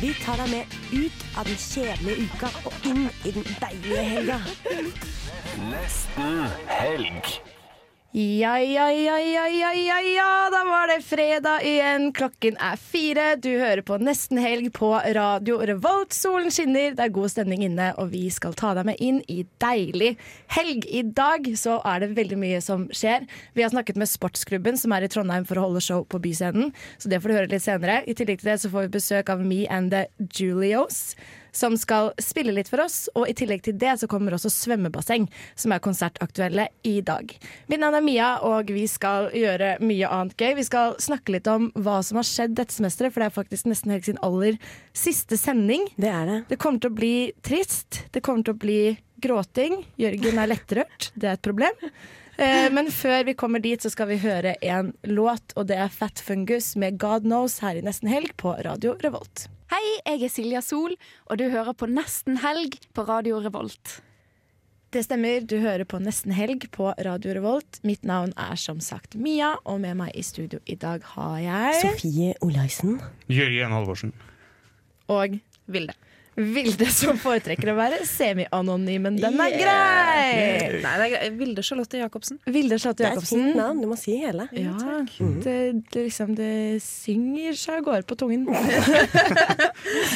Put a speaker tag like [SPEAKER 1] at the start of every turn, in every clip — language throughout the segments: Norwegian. [SPEAKER 1] Vi tar deg med ut av den kjedelige uka og inn i den deilige helga.
[SPEAKER 2] Ja, ja, ja, ja, ja, ja, ja, da var det fredag igjen. Klokken er fire. Du hører på Nesten helg på radio Revolt. Solen skinner, det er god stemning inne, og vi skal ta deg med inn i deilig helg. I dag så er det veldig mye som skjer. Vi har snakket med Sportsklubben, som er i Trondheim for å holde show på Byscenen, så det får du høre litt senere. I tillegg til det så får vi besøk av Me and the Julios som skal spille litt for oss. Og i tillegg til det så kommer også svømmebasseng, som er konsertaktuelle i dag. Mitt navn er Mia, og vi skal gjøre mye annet gøy. Vi skal snakke litt om hva som har skjedd dette semesteret, for det er faktisk nesten helg sin aller siste sending.
[SPEAKER 1] Det er det.
[SPEAKER 2] Det kommer til å bli trist. Det kommer til å bli gråting. Jørgen er lettrørt. Det er et problem. Eh, Men før vi kommer dit, så skal vi høre en låt, og det er Fat Fungus med God Knows her i Nesten Helg på Radio Revolt.
[SPEAKER 3] Hei, jeg er Silja Sol, og du hører på Nesten helg på Radio Revolt.
[SPEAKER 2] Det stemmer, du hører på Nesten Helg på Radio Revolt. Mitt navn er som sagt Mia, og med meg i studio i dag har jeg
[SPEAKER 1] Sofie Olaisen.
[SPEAKER 4] Jørgen Halvorsen.
[SPEAKER 2] Og Vilde. Vilde som foretrekker å være semi-anonym, men den er
[SPEAKER 5] Nei,
[SPEAKER 2] grei!
[SPEAKER 5] det er greit. Vilde Charlotte Jacobsen.
[SPEAKER 2] Vilde
[SPEAKER 1] Det
[SPEAKER 2] Slåtte
[SPEAKER 1] er et
[SPEAKER 2] Jacobsen.
[SPEAKER 1] fint navn, du må si hele.
[SPEAKER 2] Ja, det, det, liksom, det synger seg og går på tungen.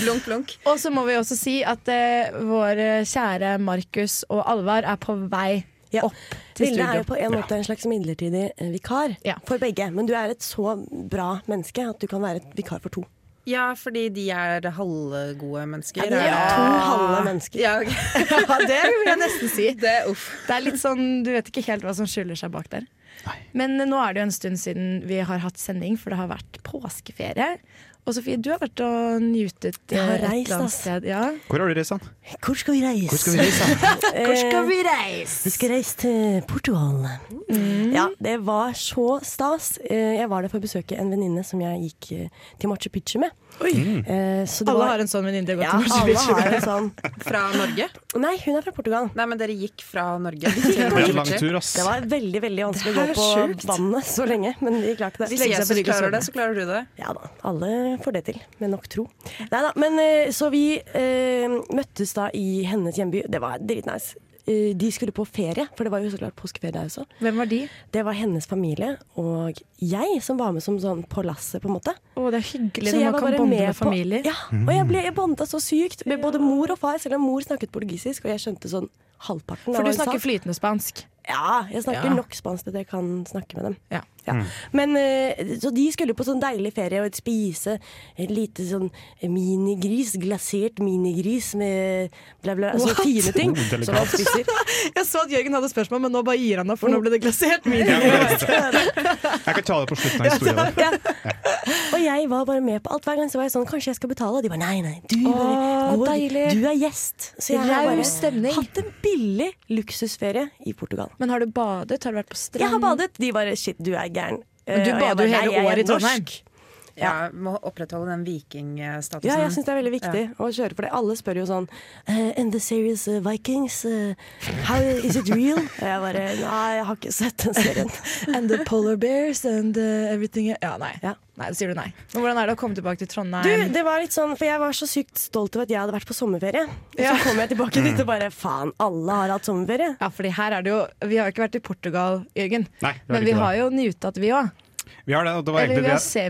[SPEAKER 5] Blunk, blunk.
[SPEAKER 2] Og så må vi også si at eh, våre kjære Markus og Alvar er på vei
[SPEAKER 1] Ja.
[SPEAKER 2] opp til
[SPEAKER 1] Vilde er jo
[SPEAKER 2] studio.
[SPEAKER 1] på en måte en slags midlertidig eh, vikar
[SPEAKER 2] Ja.
[SPEAKER 1] for begge. Men du er et så bra menneske at du kan være et vikar for to.
[SPEAKER 5] Ja, fordi de er halvgode mennesker.
[SPEAKER 1] Det er to halve mennesker.
[SPEAKER 5] Ja, ok.
[SPEAKER 2] Ja, det vil jeg nesten si.
[SPEAKER 5] Det, uff.
[SPEAKER 2] Det er litt sånn, Du vet ikke helt hva som skjuler seg bak der. Men eh, nå er det jo en stund siden vi har hatt sending, for det har vært påskeferie. Og Sofie, du har vært og njutet
[SPEAKER 1] Jeg har
[SPEAKER 2] eh, et
[SPEAKER 1] reist,
[SPEAKER 2] eller annet
[SPEAKER 1] ass.
[SPEAKER 2] sted. Ja.
[SPEAKER 4] Hvor har du reist, han?
[SPEAKER 1] Hvor skal vi reise? Hvor skal vi
[SPEAKER 2] vi reise?
[SPEAKER 1] Eh, Vi skal reise Mm. til Portugal. Ja, det var så stas. Eh, Jeg var der for å besøke en venninne som jeg gikk eh, til Machu Picchu med. Eh, Så det
[SPEAKER 2] Alle
[SPEAKER 1] var,
[SPEAKER 2] har en sånn venninne.
[SPEAKER 1] ja, alle har en sånn
[SPEAKER 5] Fra Norge?
[SPEAKER 1] Nei, hun er fra Portugal.
[SPEAKER 5] Nei, men dere gikk fra Norge.
[SPEAKER 4] Det er en lang tur, ass.
[SPEAKER 1] Det var veldig veldig vanskelig å
[SPEAKER 5] Det er
[SPEAKER 1] gå på vannet så lenge, men vi klarte
[SPEAKER 5] Hvis
[SPEAKER 1] det.
[SPEAKER 5] Jesus klarer det, så klarer du det.
[SPEAKER 1] Ja da, alle får det til, med nok tro. Nei da, men eh, så vi eh, møttes da i hennes hjemby. Det var dritnice. Eh, de skulle på ferie, for det var jo så klart påskeferie der også.
[SPEAKER 2] Hvem var de?
[SPEAKER 1] Det var hennes familie og jeg som var med som sånn på lasset, på en måte.
[SPEAKER 2] Å, det er hyggelig
[SPEAKER 1] Så
[SPEAKER 2] når
[SPEAKER 1] jeg
[SPEAKER 2] man
[SPEAKER 1] var
[SPEAKER 2] kan
[SPEAKER 1] bare
[SPEAKER 2] bonde
[SPEAKER 1] med
[SPEAKER 2] med
[SPEAKER 1] på
[SPEAKER 2] familier.
[SPEAKER 1] Ja, og jeg ble jeg bondet så sykt med både mor og far, selv om mor snakket portugisisk, og jeg skjønte sånn halvparten. av
[SPEAKER 2] For
[SPEAKER 1] hva
[SPEAKER 2] du
[SPEAKER 1] hun sa.
[SPEAKER 2] snakker flytende spansk.
[SPEAKER 1] Ja, jeg snakker
[SPEAKER 2] Ja.
[SPEAKER 1] nok spansk til at jeg kan snakke med dem.
[SPEAKER 2] Ja.
[SPEAKER 1] Ja. Men, eh, så de skulle på sånn deilig ferie og spise et lite sånn minigris, glasert minigris med bla, bla, altså
[SPEAKER 2] What?
[SPEAKER 1] fine ting.
[SPEAKER 4] Oh, delikat.
[SPEAKER 1] som man spiser.
[SPEAKER 2] Jeg så at Jørgen hadde spørsmål, men nå bare gir han opp, for nå ble det glasert
[SPEAKER 4] Ja,
[SPEAKER 2] mine.
[SPEAKER 4] jeg kan ta det på slutten av historien. der.
[SPEAKER 1] ja. Og jeg var bare med på alt. Hver gang så var jeg sånn Kanskje jeg skal betale? Og de bare nei, nei. Du, bare,
[SPEAKER 2] Åh,
[SPEAKER 1] går,
[SPEAKER 2] deilig.
[SPEAKER 1] du er gjest. Så jeg har
[SPEAKER 2] Raus
[SPEAKER 1] bare
[SPEAKER 2] stemning.
[SPEAKER 1] hatt en billig luksusferie i Portugal.
[SPEAKER 2] Men har du badet? Har du vært på strand?
[SPEAKER 1] Jeg har badet. De bare shit, du er gæren. Eh, og
[SPEAKER 2] Du
[SPEAKER 1] jeg
[SPEAKER 2] bader
[SPEAKER 1] bare,
[SPEAKER 2] jo
[SPEAKER 1] «Nei,
[SPEAKER 2] hele
[SPEAKER 1] jeg er
[SPEAKER 2] året i
[SPEAKER 1] norsk».
[SPEAKER 2] Trondheim.
[SPEAKER 5] Ja, Må opprettholde den vikingstatusen.
[SPEAKER 1] Ja, jeg syns det er veldig viktig å kjøre for det. Alle spør jo sånn uh, In the series eh, Vikings, eh, how is it real? Og jeg bare Nei, jeg har ikke sett den serien.
[SPEAKER 2] And the polar bears and uh, everything Ja, nei.
[SPEAKER 1] Ja.
[SPEAKER 2] Nei, det sier du nei. Men hvordan er det å komme tilbake til Trondheim?
[SPEAKER 1] Du, det var litt sånn, for jeg var så sykt stolt over at jeg hadde vært på sommerferie. Og
[SPEAKER 2] Ja. Mm.
[SPEAKER 1] så kom jeg tilbake dit og bare faen, alle har hatt sommerferie.
[SPEAKER 2] ja, fordi her er det jo Vi har jo ikke vært i Portugal, Jørgen.
[SPEAKER 4] Nei, det er
[SPEAKER 2] Men
[SPEAKER 4] ikke
[SPEAKER 2] vi
[SPEAKER 4] det.
[SPEAKER 2] har jo nytet, vi òg.
[SPEAKER 4] Vi har det, og det var
[SPEAKER 2] Eller
[SPEAKER 4] egentlig
[SPEAKER 2] vi har
[SPEAKER 4] det. Vi har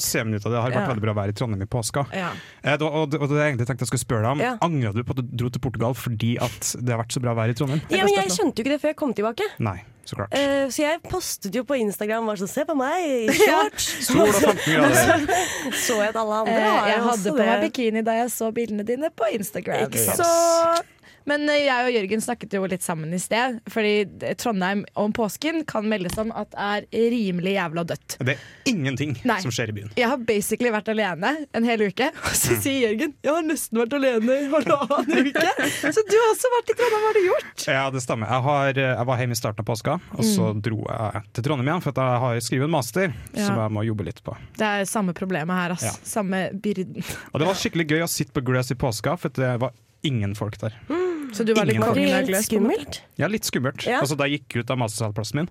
[SPEAKER 2] seminytet.
[SPEAKER 4] semien ut av det. Det har vært
[SPEAKER 2] Ja.
[SPEAKER 4] veldig bra vær i Trondheim i påska.
[SPEAKER 2] Ja.
[SPEAKER 4] Eh, det var- Og det, og det jeg egentlig tenkte jeg skulle spørre deg om,
[SPEAKER 1] Ja.
[SPEAKER 4] Angrer du på at du dro til Portugal fordi at det har vært så bra vær i Trondheim?
[SPEAKER 1] Ja, men jeg skjønte jo ikke det før jeg kom tilbake.
[SPEAKER 4] Nei, så klart.
[SPEAKER 1] Eh, så jeg postet jo på Instagram og var sånn Se på meg, i shorts!
[SPEAKER 4] Sol og 15 grader.
[SPEAKER 1] Så jeg at alle
[SPEAKER 2] Eh,
[SPEAKER 1] andre har
[SPEAKER 2] jeg
[SPEAKER 1] jo
[SPEAKER 2] hadde
[SPEAKER 1] også
[SPEAKER 2] på meg
[SPEAKER 1] det.
[SPEAKER 2] bikini da jeg så bildene dine på Instagram.
[SPEAKER 1] Ikke sant.
[SPEAKER 2] Så Men eh, jeg og Jørgen snakket jo litt sammen i sted, fordi eh, Trondheim om påsken kan meldes om at er rimelig jævla dødt.
[SPEAKER 4] Det er ingenting
[SPEAKER 2] Nei.
[SPEAKER 4] som skjer i byen. Mm.
[SPEAKER 2] Jeg har basically vært alene en hel uke, og så sier Jørgen jeg har nesten vært alene i halvannen uke. Så du har også vært i Trondheim, hva har du gjort?
[SPEAKER 4] Ja, det stemmer. Jeg, har, eh, jeg var hjemme i starten av påska, og så dro jeg til Trondheim igjen, for at jeg har skrevet en master
[SPEAKER 2] Mm. Ja.
[SPEAKER 4] som jeg må jobbe litt på.
[SPEAKER 2] Det er samme problemet her, ass.
[SPEAKER 4] Ja.
[SPEAKER 2] Samme byrden.
[SPEAKER 4] Og det var skikkelig gøy å sitte på Grøs i påska, for det var ingen folk der.
[SPEAKER 2] Mm. Så du var litt
[SPEAKER 4] Mm. Ingen
[SPEAKER 1] Var det
[SPEAKER 2] kongen av
[SPEAKER 1] litt
[SPEAKER 2] gløs? på en måte?
[SPEAKER 1] skummelt?
[SPEAKER 4] Ja, litt skummelt.
[SPEAKER 1] Ja.
[SPEAKER 4] Altså, da jeg gikk ut av mastersalplassen min,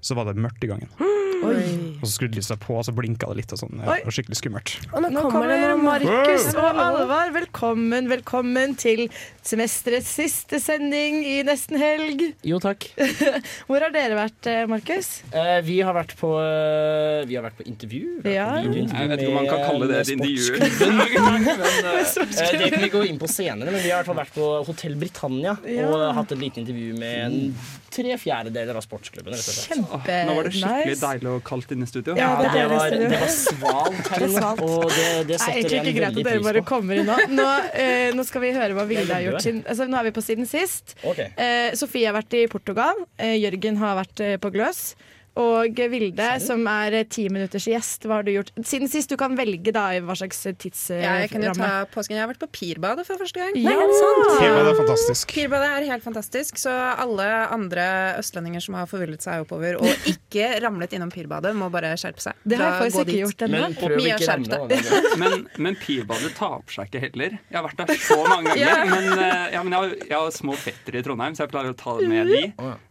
[SPEAKER 4] så var det mørkt i gangen. Og så skrudde lyset på, og så blinka det litt og sånn. Ja,
[SPEAKER 2] Mm. Oi.
[SPEAKER 4] det var skikkelig skummelt.
[SPEAKER 1] Og nå,
[SPEAKER 2] Nå
[SPEAKER 1] kommer det noen
[SPEAKER 2] Markus
[SPEAKER 4] Wow.
[SPEAKER 2] og Alvar. Velkommen, velkommen til semesterets siste sending i nesten helg.
[SPEAKER 6] Jo, takk.
[SPEAKER 2] Hvor har dere vært, eh, Markus?
[SPEAKER 6] Eh, vi, har vært på, eh, vi har vært på intervju. Vi
[SPEAKER 2] Ja.
[SPEAKER 6] har vært på videointervju
[SPEAKER 7] Jeg vet ikke om man kan
[SPEAKER 6] med-
[SPEAKER 7] kalle det et
[SPEAKER 6] med
[SPEAKER 7] intervju.
[SPEAKER 6] sportsklubben. Eh,
[SPEAKER 2] Sportsklubben.
[SPEAKER 6] det kan vi gå inn på senere, men vi har i hvert fall vært på Hotell Britannia
[SPEAKER 2] Ja.
[SPEAKER 6] og hatt et lite intervju med en tre fjerdedeler av sportsklubben. Rett og slett.
[SPEAKER 2] Kjempe
[SPEAKER 7] Nå var det skikkelig
[SPEAKER 2] nice.
[SPEAKER 7] deilig og kaldt inne i studio.
[SPEAKER 2] Ja,
[SPEAKER 6] Ja, det, var,
[SPEAKER 2] det
[SPEAKER 6] det var svalt her inne, og det, det
[SPEAKER 2] Det er
[SPEAKER 6] setter
[SPEAKER 2] egentlig
[SPEAKER 6] en
[SPEAKER 2] ikke greit
[SPEAKER 6] veldig
[SPEAKER 2] at dere bare
[SPEAKER 6] pris på.
[SPEAKER 2] kommer inn nå. Nå, eh, nå skal vi høre hva Vilde har
[SPEAKER 6] Jeg
[SPEAKER 2] gjort
[SPEAKER 6] leder.
[SPEAKER 2] siden altså, Nå er vi på siden sist.
[SPEAKER 6] Ok.
[SPEAKER 2] Eh, Sofie har vært i Portugal. Eh, Jørgen har vært eh, på Gløs. Og eh, Vilde, som er eh, ti minutters gjest, hva har du gjort siden sist? Du kan velge da i hva slags eh, tidsramme.
[SPEAKER 5] Jeg kan jo ta påsken. Jeg har vært på Pirbadet for første gang.
[SPEAKER 2] Ja.
[SPEAKER 4] Tema, det er fantastisk.
[SPEAKER 5] Pirbadet er helt fantastisk, så alle andre østlendinger som har forvillet seg oppover og ikke ramlet innom Pirbadet, må bare skjerpe seg.
[SPEAKER 2] Det har jeg
[SPEAKER 5] Da
[SPEAKER 2] faktisk
[SPEAKER 5] gå
[SPEAKER 2] ikke
[SPEAKER 5] dit.
[SPEAKER 2] gjort ennå.
[SPEAKER 6] Men prøv å
[SPEAKER 5] Mia,
[SPEAKER 6] ikke
[SPEAKER 5] skjerp
[SPEAKER 6] ramle. da.
[SPEAKER 7] Men, men Pirbadet tar opp seg ikke heller. Jeg har vært der så mange ganger.
[SPEAKER 5] Ja.
[SPEAKER 7] Men, eh, ja, men jeg, har, jeg har små fettere i Trondheim, så jeg pleier å ta det med de.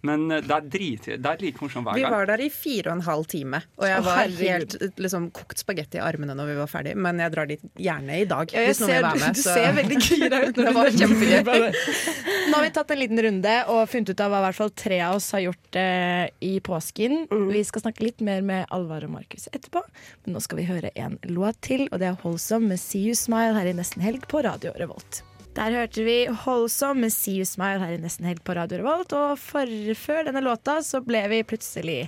[SPEAKER 7] Men eh, det er, drit, det er like morsomt hver
[SPEAKER 5] Vi
[SPEAKER 7] gang.
[SPEAKER 5] var der i fire og en halv time, og
[SPEAKER 2] Å,
[SPEAKER 5] jeg var
[SPEAKER 2] herregud.
[SPEAKER 5] helt liksom, kokt spagetti i armene når vi var ferdig, men jeg drar dit gjerne i dag.
[SPEAKER 2] Ja, jeg
[SPEAKER 5] hvis noen vil
[SPEAKER 2] ser,
[SPEAKER 5] være
[SPEAKER 2] du,
[SPEAKER 5] med,
[SPEAKER 2] du
[SPEAKER 5] så-
[SPEAKER 2] ser veldig gira ut.
[SPEAKER 5] Det var
[SPEAKER 2] Når du
[SPEAKER 5] kjempegøy.
[SPEAKER 2] Nå har vi tatt en liten runde og funnet ut av hva i hvert fall tre av oss har gjort eh, i påsken. Vi skal snakke litt mer med Alvar og Markus etterpå, men nå skal vi høre en låt til. Og det er Holsom med See You Smile her i Nesten Helg på Radio Revolt. Der hørte vi Holsom med See You Smile her i Nesten Helg på Radio Revolt, og for, før denne låta så ble vi plutselig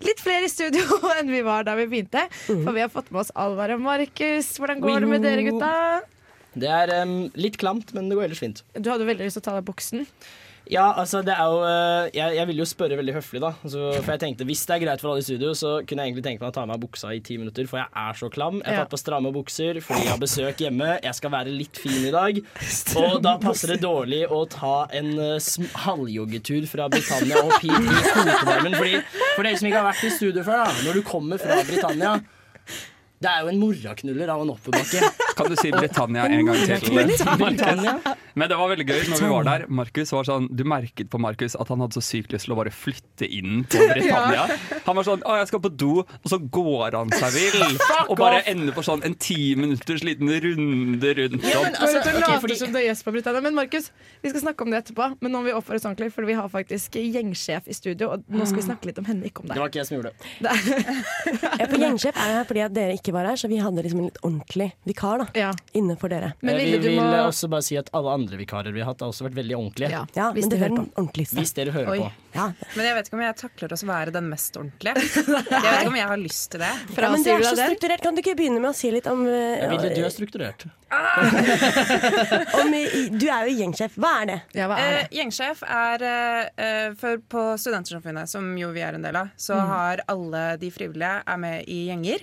[SPEAKER 2] Litt flere i studio enn vi var da vi begynte. For vi har fått med oss Alvar og Markus. Hvordan går det med dere, gutta?
[SPEAKER 6] Det er em, litt klamt, men det går ellers fint.
[SPEAKER 2] Du hadde veldig lyst til å ta deg buksen.
[SPEAKER 6] Ja, altså det er jo eh, Jeg, jeg ville jo spørre veldig høflig, da. Altså, for jeg tenkte, Hvis det er greit for alle i studio, så kunne jeg egentlig tenke meg å ta av meg buksa i ti minutter, for jeg er så klam. Jeg har
[SPEAKER 2] Ja.
[SPEAKER 6] tatt på stramme bukser fordi jeg har besøk hjemme. Jeg skal være litt fin i dag. Og da passer det dårlig å ta en eh, sm- halvjoggetur fra Britannia opp hit i kotevarmen. Fordi, for dere som ikke har vært i studio før, da. Når du kommer fra Britannia Det er jo en moraknuller av en oppoverbakke.
[SPEAKER 7] Kan du si Britannia en gang til? Markus? Men det var veldig gøy når vi var der. Markus var sånn, Du merket på Markus at han hadde så sykt lyst til å bare flytte inn til Britannia. Han var sånn 'Å, jeg skal på do', og så går han seg vill. Og bare ender på sånn en ti minutters liten runde rundt
[SPEAKER 2] Ja,
[SPEAKER 7] om.
[SPEAKER 2] men, altså,
[SPEAKER 6] ok,
[SPEAKER 2] later
[SPEAKER 6] fordi-
[SPEAKER 2] som det gjøres på Britannia. Men Markus, vi skal snakke om det etterpå. Men nå må vi oppføre oss ordentlig, for vi har faktisk gjengsjef i studio. Og nå skal vi snakke litt om henne, ikke om
[SPEAKER 6] Det
[SPEAKER 2] deg.
[SPEAKER 6] var ikke jeg som gjorde det.
[SPEAKER 1] Ja, for Gjensjef Eh, er her fordi at dere ikke var her, så vi hadde liksom en litt ordentlig vikar da,
[SPEAKER 2] Ja.
[SPEAKER 1] inne for dere.
[SPEAKER 2] Men
[SPEAKER 6] Eh,
[SPEAKER 2] Vilde,
[SPEAKER 6] vi
[SPEAKER 2] du
[SPEAKER 6] vil
[SPEAKER 2] må
[SPEAKER 6] eh, også bare si at alle andre vikarer vi har hatt, har også vært veldig ordentlige.
[SPEAKER 2] ja,
[SPEAKER 1] Ja,
[SPEAKER 2] Hvis
[SPEAKER 1] men
[SPEAKER 2] du
[SPEAKER 1] dere er
[SPEAKER 2] hører på.
[SPEAKER 1] den ordentligste.
[SPEAKER 6] Hvis dere hører
[SPEAKER 5] Oi.
[SPEAKER 6] på.
[SPEAKER 1] Ja.
[SPEAKER 5] Men jeg vet ikke om jeg takler å være den mest ordentlige. Jeg vet ikke om jeg har lyst til det.
[SPEAKER 1] Ja, men du
[SPEAKER 2] Frasier
[SPEAKER 1] er
[SPEAKER 2] du
[SPEAKER 1] så
[SPEAKER 2] deg den?
[SPEAKER 1] strukturert. Kan du ikke begynne med å si litt om eh,
[SPEAKER 6] Jeg vil, du er strukturert.
[SPEAKER 1] om, eh, Du er jo gjengsjef. Hva er det?
[SPEAKER 2] Ja, hva er
[SPEAKER 5] Eh,
[SPEAKER 2] det?
[SPEAKER 5] gjengsjef er eh, eh, for På Studentersamfunnet, som jo vi er en del av, så
[SPEAKER 2] Mm.
[SPEAKER 5] har alle de frivillige er med i gjenger.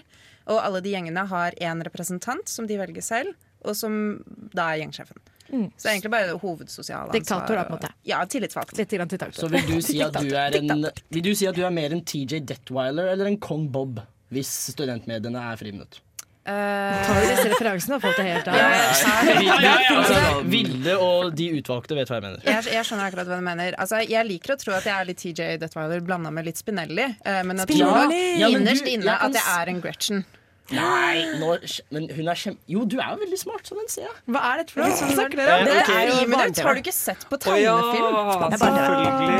[SPEAKER 5] Og alle de gjengene har én representant som de velger selv, og som da er gjengsjefen. Så det er egentlig bare hovedsosiale
[SPEAKER 2] Mm. Diktator, da, på en måte.
[SPEAKER 5] Ja, tillitsvalgt.
[SPEAKER 2] Litt grann til takk.
[SPEAKER 6] Så vil du si at du er en Vil du si at du er mer en TJ Detwiler eller en Kong Bob hvis studentmediene er friminutt?
[SPEAKER 5] Eh,
[SPEAKER 2] Tar vi disse referansene og fått det helt av?
[SPEAKER 5] ja, jeg, skjønner-
[SPEAKER 6] Altså, Vilde og de utvalgte vet hva jeg mener.
[SPEAKER 5] jeg, jeg skjønner akkurat hva du mener. Altså, jeg liker å tro at jeg er litt TJ Detwiler blanda med litt Spinelli, eh, men jeg tror nok
[SPEAKER 1] Spinelli!
[SPEAKER 6] Ja, men du-
[SPEAKER 5] innerst inne
[SPEAKER 6] jeg kan
[SPEAKER 5] at jeg
[SPEAKER 6] s-
[SPEAKER 5] er en Gretchen.
[SPEAKER 6] Nei, nå, men hun er kjem... Jo, du er jo veldig smart, sånn en ser jeg.
[SPEAKER 2] Hva er dette for noe? Snakker dere
[SPEAKER 6] Ja,
[SPEAKER 2] om
[SPEAKER 5] Det
[SPEAKER 2] det?
[SPEAKER 6] ok.
[SPEAKER 5] er
[SPEAKER 1] jo
[SPEAKER 5] jo minutt.
[SPEAKER 1] barne-TV.
[SPEAKER 5] Har du ikke sett på
[SPEAKER 7] Å ja,
[SPEAKER 5] tegnefilm?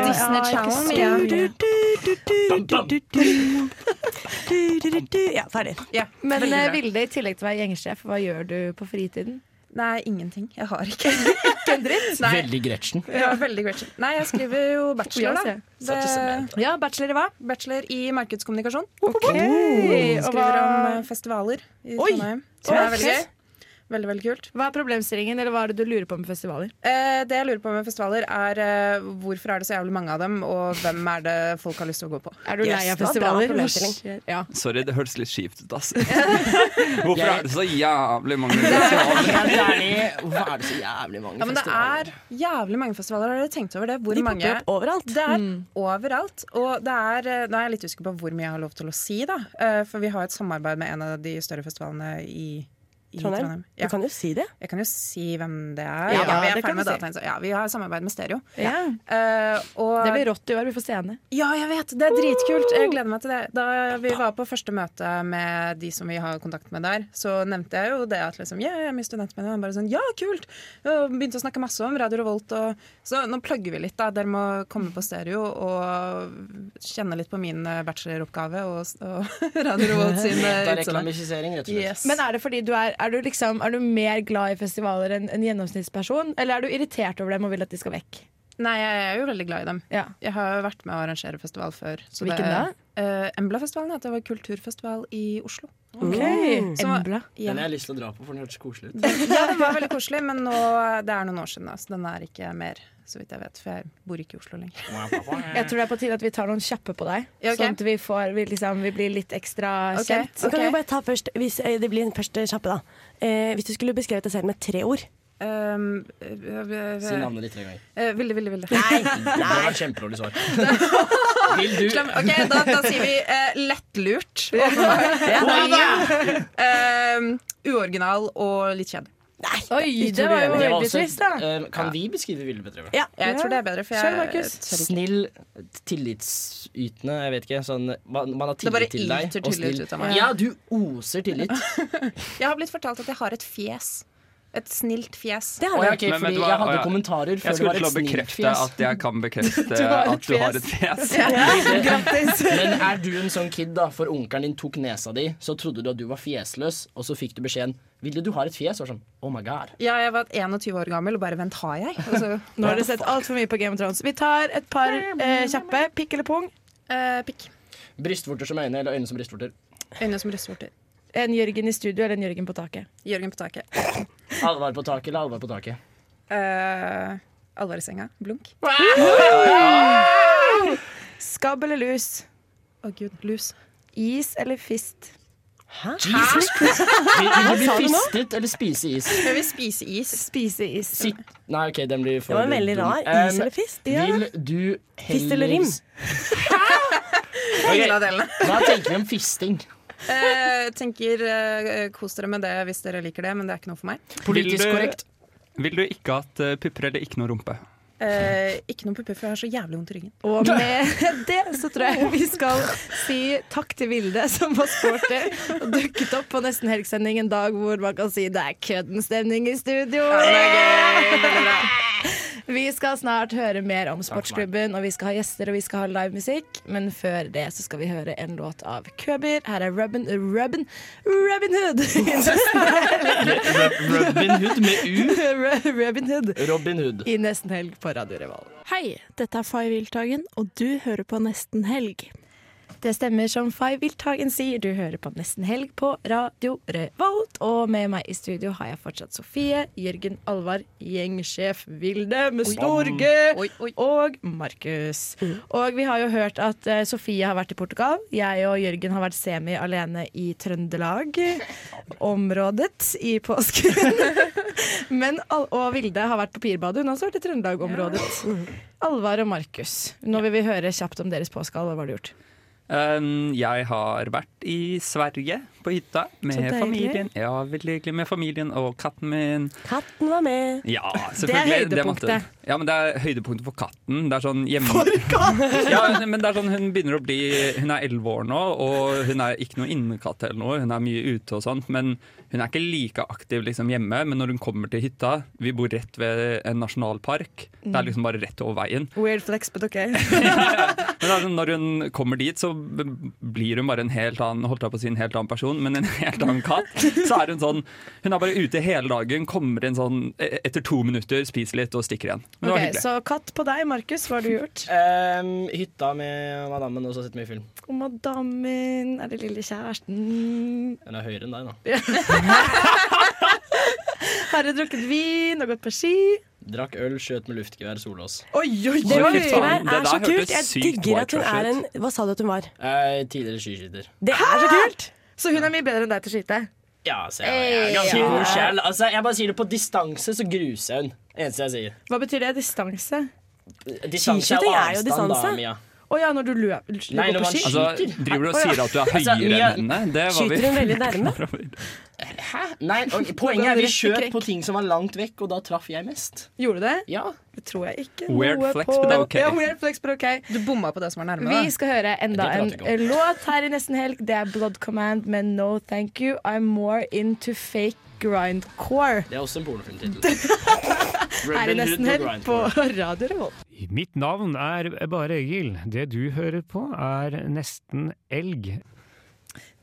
[SPEAKER 7] selvfølgelig.
[SPEAKER 5] Disney Channel. Mia.
[SPEAKER 1] Ja, ferdig.
[SPEAKER 5] Ja,
[SPEAKER 2] Men
[SPEAKER 5] veldig
[SPEAKER 2] eh,
[SPEAKER 5] bra.
[SPEAKER 2] Vilde, i tillegg til å være gjengsjef, hva gjør du på fritiden?
[SPEAKER 5] Nei, ingenting. Jeg har ikke Ikke en dritt? Nei,
[SPEAKER 6] Veldig Gretchen.
[SPEAKER 5] ja, veldig Gretchen. Nei, jeg skriver jo bachelor, da.
[SPEAKER 2] Ja,
[SPEAKER 5] Det,
[SPEAKER 2] Ja, bachelor i hva?
[SPEAKER 5] bachelor i markedskommunikasjon.
[SPEAKER 2] Ok, og
[SPEAKER 5] Skriver om
[SPEAKER 2] hva
[SPEAKER 5] eh, festivaler i
[SPEAKER 2] Oi!
[SPEAKER 5] Trondheim. Som
[SPEAKER 2] Oi,
[SPEAKER 5] er veldig gøy. Veldig, veldig kult.
[SPEAKER 2] Hva er problemstillingen, eller hva er det du lurer på med festivaler?
[SPEAKER 5] Eh, det jeg lurer på med festivaler, er eh, hvorfor er det så jævlig mange av dem, og hvem er det folk har lyst til å gå på?
[SPEAKER 2] Er du lei av festivaler?
[SPEAKER 7] Ja. Sorry, det høres litt skivt ut, ass. hvorfor er det så jævlig mange festivaler?
[SPEAKER 6] Hvorfor er det så jævlig mange
[SPEAKER 5] ja, men det er jævlig mange festivaler. Har dere tenkt over det? Hvor
[SPEAKER 1] De
[SPEAKER 5] mange?
[SPEAKER 1] popper opp overalt. Mm.
[SPEAKER 5] Det er overalt. Og det er, eh, nå er jeg litt usikker på hvor mye jeg har lov til å si, da. Eh, For vi har et samarbeid med en av de større festivalene i i
[SPEAKER 1] Trondheim? Du kan jo si det.
[SPEAKER 5] Jeg kan jo si hvem det er.
[SPEAKER 1] Ja,
[SPEAKER 5] Ja, vi, er
[SPEAKER 1] det kan
[SPEAKER 5] ferdig med
[SPEAKER 1] du si.
[SPEAKER 5] dataen, så- ja, vi har samarbeid med Stereo.
[SPEAKER 2] Ja.
[SPEAKER 5] Eh, og
[SPEAKER 2] Det blir rått i år, vi får se henne.
[SPEAKER 5] ja, jeg vet. Det er dritkult. Jeg gleder meg til det. Da vi var på første møte med de som vi har kontakt med der, så nevnte jeg jo det at liksom, «Ja, jeg er med i studentmediene. Og han bare sånn Ja, kult! Og begynte å snakke masse om Radio Revolt. Og, så nå plugger vi litt, da. Dere må komme på stereo og kjenne litt på min eh, bacheloroppgave og, og Radio Revolt sin eh,
[SPEAKER 6] Det er
[SPEAKER 5] utsagn.
[SPEAKER 6] reklamifisering, rett og slett.
[SPEAKER 5] Yes.
[SPEAKER 2] Men er det fordi du er, er, du liksom, er du mer glad i festivaler enn en gjennomsnittsperson, eller er du irritert over dem og vil at de skal vekk?
[SPEAKER 5] Nei, jeg er jo veldig glad i dem.
[SPEAKER 2] Ja.
[SPEAKER 5] Jeg har jo vært med å arrangere festival før. så det-
[SPEAKER 2] Hvilken da?
[SPEAKER 5] Eh, Embla-festivalen heter det var kulturfestival i Oslo.
[SPEAKER 2] Ok,
[SPEAKER 5] Som var-
[SPEAKER 2] Mm, Embla.
[SPEAKER 5] Ja.
[SPEAKER 6] Den har jeg lyst til å dra på, for den hørtes koselig ut.
[SPEAKER 5] Ja, den var veldig koselig, men nå, det er noen år siden, da, så den er ikke mer, så vidt jeg vet. For jeg bor ikke i Oslo lenger.
[SPEAKER 2] Jeg tror det er på tide at vi tar noen kjappe på deg,
[SPEAKER 5] Ja, ok.
[SPEAKER 2] sånn at vi, får, vi, liksom, vi blir litt ekstra
[SPEAKER 5] Ok.
[SPEAKER 2] kjent.
[SPEAKER 1] Så kan vi bare ta først, hvis, eh, Det blir en første kjappe, da. Eh, hvis du skulle beskrevet deg selv med tre ord
[SPEAKER 5] Um, øh, øh, øh,
[SPEAKER 6] Si navnet ditt tre ganger.
[SPEAKER 5] øh, Vilde, Vilde, Vilde.
[SPEAKER 6] Det var et kjempedårlig svar. Vil du
[SPEAKER 5] Slem. Ok, da, da sier vi eh, lettlurt. åpenbart.
[SPEAKER 6] Oi,
[SPEAKER 5] Um, uoriginal og litt kjedelig.
[SPEAKER 2] Oi, det var jo
[SPEAKER 6] Det var
[SPEAKER 2] veldig
[SPEAKER 6] også-
[SPEAKER 2] trist, da.
[SPEAKER 6] eh, Kan vi beskrive Vilde Petreve?
[SPEAKER 1] Ja,
[SPEAKER 5] Jeg tror det er bedre, for jeg
[SPEAKER 2] Kjør, Markus.
[SPEAKER 5] tør ikke.
[SPEAKER 6] Snill, tillitsytende, jeg vet ikke. Sånn, man, man har
[SPEAKER 5] Det bare
[SPEAKER 6] tillit til deg.
[SPEAKER 5] yter
[SPEAKER 6] og
[SPEAKER 5] tillit
[SPEAKER 6] snill.
[SPEAKER 5] ut av meg.
[SPEAKER 6] Ja, du oser tillit.
[SPEAKER 5] Jeg har blitt fortalt at jeg har et fjes. Et snilt fjes.
[SPEAKER 1] Det har
[SPEAKER 6] Å ja,
[SPEAKER 1] du.
[SPEAKER 6] ok,
[SPEAKER 7] Men vet
[SPEAKER 6] fordi
[SPEAKER 7] du hva?
[SPEAKER 6] jeg
[SPEAKER 7] Å ja.
[SPEAKER 6] hadde kommentarer før
[SPEAKER 7] Jeg
[SPEAKER 6] det var
[SPEAKER 7] skulle
[SPEAKER 6] et
[SPEAKER 7] til å
[SPEAKER 6] snilt
[SPEAKER 7] bekrefte
[SPEAKER 6] fjes.
[SPEAKER 7] at jeg kan bekrefte
[SPEAKER 2] Du har et
[SPEAKER 7] eh, at du har et fjes.
[SPEAKER 6] Men er du en sånn kid, da, for onkelen din tok nesa di, så trodde du at du var fjesløs, og så fikk du beskjeden 'Ville du ha et fjes?' Og sånn 'Oh my god'.
[SPEAKER 5] Ja, jeg var 21 år gammel og bare Vent, har jeg? Altså, Og så,
[SPEAKER 2] Nå har dere sett altfor mye på Game of Thrones. Vi tar et par eh, kjappe. Pikk eller pung?
[SPEAKER 5] eh, pikk.
[SPEAKER 6] Brystvorter som øyne, eller øyne som brystvorter.
[SPEAKER 5] Øyne som røstvorter.
[SPEAKER 2] En Jørgen i studio eller en Jørgen på taket?
[SPEAKER 5] Jørgen på taket.
[SPEAKER 6] Alvar på taket eller alvar på taket?
[SPEAKER 5] Eh, alvor i senga. Blunk.
[SPEAKER 2] Skabb eller lus?
[SPEAKER 5] Å gud, lus.
[SPEAKER 2] Is eller fist?
[SPEAKER 6] Jesus Christ! Vil, vil du bli fistet eller spise is?
[SPEAKER 5] Jeg vil spise is.
[SPEAKER 2] Spise is.
[SPEAKER 6] Sitt Nei, OK, den blir for
[SPEAKER 1] Det var en veldig
[SPEAKER 6] dum.
[SPEAKER 1] rar
[SPEAKER 6] Um,
[SPEAKER 1] is eller fist.
[SPEAKER 6] Vil du heller
[SPEAKER 1] Fist eller rim?
[SPEAKER 5] Ingen av delene.
[SPEAKER 6] Hva tenker vi om fisting?
[SPEAKER 5] Eh, tenker eh, Kos dere med det hvis dere liker det, men det er ikke noe for meg.
[SPEAKER 6] Politisk
[SPEAKER 7] Vil du-
[SPEAKER 6] korrekt.
[SPEAKER 7] Vil du ikke at eh, pupper eller ikke noe rumpe?
[SPEAKER 5] Eh, ikke noe pupper, for jeg har så jævlig vondt i ryggen.
[SPEAKER 2] Og med det så tror jeg vi skal si takk til Vilde, som var sporter og dukket opp på Nesten Helg-sending en dag hvor man kan si det er kødden stemning i studio. Vi skal snart høre mer om sportsklubben, og vi skal ha gjester og vi skal ha livemusikk. Men før det så skal vi høre en låt av Køber. Her er Robin Robin Robin Hood!
[SPEAKER 6] Robin Hood med U.
[SPEAKER 2] Robin Hood
[SPEAKER 6] Robin Hood.
[SPEAKER 2] i Nesten Helg på Radio Revolv.
[SPEAKER 8] Hei, dette er Fay Wiltagen, og du hører på Nesten Helg.
[SPEAKER 2] Det stemmer som Fay Wilthagen sier, du hører på Nesten Helg på Radio Revolt. Og med meg i studio har jeg fortsatt Sofie, Jørgen Alvar, gjengsjef Vilde med stor G
[SPEAKER 5] Oi, oi.
[SPEAKER 2] og Markus. Og vi har jo hørt at eh, Sofie har vært i Portugal. Jeg og Jørgen har vært semi alene i Trøndelag, området, i påsken. Men, Al- og Vilde har vært på Pirbadet. Hun har også vært i Trøndelag-området. Alvar og Markus, nå vil vi høre kjapt om deres påske. Alvar, Hva har du gjort?
[SPEAKER 7] Um, jeg har vært i Sverige, på hytta,
[SPEAKER 2] Så
[SPEAKER 7] med
[SPEAKER 2] deilig.
[SPEAKER 7] familien. Ja, veldig hyggelig med familien og katten min.
[SPEAKER 1] Katten var med.
[SPEAKER 7] Ja,
[SPEAKER 2] Det
[SPEAKER 7] selvfølgelig.
[SPEAKER 2] er
[SPEAKER 7] måtte
[SPEAKER 2] høydepunktet.
[SPEAKER 7] hun. Ja, men det er høydepunktet for katten. Det er sånn hjemme... For katten! ja, men det er sånn, hun begynner å bli Hun er elleve år nå, og hun er ikke noe innekatt eller noe. Hun er mye ute og sånt, men hun er ikke like aktiv liksom hjemme. Men når hun kommer til hytta Vi bor rett ved en nasjonalpark. Det
[SPEAKER 2] Mm.
[SPEAKER 7] er liksom bare rett over veien.
[SPEAKER 2] Weird flex, but okay.
[SPEAKER 7] Men altså, når hun kommer dit, så b- blir hun bare en helt annen holdt jeg på å si en helt annen person, men en helt annen katt. Så er hun sånn Hun er bare ute hele dagen, kommer inn sånn e- etter to minutter, spiser litt og stikker igjen. Men det var
[SPEAKER 2] Ok,
[SPEAKER 7] hyggelig.
[SPEAKER 2] så katt på deg, Markus. Hva har du gjort?
[SPEAKER 6] Ehm, hytta med madammen og så sitter vi i film.
[SPEAKER 2] Og madammen er det lille kjæresten.
[SPEAKER 6] Den er høyere enn deg, da.
[SPEAKER 2] Har du drukket vin og gått på ski?
[SPEAKER 6] Drakk øl, skjøt med luftgevær, Solås.
[SPEAKER 2] Oi, oi,
[SPEAKER 1] Det var
[SPEAKER 6] Fy faen, det
[SPEAKER 1] luftgevær er
[SPEAKER 6] der
[SPEAKER 1] så
[SPEAKER 6] hørtes
[SPEAKER 1] kult. Jeg
[SPEAKER 6] sykt
[SPEAKER 1] digger at hun
[SPEAKER 6] whitewash
[SPEAKER 1] er en
[SPEAKER 6] ut.
[SPEAKER 1] Hva sa du at hun var?
[SPEAKER 6] Eh, tidligere skiskytter.
[SPEAKER 1] Det er så kult!
[SPEAKER 2] Så hun er mye bedre enn deg til å skyte?
[SPEAKER 6] Ja, så jeg, jeg er ganske
[SPEAKER 2] Ja.
[SPEAKER 6] god sjel. Altså, jeg bare sier det, på distanse så gruser jeg hun. Eneste jeg sier.
[SPEAKER 2] Hva betyr det? Distanse?
[SPEAKER 6] Distanse
[SPEAKER 2] Skiskyting
[SPEAKER 6] og
[SPEAKER 2] er jo
[SPEAKER 6] avstand, da,
[SPEAKER 2] distanse.
[SPEAKER 6] Mia.
[SPEAKER 2] Å ja, når du løper
[SPEAKER 6] Nei,
[SPEAKER 2] går
[SPEAKER 6] når
[SPEAKER 2] på
[SPEAKER 6] man
[SPEAKER 2] ski?
[SPEAKER 6] skyter.
[SPEAKER 7] Altså, driver du og
[SPEAKER 2] Å ja.
[SPEAKER 7] sier at du er høyere
[SPEAKER 6] Mia-
[SPEAKER 7] enn henne? Det var vi
[SPEAKER 1] Skyter hun veldig nærme?
[SPEAKER 6] Hæ? Nei, og, poenget er
[SPEAKER 2] Rett i
[SPEAKER 6] vi skjøt
[SPEAKER 2] krekk.
[SPEAKER 6] på ting som var langt vekk, og da traff jeg mest.
[SPEAKER 2] Gjorde du det?
[SPEAKER 6] Ja.
[SPEAKER 2] Det tror jeg ikke.
[SPEAKER 7] Weird
[SPEAKER 2] noe
[SPEAKER 7] flex,
[SPEAKER 2] på.
[SPEAKER 7] men det er ok.
[SPEAKER 2] Ja, weird flex, but ok.
[SPEAKER 5] Du bomma på det som var nærme.
[SPEAKER 2] Vi skal høre enda
[SPEAKER 5] Det
[SPEAKER 2] en
[SPEAKER 5] prater
[SPEAKER 2] eh, låt her i Nesten Helg. Det er Blood Command med No Thank You. I'm more into fake grindcore.
[SPEAKER 6] Det er også en pornofilmtittel.
[SPEAKER 2] Her
[SPEAKER 6] Robin
[SPEAKER 2] i
[SPEAKER 6] Hood
[SPEAKER 2] Nesten
[SPEAKER 6] med
[SPEAKER 2] Helg på
[SPEAKER 6] grindcore.
[SPEAKER 2] Radio Revolt.
[SPEAKER 9] Mitt navn er Bare Egil. Det du hører på, er Nesten Elg.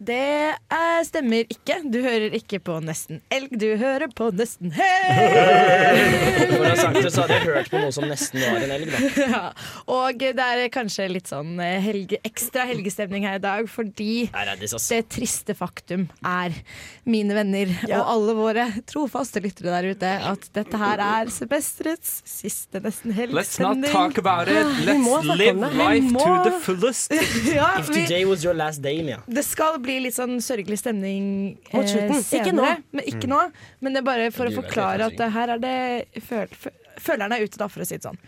[SPEAKER 2] Det eh, stemmer ikke. Du hører ikke på Nesten Elg, du hører på Nesten Helg!
[SPEAKER 6] Når jeg har sagt det, så hadde jeg hørt på noe som nesten var en elg, da.
[SPEAKER 2] Ja. Og det er kanskje litt sånn eh, helge, ekstra helgestemning her i dag, fordi det triste faktum er, mine venner og alle våre trofaste lyttere der ute, at dette her er semesterets siste nesten
[SPEAKER 7] Let's not
[SPEAKER 2] helgestemning. Ah,
[SPEAKER 7] talk about it.
[SPEAKER 2] Vi må
[SPEAKER 7] Let's
[SPEAKER 2] snakke om
[SPEAKER 7] live
[SPEAKER 2] det.
[SPEAKER 7] life
[SPEAKER 2] Vi
[SPEAKER 7] to
[SPEAKER 2] må-
[SPEAKER 7] the fullest.
[SPEAKER 2] ja,
[SPEAKER 6] If
[SPEAKER 2] vi,
[SPEAKER 6] today was your last day, Mia.
[SPEAKER 2] det skal bli litt sånn sørgelig stemning eh,
[SPEAKER 1] Mot slutten. Ikke
[SPEAKER 2] senere.
[SPEAKER 1] nå.
[SPEAKER 2] Men ikke
[SPEAKER 1] Mm.
[SPEAKER 2] nå. Men det er bare for å
[SPEAKER 1] Gud, jeg
[SPEAKER 2] forklare
[SPEAKER 1] vet
[SPEAKER 2] at eh, her er det føl, fø- Følerne er ute, da, for å si det sånn.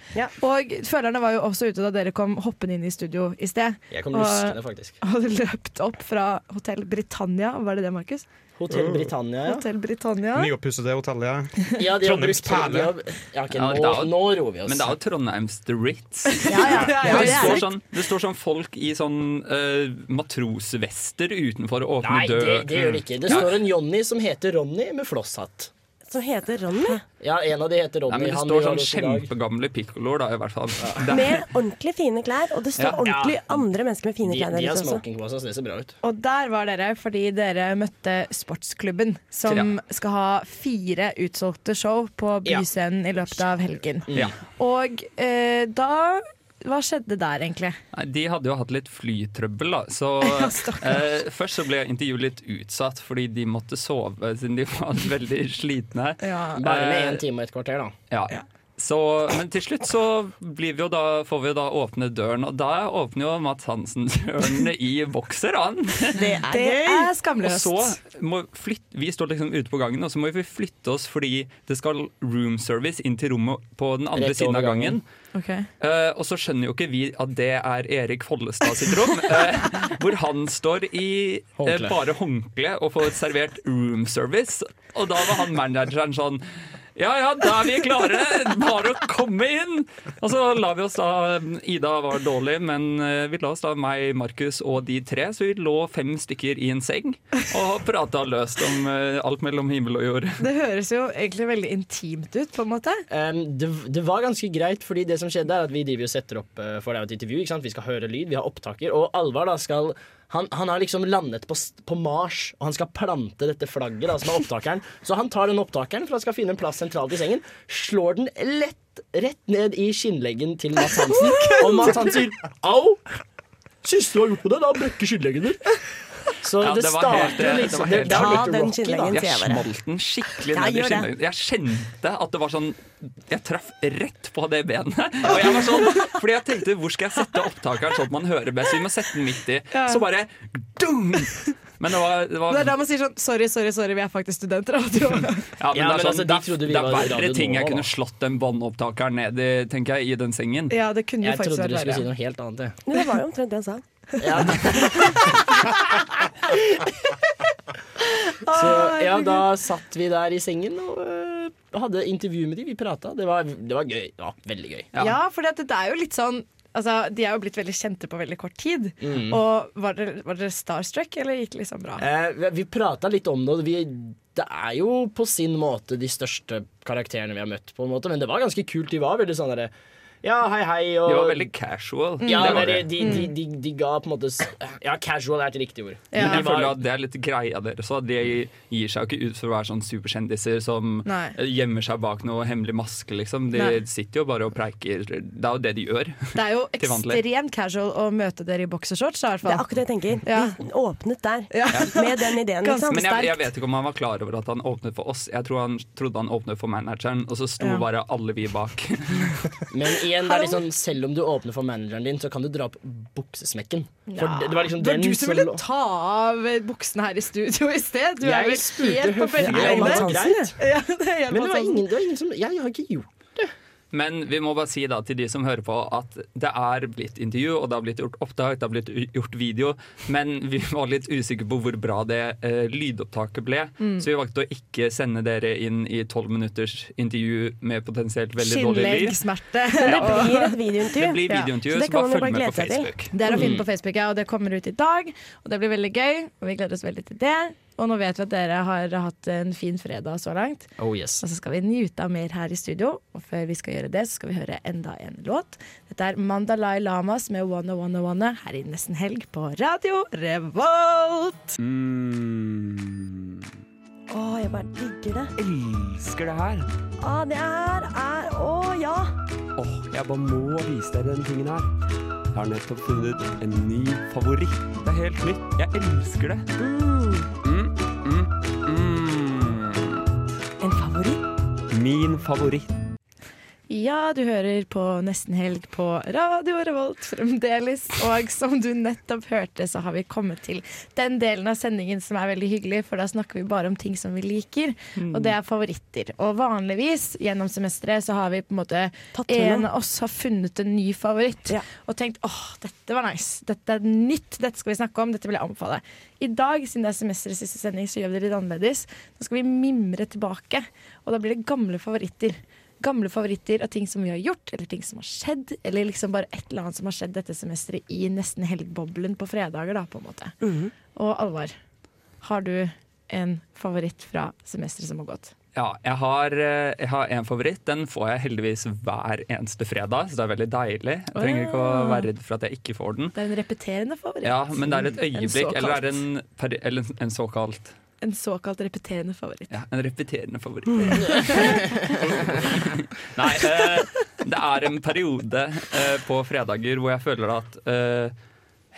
[SPEAKER 2] Og følerne var jo også ute da dere kom hoppende inn i studio i sted.
[SPEAKER 6] Jeg kom
[SPEAKER 2] Og-
[SPEAKER 6] luskende, faktisk.
[SPEAKER 2] Og hadde løpt opp fra Hotell Britannia, var det det, Markus?
[SPEAKER 6] Hotell Britannia, ja.
[SPEAKER 2] Hotell Britannia.
[SPEAKER 4] Nyoppussede hotellet.
[SPEAKER 6] Ja, de har
[SPEAKER 4] Trondheims
[SPEAKER 6] brukt- de har-
[SPEAKER 4] perle.
[SPEAKER 6] Ja, ok,
[SPEAKER 7] Ja,
[SPEAKER 6] nå,
[SPEAKER 7] det er jo-
[SPEAKER 6] nå roer vi oss.
[SPEAKER 7] Men det er jo Trondheims The Ritz.
[SPEAKER 6] ja,
[SPEAKER 7] det,
[SPEAKER 6] det er
[SPEAKER 7] står
[SPEAKER 6] det.
[SPEAKER 7] sånn, det står sånn folk i sånn eh, matrosvester utenfor å åpne
[SPEAKER 6] Nei,
[SPEAKER 7] død.
[SPEAKER 6] det, det gjør det ikke. Det
[SPEAKER 7] Mm. Ja.
[SPEAKER 6] står en Johnny som heter Ronny med flosshatt.
[SPEAKER 1] Som heter Ronny?
[SPEAKER 6] Ja, en av de heter Ronny.
[SPEAKER 7] Nei, men det
[SPEAKER 6] han vi
[SPEAKER 7] står
[SPEAKER 6] har
[SPEAKER 7] sånn
[SPEAKER 6] hos i dag.
[SPEAKER 7] kjempegamle pikkoloer, da, i hvert fall. Det er-
[SPEAKER 1] Med ordentlig fine klær, og det står
[SPEAKER 7] Ja.
[SPEAKER 1] ordentlig
[SPEAKER 7] Ja.
[SPEAKER 1] andre mennesker med fine
[SPEAKER 6] De,
[SPEAKER 1] klær
[SPEAKER 6] de har
[SPEAKER 1] der ute også.
[SPEAKER 6] smoking på seg, så det ser bra ut.
[SPEAKER 2] Og der var dere fordi dere møtte Sportsklubben, som
[SPEAKER 6] Ja.
[SPEAKER 2] skal ha fire utsolgte show på
[SPEAKER 6] Ja.
[SPEAKER 2] Byscenen i løpet av helgen.
[SPEAKER 7] Ja.
[SPEAKER 2] Og eh, da Hva skjedde der, egentlig?
[SPEAKER 7] Nei, De hadde jo hatt litt flytrøbbel, da. Så eh, først så ble intervjuet litt utsatt, fordi de måtte sove siden de var veldig slitne.
[SPEAKER 6] Ja. Bare med
[SPEAKER 7] Eh,
[SPEAKER 6] en time og et kvarter, da.
[SPEAKER 7] Ja. Så, men til slutt så blir vi jo da, får vi jo da åpne døren, og da åpner jo Mats Hansen dørene i bokser, han.
[SPEAKER 2] Det er Det gøy. er skamløst.
[SPEAKER 7] Og så må flytt, vi står liksom ute på gangen, og så må vi flytte oss fordi det skal room service inn til rommet på den andre
[SPEAKER 6] Rett
[SPEAKER 7] siden
[SPEAKER 6] over
[SPEAKER 7] av gangen. Eh, og så skjønner jo ikke vi at det er Erik Follestad sitt rom, eh, hvor han står i eh,
[SPEAKER 6] Håndkle.
[SPEAKER 7] bare håndkle og får servert room service. Og da var han manageren sånn ja ja, da er vi klare! Bare å komme inn! Og så la vi oss da eh, Ida var dårlig, men eh, vi la oss da meg, Markus og de tre. Så vi lå fem stykker i en seng og prata løst om eh, alt mellom himmel og jord.
[SPEAKER 2] Det høres jo egentlig veldig intimt ut, på en måte.
[SPEAKER 6] Um, det, det var ganske greit, fordi det som skjedde er at vi driver og setter opp eh, for det er jo et intervju. ikke sant? Vi skal høre lyd, vi har opptaker. Og Alvar da skal han, han har liksom landet på, s- på Mars, og han skal plante dette flagget da, som er opptakeren. Så han tar den opptakeren for han skal finne en plass sentralt i sengen. Slår den lett rett ned i skinnleggen til Mads Hansen. Og Mads Hansen sier au! Siste du har gjort på det, da brekker skinnleggen din. Så
[SPEAKER 7] Ja,
[SPEAKER 6] det,
[SPEAKER 7] det var
[SPEAKER 6] starter
[SPEAKER 7] helt- eh, det-
[SPEAKER 6] jo
[SPEAKER 7] det var
[SPEAKER 6] liksom
[SPEAKER 7] helt-
[SPEAKER 6] det var
[SPEAKER 7] Ta
[SPEAKER 6] litt
[SPEAKER 7] den
[SPEAKER 6] rocky, da.
[SPEAKER 7] Jeg smalt den skikkelig
[SPEAKER 6] Jeg
[SPEAKER 7] ned
[SPEAKER 6] gjør
[SPEAKER 7] i
[SPEAKER 6] det.
[SPEAKER 7] skinnleggen. Jeg kjente at det var sånn Jeg traff rett på det benet. Og jeg var sånn, fordi jeg tenkte hvor skal jeg sette opptakeren sånn at man hører best? Vi må sette den midt i.
[SPEAKER 2] Ja.
[SPEAKER 7] Så bare dung! Men det var, det var
[SPEAKER 2] Det er da man sier sånn Sorry, sorry, sorry, vi er faktisk studenter.
[SPEAKER 7] ja, men
[SPEAKER 6] Ja,
[SPEAKER 7] det
[SPEAKER 6] men
[SPEAKER 7] er,
[SPEAKER 6] altså,
[SPEAKER 7] sånn,
[SPEAKER 6] de
[SPEAKER 7] det
[SPEAKER 6] trodde
[SPEAKER 7] er,
[SPEAKER 6] vi
[SPEAKER 7] det er
[SPEAKER 6] var i Radio
[SPEAKER 7] verre ting jeg
[SPEAKER 6] Nova, da.
[SPEAKER 7] kunne slått den båndopptakeren ned i, tenker jeg, i den sengen.
[SPEAKER 2] Ja, det kunne jo
[SPEAKER 6] Jeg
[SPEAKER 2] faktisk
[SPEAKER 6] trodde du
[SPEAKER 2] vært
[SPEAKER 6] skulle si
[SPEAKER 2] verre.
[SPEAKER 6] noe helt annet. jeg.
[SPEAKER 1] Men det var jo omtrent det han sa.
[SPEAKER 6] Så ja, da satt vi der i sengen og øh, hadde intervju med de. Vi prata. Det, var- det var gøy. Det var veldig gøy.
[SPEAKER 2] Ja, for det er jo litt sånn Altså, De er jo blitt veldig kjente på veldig kort tid.
[SPEAKER 6] Mm.
[SPEAKER 2] Og var dere, var dere starstruck, eller gikk det liksom bra?
[SPEAKER 6] Eh, vi- vi prata litt om det, og vi, det er jo på sin måte de største karakterene vi har møtt, på en måte, men det var ganske kult. De var veldig sånn derre Ja, hei, hei. Og...
[SPEAKER 7] Det var veldig casual.
[SPEAKER 6] Ja,
[SPEAKER 7] det var
[SPEAKER 6] men de, de, de, de ga på en måte s- Ja, casual er et riktig ord.
[SPEAKER 7] Men
[SPEAKER 6] De
[SPEAKER 7] jeg
[SPEAKER 6] var-
[SPEAKER 7] føler at det er litt greia deres òg. De gir seg jo ikke ut for å være sånn superkjendiser som eh,
[SPEAKER 6] Nei.
[SPEAKER 7] gjemmer seg bak noe hemmelig maske, liksom. De
[SPEAKER 2] Nei.
[SPEAKER 7] sitter jo bare og preiker. Det er jo det de gjør.
[SPEAKER 2] Det er jo
[SPEAKER 7] Til vanlig.
[SPEAKER 2] ekstremt casual å møte dere i boksershorts. i
[SPEAKER 1] Det
[SPEAKER 2] hvert fall.
[SPEAKER 1] er akkurat det jeg tenker. De åpnet der, med den ideen.
[SPEAKER 6] sånn
[SPEAKER 2] Ganske
[SPEAKER 1] Liksom.
[SPEAKER 7] Men jeg, jeg vet ikke om han var klar over at han åpnet for oss. Jeg tror han trodde han åpnet for manageren, og så sto
[SPEAKER 1] Ja.
[SPEAKER 7] bare alle vi bak.
[SPEAKER 6] Men igjen, det er liksom, selv om du åpner for manageren din, så kan du dra på buksesmekken. For
[SPEAKER 2] Ja.
[SPEAKER 6] det, det var liksom
[SPEAKER 2] Det var
[SPEAKER 6] den
[SPEAKER 2] du som ville ta av buksene her i studio i sted. Du
[SPEAKER 6] Jeg
[SPEAKER 2] er
[SPEAKER 6] spurte
[SPEAKER 2] vel helt på
[SPEAKER 6] høflig. Nei,
[SPEAKER 2] bølgelengde.
[SPEAKER 6] men det er greit.
[SPEAKER 2] Ja, det er helt
[SPEAKER 6] Men det var
[SPEAKER 2] fantastisk.
[SPEAKER 6] ingen, det var ingen som Jeg har ikke gjort
[SPEAKER 7] Men vi må bare si da til de som hører på at det er blitt intervju, og det har blitt gjort opptak, det har blitt u- gjort video, men vi var litt usikre på hvor bra det eh, lydopptaket ble,
[SPEAKER 10] Mm.
[SPEAKER 7] så vi valgte å ikke sende dere inn i tolv minutters intervju med potensielt veldig dårlig lyd.
[SPEAKER 2] Skinnleggsmerte.
[SPEAKER 1] Men det
[SPEAKER 7] Ja.
[SPEAKER 1] blir et videointervju.
[SPEAKER 7] Det blir
[SPEAKER 1] Ja.
[SPEAKER 7] videointervju,
[SPEAKER 1] det
[SPEAKER 7] så
[SPEAKER 1] kan
[SPEAKER 7] bare
[SPEAKER 1] man jo
[SPEAKER 7] følg med på
[SPEAKER 1] glede seg til.
[SPEAKER 7] Facebook.
[SPEAKER 2] Det er å finne
[SPEAKER 7] Mm.
[SPEAKER 2] på Facebook, ja, og det kommer ut i dag. Og det blir veldig gøy, og vi gleder oss veldig til det. Og nå vet vi at dere har hatt en fin fredag så langt.
[SPEAKER 6] Oh yes.
[SPEAKER 2] Og så skal vi nyte av mer her i studio, og før vi skal gjøre det, så skal vi høre enda en låt. Dette er Mandalay Lamas med Wanna Wanna Wanna her i Nesten Helg på Radio Revolt.
[SPEAKER 1] Å, Mm. jeg bare digger det.
[SPEAKER 11] Elsker det her.
[SPEAKER 1] Å, Ah, det her er Å, ja!
[SPEAKER 11] Åh, jeg bare må vise deg den tingen her. Jeg har nettopp funnet en ny favoritt. Det er helt nytt. Jeg elsker det. Mm, mm, mm.
[SPEAKER 1] En favoritt?
[SPEAKER 11] Min favoritt.
[SPEAKER 2] Ja, du hører på Nesten Helg på Radio Revolt fremdeles. Og som du nettopp hørte, så har vi kommet til den delen av sendingen som er veldig hyggelig, for da snakker vi bare om ting som vi liker,
[SPEAKER 8] Mm.
[SPEAKER 2] og det er favoritter. Og vanligvis gjennom semesteret så har vi på en måte
[SPEAKER 8] Tatt med
[SPEAKER 2] En
[SPEAKER 8] noe.
[SPEAKER 2] av oss har funnet en ny favoritt og tenkt åh, dette var nice, dette er nytt, dette skal vi snakke om, dette vil jeg anbefale. I dag, siden det er semesterets siste sending, så gjør vi det litt annerledes. Nå skal vi mimre tilbake, og da blir det gamle favoritter gamle favoritter av ting som vi har gjort, eller ting som har skjedd, eller liksom bare et eller annet som har skjedd dette semesteret i nesten helgboblen på fredager, da, på en måte.
[SPEAKER 7] Mhm.
[SPEAKER 2] Og Alvar, har du en favoritt fra semesteret som har gått?
[SPEAKER 7] Ja, jeg har, eh, jeg har en favoritt. Den får jeg heldigvis hver eneste fredag, så det er veldig deilig. Jeg
[SPEAKER 2] Å,
[SPEAKER 7] trenger ikke å
[SPEAKER 2] ja.
[SPEAKER 7] være redd for at jeg ikke får den.
[SPEAKER 2] Det er en repeterende favoritt.
[SPEAKER 7] Ja, men det er et
[SPEAKER 2] En
[SPEAKER 7] øyeblikk,
[SPEAKER 2] såkalt,
[SPEAKER 7] eller er det en, peri- eller en- en såkalt
[SPEAKER 2] en såkalt repeterende favoritt.
[SPEAKER 7] ja, En repeterende favoritt.
[SPEAKER 2] Mm.
[SPEAKER 7] Nei, eh, det er en periode eh, på fredager hvor jeg føler at eh,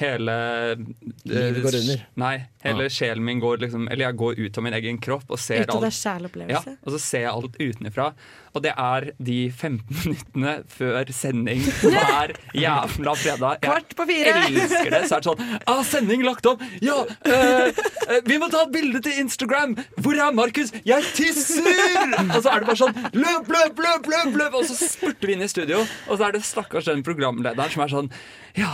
[SPEAKER 7] hele eh,
[SPEAKER 6] Livet går under.
[SPEAKER 7] Nei, hele
[SPEAKER 6] Ah.
[SPEAKER 7] sjelen min går liksom Eller jeg går ut av min egen kropp og ser
[SPEAKER 2] Ut av
[SPEAKER 7] alt.
[SPEAKER 2] deg
[SPEAKER 7] Ja,
[SPEAKER 2] sjæl-opplevelse.
[SPEAKER 7] og så ser jeg alt utenfra. Og det er de 15 minuttene før sending hver jævla fredag.
[SPEAKER 2] Kvart på fire.
[SPEAKER 7] Jeg elsker det. Så er det sånn ah, Sending lagt opp! Ja! eh, eh, vi må ta et bilde til Instagram! Hvor er Markus? Jeg tisser! Og så er det bare sånn løp, løp, løp, løp! løp Og så spurter vi inn i studio, og så er det stakkars den programlederen som er sånn Ja,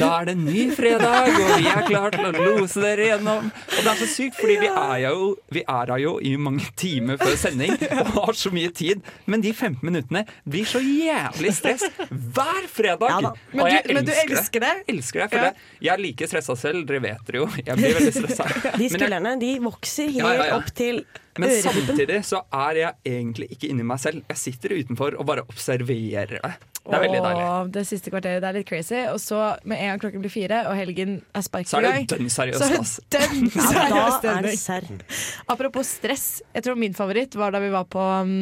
[SPEAKER 7] da er det en ny fredag, og vi er klare til å lose dere gjennom. Og det er så sykt, fordi vi er jo Vi er her jo i mange timer før sending og har så mye tid, men de 15 minuttene blir så jævlig stress hver fredag.
[SPEAKER 2] Men
[SPEAKER 7] og
[SPEAKER 2] du-
[SPEAKER 7] jeg
[SPEAKER 2] men du elsker
[SPEAKER 7] det. Elsker det, for det. Jeg er like stressa selv, dere vet det jo. Jeg blir veldig stressa.
[SPEAKER 1] De skuldrene de vokser helt
[SPEAKER 7] Ja, ja, ja.
[SPEAKER 1] opp til
[SPEAKER 7] Men
[SPEAKER 1] ørevippen.
[SPEAKER 7] samtidig så er jeg egentlig ikke inni meg selv. Jeg sitter utenfor og bare observerer det. Det er veldig deilig.
[SPEAKER 2] Åh, det siste kvarteret det er litt crazy. Og så med en gang klokken blir fire og helgen er sparket
[SPEAKER 7] Så er det dønn seriøst,
[SPEAKER 2] så er
[SPEAKER 7] ass.
[SPEAKER 2] det
[SPEAKER 1] Ja,
[SPEAKER 2] dønn
[SPEAKER 1] da
[SPEAKER 2] seriøs
[SPEAKER 1] er det
[SPEAKER 2] stemning. Apropos stress, jeg tror min favoritt var da vi var på um,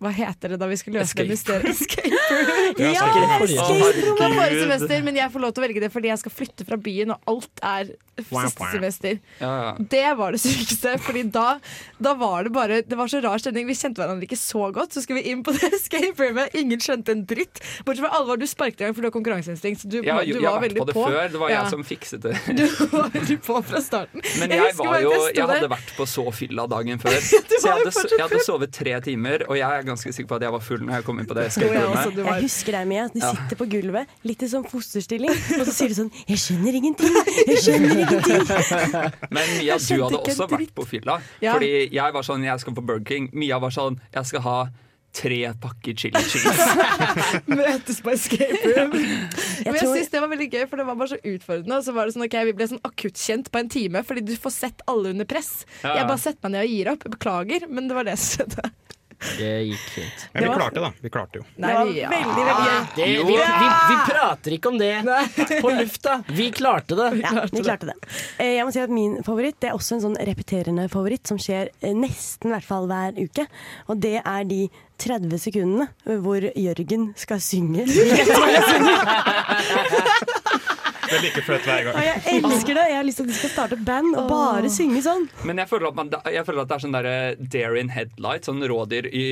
[SPEAKER 2] hva heter det da vi skulle løse det mysteriet? Escape
[SPEAKER 7] Ja,
[SPEAKER 2] room! Ja,
[SPEAKER 7] escape room.
[SPEAKER 2] escape room var forrige
[SPEAKER 7] Herregud.
[SPEAKER 2] semester, men jeg får lov til å velge det fordi jeg skal flytte fra byen, og alt er siste semester.
[SPEAKER 7] Ja, ja.
[SPEAKER 2] Det var det sykeste, Fordi da, da var det bare Det var så rar stemning. Vi kjente hverandre ikke så godt. Så skulle vi inn på det escape roomet. Ingen skjønte en dritt. Bortsett fra Alvar, du sparket i gang, for du har konkurranseinstinkt. Så du,
[SPEAKER 7] Jeg, har-
[SPEAKER 2] du
[SPEAKER 7] jeg
[SPEAKER 2] var
[SPEAKER 7] har vært
[SPEAKER 2] veldig
[SPEAKER 7] på det før. Det var
[SPEAKER 2] Ja.
[SPEAKER 7] jeg som fikset det.
[SPEAKER 2] Du var veldig på fra starten.
[SPEAKER 7] Men
[SPEAKER 2] Jeg
[SPEAKER 7] jeg,
[SPEAKER 2] husker
[SPEAKER 7] var
[SPEAKER 2] bare at
[SPEAKER 7] jo,
[SPEAKER 2] jeg sto
[SPEAKER 7] jeg hadde
[SPEAKER 2] der.
[SPEAKER 7] vært på så fylla dagen før. Så jeg hadde, so- jeg hadde sovet tre timer, og jeg er ganske sikker på at jeg var full når jeg kom inn på det escape roomet.
[SPEAKER 1] Jeg husker deg, Mia. Du
[SPEAKER 7] Ja.
[SPEAKER 1] sitter på gulvet, litt i sånn fosterstilling, og så sier du sånn 'Jeg skjønner ingenting! Jeg skjønner ingenting!'
[SPEAKER 7] Men Mia,
[SPEAKER 1] Jeg
[SPEAKER 7] du
[SPEAKER 1] skjønte
[SPEAKER 7] hadde
[SPEAKER 1] ikke
[SPEAKER 7] også
[SPEAKER 1] en
[SPEAKER 7] vært på fylla.
[SPEAKER 1] Ja.
[SPEAKER 7] Fordi jeg var sånn, jeg skal på Burger King. Mia var sånn, jeg skal ha tre pakker chili cheese.
[SPEAKER 2] Møtes på escape room. Men jeg
[SPEAKER 1] tror-
[SPEAKER 2] synes det var veldig gøy, for det var bare så utfordrende. Og så var det sånn, ok, Vi ble sånn akuttkjent på en time, fordi du får sett alle under press.
[SPEAKER 7] Ja, ja.
[SPEAKER 2] Jeg bare setter meg ned og gir opp. Beklager, men det var det som skjedde.
[SPEAKER 6] Det gikk fint.
[SPEAKER 4] Men vi klarte det, da. Vi klarte jo.
[SPEAKER 1] Nei, det var
[SPEAKER 6] ja.
[SPEAKER 1] veldig, veldig gøy.
[SPEAKER 6] Det, vi, vi, vi prater ikke om det på lufta. Vi klarte det.
[SPEAKER 1] Ja, vi klarte det. Eh, Jeg må si at Min favoritt det er også en sånn repeterende favoritt som skjer eh, nesten i hvert fall hver uke. Og det er de 30 sekundene hvor Jørgen skal synge.
[SPEAKER 4] Det er like flaut hver gang.
[SPEAKER 1] Og jeg elsker det! Jeg har lyst til at de skal starte band og bare synge sånn.
[SPEAKER 7] Men jeg føler at, man, jeg føler at det er sånn der dare in headlight, sånn rådyr i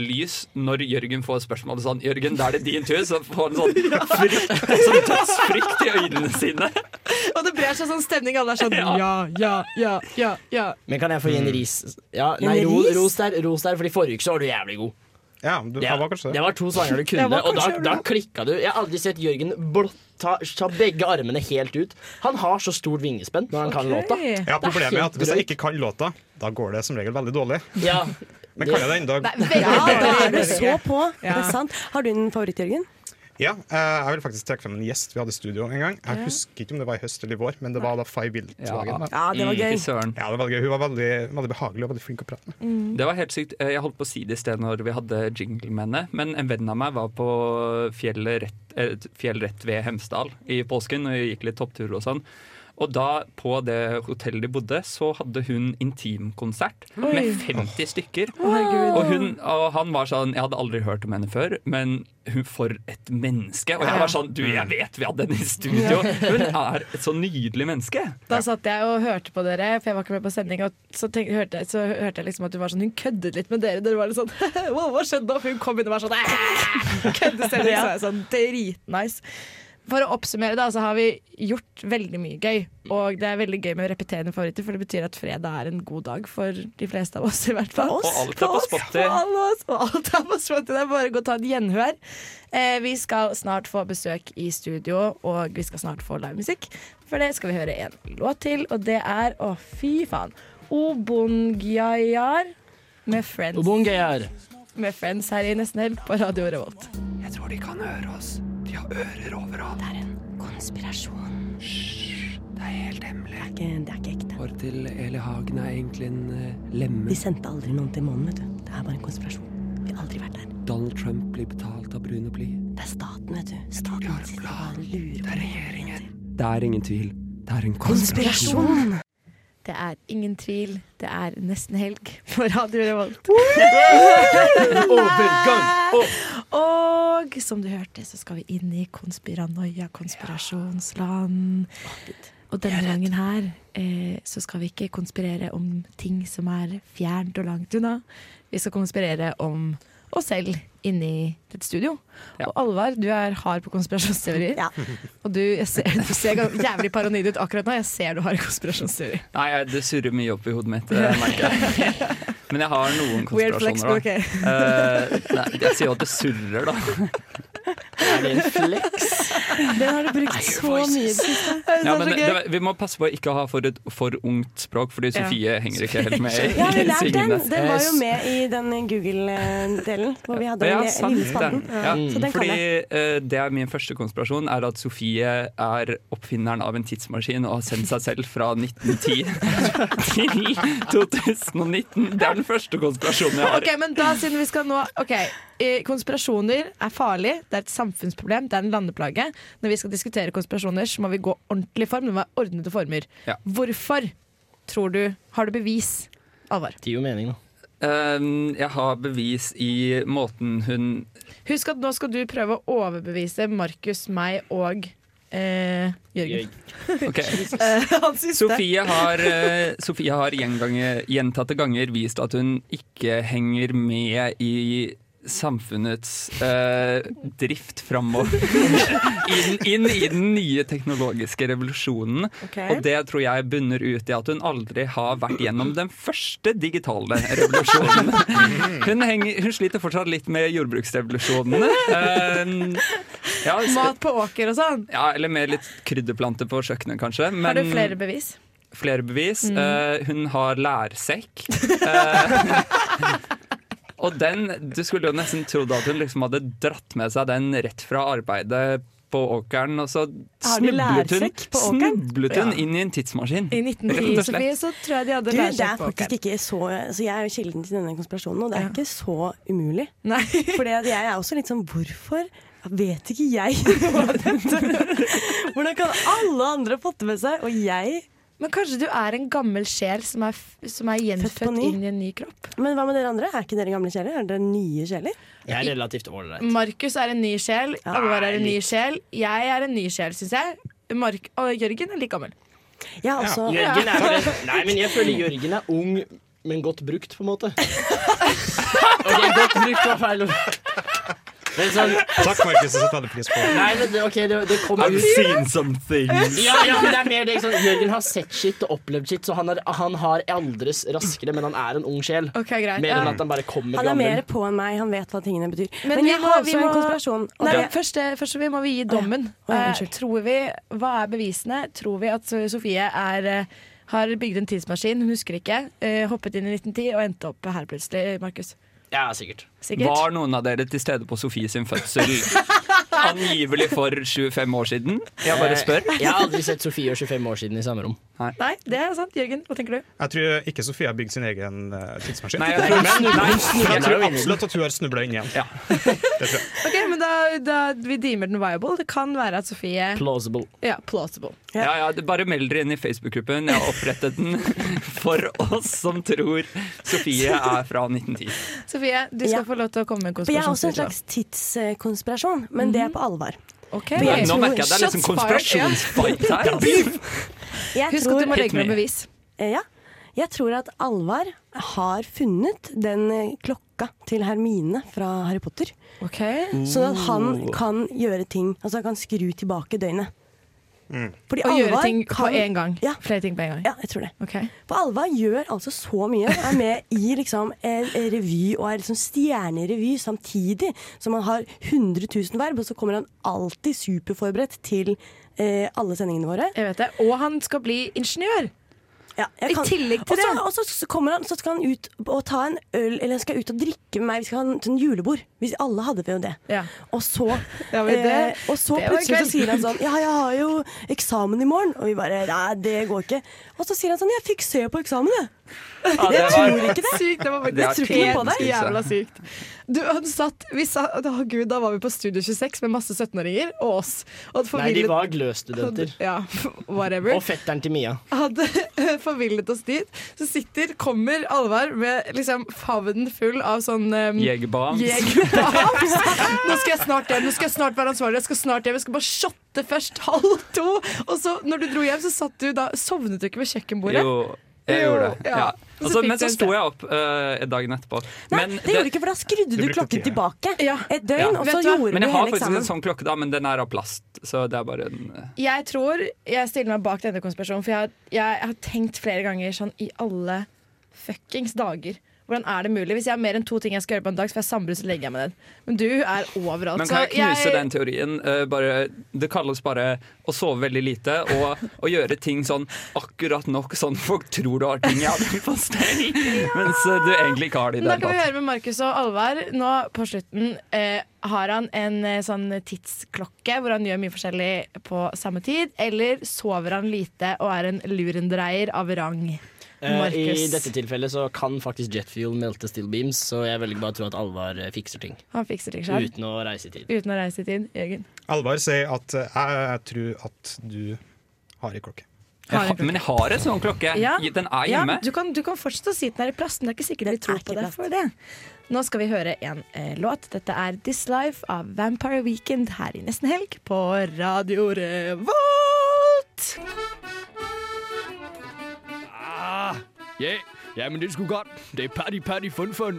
[SPEAKER 7] lys, når Jørgen får spørsmålet sånn 'Jørgen, da er det din tur', så får han sånn frykt, sånn dødsfrykt i øynene sine.
[SPEAKER 12] Og det brer seg sånn stemning. Alle er sånn ja, ja, ja, ja. ja.
[SPEAKER 6] Men kan jeg få gi en ris? Ja,
[SPEAKER 12] En
[SPEAKER 6] nei, ro,
[SPEAKER 12] ris?
[SPEAKER 6] ros der, ros der, fordi forrige uke så var du jævlig god. det,
[SPEAKER 4] var kanskje det.
[SPEAKER 6] det var to sanger du
[SPEAKER 4] Jeg
[SPEAKER 6] kunne,
[SPEAKER 4] var
[SPEAKER 6] og da,
[SPEAKER 4] kanskje jævlig
[SPEAKER 6] da
[SPEAKER 4] god.
[SPEAKER 6] klikka du. Jeg har aldri sett Jørgen blott ta, ta begge armene helt ut. Han har så stort vingespenn når han kan låta.
[SPEAKER 4] Jeg har problemet med at hvis jeg ikke kan låta, da går det som regel veldig dårlig.
[SPEAKER 6] Ja.
[SPEAKER 4] Men kan jeg det ennå?
[SPEAKER 1] Ja, da er du så på. Det
[SPEAKER 4] Ja.
[SPEAKER 1] er sant. Har du en favoritt, Jørgen?
[SPEAKER 4] Ja, eh, jeg vil faktisk trekke frem en gjest vi hadde i studio en gang. Jeg
[SPEAKER 1] Ja.
[SPEAKER 4] husker ikke om det var i høst eller i vår, men det var da Fay Wiltvagen.
[SPEAKER 7] Ja. Ja, det var Mm, gøy. fy søren.
[SPEAKER 4] Ja, det var gøy. Hun var veldig, veldig behagelig og veldig flink å prate med.
[SPEAKER 12] Mm.
[SPEAKER 7] Det var helt sykt. Eh, Jeg holdt på å si det i sted når vi hadde jinglemennet, men en venn av meg var på fjellet rett, eh, fjell rett ved Hemsedal i påsken og gikk litt topptur og sånn. Og da, på det hotellet de bodde, så hadde hun intimkonsert
[SPEAKER 12] Oi.
[SPEAKER 7] med 50 stykker.
[SPEAKER 12] Å, herregud.
[SPEAKER 7] og, hun, og han var sånn Jeg hadde aldri hørt om henne før, men hun for et menneske. Og jeg var sånn Du, jeg
[SPEAKER 11] Mm.
[SPEAKER 7] vet vi hadde henne i studio! Hun er et så nydelig menneske.
[SPEAKER 2] Da satt jeg og hørte på dere, for jeg var ikke med på sending. Og så, tenk, hørte, jeg- så hørte jeg liksom at hun var sånn Hun køddet litt med dere. Dere var litt sånn wow, Hva skjedde nå? For hun kom inn og var sånn «Æ!» Køddestemning. Så var jeg sånn dritnice. For å oppsummere, da, så har vi gjort veldig mye gøy. Og det er veldig gøy med repeterende favoritter, for det betyr at fredag er en god dag for de fleste av oss, i hvert fall.
[SPEAKER 7] Og alt er på Spotify.
[SPEAKER 2] For alle oss, og alt er på Spotify. Det er bare å gå og ta et gjenhør. Eh, vi skal snart få besøk i studio, og vi skal snart få livemusikk. For det skal vi høre en låt til, og det er Å, fy faen. Obongiar med Friends.
[SPEAKER 6] Obongiar.
[SPEAKER 2] Med Friends her i Nesten Helg på Radio Revolt.
[SPEAKER 7] Jeg tror de kan høre oss. De har ører overalt. Det
[SPEAKER 1] er en konspirasjon.
[SPEAKER 11] Hysj, det er helt hemmelig.
[SPEAKER 1] Det er ikke, det er ikke ekte.
[SPEAKER 11] Håret til Eli Hagen er egentlig en eh, lemme.
[SPEAKER 1] De sendte aldri noen til månen, vet du. Det er bare en konspirasjon. Vi har aldri vært der.
[SPEAKER 11] Donald Trump blir betalt av brune bly.
[SPEAKER 1] Det er staten, vet du. Staten sitter bare og lurer på regjeringen.
[SPEAKER 11] Det er ingen tvil. Det er en konspirasjon.
[SPEAKER 2] Det er ingen tvil. Det er nesten helg på Radio Revolt. Og som du hørte, så skal vi inn i konspiranoia, konspirasjonsland. Og denne gangen her eh, så skal vi ikke konspirere om ting som er fjernt og langt unna. Vi skal konspirere om oss selv inni dette studio. Og Alvar, du er hard på konspirasjonsteorier. Og du, jeg ser, du ser gan- jævlig paranoid ut akkurat nå. Jeg ser du har konspirasjonsteorier.
[SPEAKER 7] Nei, jeg- det surrer mye opp i hodet mitt, eh, merker jeg. Men jeg har noen
[SPEAKER 2] Weird flex,
[SPEAKER 7] konspirasjoner,
[SPEAKER 2] ok.
[SPEAKER 7] da. Eh, nei, jeg sier jo at det surrer, da.
[SPEAKER 6] Er det en flex?
[SPEAKER 2] Den har du brukt så mye i det siste.
[SPEAKER 7] Ja, men det, det, vi må passe på å ikke ha for, et, for ungt språk, fordi
[SPEAKER 1] Ja.
[SPEAKER 7] Sofie henger ikke helt med i
[SPEAKER 1] Ja, vi lærte den.
[SPEAKER 7] singene.
[SPEAKER 1] Den var jo med i den Google-delen hvor vi hadde
[SPEAKER 7] Ja,
[SPEAKER 1] den
[SPEAKER 7] sant
[SPEAKER 1] lille
[SPEAKER 7] det.
[SPEAKER 1] spalten.
[SPEAKER 7] Ja.
[SPEAKER 1] Så den
[SPEAKER 7] Mm. Fordi
[SPEAKER 1] kan jeg.
[SPEAKER 7] eh, det er min første konspirasjon, er at Sofie er oppfinneren av en tidsmaskin og har sendt seg selv fra 1910 til 2019. Det er den første konspirasjonen jeg har.
[SPEAKER 2] Ok, men da siden vi skal nå Ok, eh, konspirasjoner er farlig Det er et samfunnsproblem, det er en landeplage Når vi skal diskutere konspirasjoner Så må vi gå ordentlig i form, det må være ordnede former
[SPEAKER 7] Ja.
[SPEAKER 2] Hvorfor tror du Har du bevis, Alvar?
[SPEAKER 6] Det gir jo mening, da.
[SPEAKER 7] Um, jeg har bevis i måten hun
[SPEAKER 2] Husk at nå skal du prøve å overbevise Markus, meg og eh, Jørgen
[SPEAKER 7] Ok.
[SPEAKER 2] Eh, Han siste
[SPEAKER 7] Sofie har, eh, Sofie har gjengange- gjentatte ganger vist at hun ikke henger med i samfunnets eh, drift framover. inn, inn i den nye teknologiske revolusjonen.
[SPEAKER 12] Ok.
[SPEAKER 7] Og det tror jeg bunner ut i at hun aldri har vært gjennom den første digitale revolusjonen. Hun, henger, hun sliter fortsatt litt med jordbruksrevolusjonene. Eh, ja, så-
[SPEAKER 2] Mat på åker og sånn
[SPEAKER 7] ja, eller med litt krydderplanter på kjøkkenet, kanskje. Men
[SPEAKER 2] Har du flere bevis?
[SPEAKER 7] flere bevis.
[SPEAKER 2] Mm.
[SPEAKER 7] Eh, hun har lærsekk. Eh, og den Du skulle jo nesten trodd at hun liksom hadde dratt med seg den rett fra arbeidet på åkeren, og så
[SPEAKER 2] Har de
[SPEAKER 7] snublet hun,
[SPEAKER 2] lærsekk på åkeren?
[SPEAKER 7] snublet hun
[SPEAKER 2] Ja.
[SPEAKER 7] inn i en tidsmaskin.
[SPEAKER 2] I
[SPEAKER 7] Rett og
[SPEAKER 2] 1910,
[SPEAKER 7] slett.
[SPEAKER 2] Sofie, så tror jeg de hadde
[SPEAKER 1] Du, det
[SPEAKER 2] lærsekk
[SPEAKER 1] er
[SPEAKER 2] på
[SPEAKER 1] faktisk
[SPEAKER 2] åkeren.
[SPEAKER 1] ikke så Så jeg er jo kilden til denne konspirasjonen, og det er ikke så umulig. For jeg er også litt sånn hvorfor vet ikke jeg hva dette Hvordan kan alle andre fått det med seg, og jeg
[SPEAKER 2] Men kanskje du er en gammel sjel som er, f- som er
[SPEAKER 1] på
[SPEAKER 2] gjenfødt
[SPEAKER 1] ny?
[SPEAKER 2] inn i en ny kropp?
[SPEAKER 1] Men hva med dere andre? Er ikke dere gamle sjeler? Er dere nye sjeler?
[SPEAKER 6] Jeg er relativt ålreit.
[SPEAKER 2] Markus er en ny sjel, Alvar er en ny sjel, jeg er en ny sjel, syns jeg. Mark og Jørgen er like gammel.
[SPEAKER 1] Ja,
[SPEAKER 2] altså-
[SPEAKER 6] Jørgen er
[SPEAKER 2] Ja.
[SPEAKER 6] bare Nei, men jeg føler Jørgen er ung, men godt brukt, på en måte. Ok, godt brukt var feil ord. Men sånn
[SPEAKER 4] Takk, Markus, jeg setter veldig pris på det.
[SPEAKER 6] Nei, men det, ok, det, det kommer
[SPEAKER 7] I've
[SPEAKER 6] ut
[SPEAKER 7] seen some things.
[SPEAKER 6] ja, ja, men det er mer det, ikke sant? Jørgen har sett shit og opplevd shit, så han, er, han har aldres raskere, men han er en ung sjel.
[SPEAKER 2] greit,
[SPEAKER 6] Mer
[SPEAKER 2] ja.
[SPEAKER 6] enn at han bare kommer
[SPEAKER 1] Han er
[SPEAKER 6] gammel.
[SPEAKER 1] mer på enn meg, han vet hva tingene betyr.
[SPEAKER 2] Men
[SPEAKER 1] Men,
[SPEAKER 2] vi
[SPEAKER 1] jeg
[SPEAKER 2] må-
[SPEAKER 1] har også
[SPEAKER 2] vi må-
[SPEAKER 1] en konspirasjon. og
[SPEAKER 2] Nei,
[SPEAKER 1] det-
[SPEAKER 2] først, eh, først så vi må vi gi dommen.
[SPEAKER 1] Å, ja,
[SPEAKER 2] Eh,
[SPEAKER 1] unnskyld.
[SPEAKER 2] tror vi, hva er bevisene? Tror vi at eh, Sofie er, eh, har bygd en tidsmaskin, hun husker ikke, eh, hoppet inn i 1910 og endte opp her plutselig, Markus?
[SPEAKER 6] Ja, sikkert.
[SPEAKER 2] Sikkert.
[SPEAKER 7] Var noen av dere til stede på Sofie sin fødsel angivelig for 25 år siden? Jeg bare spør.
[SPEAKER 6] Eh, Jeg har aldri sett Sofie og 25 år siden i samme rom.
[SPEAKER 2] Nei, det er sant. Jørgen, hva tenker du?
[SPEAKER 4] Jeg tror ikke Sofie har bygd sin egen eh, tidsmaskin.
[SPEAKER 7] Nei, jeg tror-
[SPEAKER 4] Men-
[SPEAKER 7] Nei,
[SPEAKER 4] Nei,
[SPEAKER 7] hun snubler
[SPEAKER 4] jeg tror
[SPEAKER 7] jo inn i den.
[SPEAKER 4] absolutt at hun har snubla inn igjen.
[SPEAKER 2] Ok, men da, da Vi deemer den viable. Det kan være at Sofie
[SPEAKER 6] Plausible.
[SPEAKER 2] Ja, plausible.
[SPEAKER 7] Ja, ja, det- bare meld dere inn i Facebook-gruppen. Jeg har opprettet den for oss som tror Sofie er fra 1910.
[SPEAKER 2] Sofie, du skal få lov til å komme med en
[SPEAKER 1] For jeg er også en
[SPEAKER 2] konspirasjonsteori.
[SPEAKER 1] slags tidskonspirasjon, men
[SPEAKER 2] Mhm.
[SPEAKER 1] det er på alvor.
[SPEAKER 2] Okay.
[SPEAKER 1] For jeg
[SPEAKER 7] Nå
[SPEAKER 1] tror-
[SPEAKER 7] merker jeg det er liksom
[SPEAKER 1] Shots fired, ja.
[SPEAKER 7] konspirasjonsfight her. altså.
[SPEAKER 1] Jeg
[SPEAKER 2] Husk at
[SPEAKER 1] tror-
[SPEAKER 2] du må legge Hit me. noe bevis.
[SPEAKER 1] Eh, Ja. Jeg tror at Alvar har funnet den eh, klokka til Hermine fra Harry Potter.
[SPEAKER 2] Okay.
[SPEAKER 1] Sånn at han
[SPEAKER 2] Oh.
[SPEAKER 1] kan gjøre ting. Altså han kan skru tilbake døgnet. Fordi
[SPEAKER 2] Å gjøre
[SPEAKER 1] Alvar
[SPEAKER 2] ting på
[SPEAKER 1] kan-
[SPEAKER 2] én gang. Flere ting på én gang.
[SPEAKER 1] Ja, jeg tror det.
[SPEAKER 2] Ok.
[SPEAKER 1] For Alva gjør altså så mye. Er med i liksom en en revy og er liksom stjerne i revy samtidig. Så man har 100 000 verb, og så kommer han alltid superforberedt til eh, alle sendingene våre.
[SPEAKER 2] Jeg vet det. Og han skal bli ingeniør.
[SPEAKER 1] Ja,
[SPEAKER 2] I tillegg
[SPEAKER 1] Også-
[SPEAKER 2] til det.
[SPEAKER 1] Og så, så kommer han, så skal han ut og ta en øl, eller han skal ut og drikke med meg. Vi skal ha en, til en julebord. Hvis alle hadde vi jo det. Og så,
[SPEAKER 2] Ja, men det-
[SPEAKER 1] eh, og så
[SPEAKER 2] det var
[SPEAKER 1] plutselig
[SPEAKER 2] kveld.
[SPEAKER 1] så sier han sånn Ja, jeg har jo eksamen i morgen. Og vi bare Nei, det går ikke. Og så sier han sånn Jeg fikk se på eksamen, jeg. jeg
[SPEAKER 2] Ja, det var-
[SPEAKER 1] tror ikke det.
[SPEAKER 2] Sykt, det var faktisk-
[SPEAKER 1] jeg tror ikke noe på det.
[SPEAKER 2] Helt Jævla sykt. Du, han satt, vi sa, å, Gud, da var vi på Studio 26 med masse 17-åringer og oss. Og hadde
[SPEAKER 6] Nei, de
[SPEAKER 2] forvillet-
[SPEAKER 6] var gløsstudenter.
[SPEAKER 2] Ja, whatever.
[SPEAKER 6] Og fetteren til Mia.
[SPEAKER 2] hadde forvillet oss dit. Så sitter, kommer Alvar med liksom favnen full av sånn um,
[SPEAKER 7] Jegerbams.
[SPEAKER 2] Jegerbams. Nå skal jeg snart hjem, nå skal jeg snart være ansvarlig, jeg skal snart hjem, jeg skal bare shotte først halv to. Og så, når du dro hjem, så satt du da Sovnet du ikke ved kjøkkenbordet?
[SPEAKER 7] Jo, jeg
[SPEAKER 2] Jo,
[SPEAKER 7] gjorde det.
[SPEAKER 2] ja.
[SPEAKER 7] Ja.
[SPEAKER 2] Så
[SPEAKER 7] Og så-
[SPEAKER 2] fikk
[SPEAKER 7] men
[SPEAKER 2] du
[SPEAKER 7] så
[SPEAKER 2] en
[SPEAKER 7] sto jeg opp eh, dagen etterpå.
[SPEAKER 1] Nei,
[SPEAKER 7] Men
[SPEAKER 1] det gjorde du ikke, for da skrudde du klokken tilbake et døgn, og så gjorde
[SPEAKER 7] men
[SPEAKER 1] du
[SPEAKER 7] jeg har
[SPEAKER 1] hele
[SPEAKER 7] faktisk
[SPEAKER 1] eksamen.
[SPEAKER 7] en sånn klokke, da, men den er av plast. Så det er bare en eh,
[SPEAKER 2] Jeg tror jeg stiller meg bak denne konspirasjonen, for jeg, har- jeg har tenkt flere ganger sånn i alle fuckings dager. Hvordan er det mulig? Hvis jeg har mer enn to ting jeg skal gjøre på en dag, så får jeg sambrudd, så legger jeg meg ned. Men du er overalt.
[SPEAKER 7] Men kan jeg
[SPEAKER 2] så
[SPEAKER 7] knuse den teorien? Eh, bare, det kalles bare å sove veldig lite og å gjøre ting sånn akkurat nok, sånn folk tror du har ting i armen på stell, mens eh, du egentlig ikke har det i
[SPEAKER 2] Men da
[SPEAKER 7] det
[SPEAKER 2] kan vi
[SPEAKER 7] hele tatt.
[SPEAKER 2] høre med Markus og Alvar. Nå på slutten eh, har han en eh, sånn tidsklokke hvor han gjør mye forskjellig på samme tid, eller sover han lite og er en lurendreier av rang?
[SPEAKER 6] Eh, I
[SPEAKER 2] Markus.
[SPEAKER 6] dette tilfellet så kan faktisk jetfuel melte steel beams, så jeg velger bare å tro at Alvar eh, fikser ting.
[SPEAKER 2] Han fikser ting selv.
[SPEAKER 6] Uten å reise i tid.
[SPEAKER 2] Uten å reise i tid. Jørgen.
[SPEAKER 4] Alvar sier at eh, jeg tror at du har ei klokke.
[SPEAKER 7] Jeg har- Men jeg har en sånn klokke.
[SPEAKER 2] Ja.
[SPEAKER 7] Den er hjemme.
[SPEAKER 2] Ja, du, kan, du kan fortsette å si den er i plast, men det er ikke sikkert vi tror på det for det. Nå skal vi høre en eh, låt. Dette er 'This Life' av Vampire Weekend her i nesten helg på Radio Revolt.
[SPEAKER 10] Ah, ja, ja, men det skulle godt. Det er party, party, fun, fun.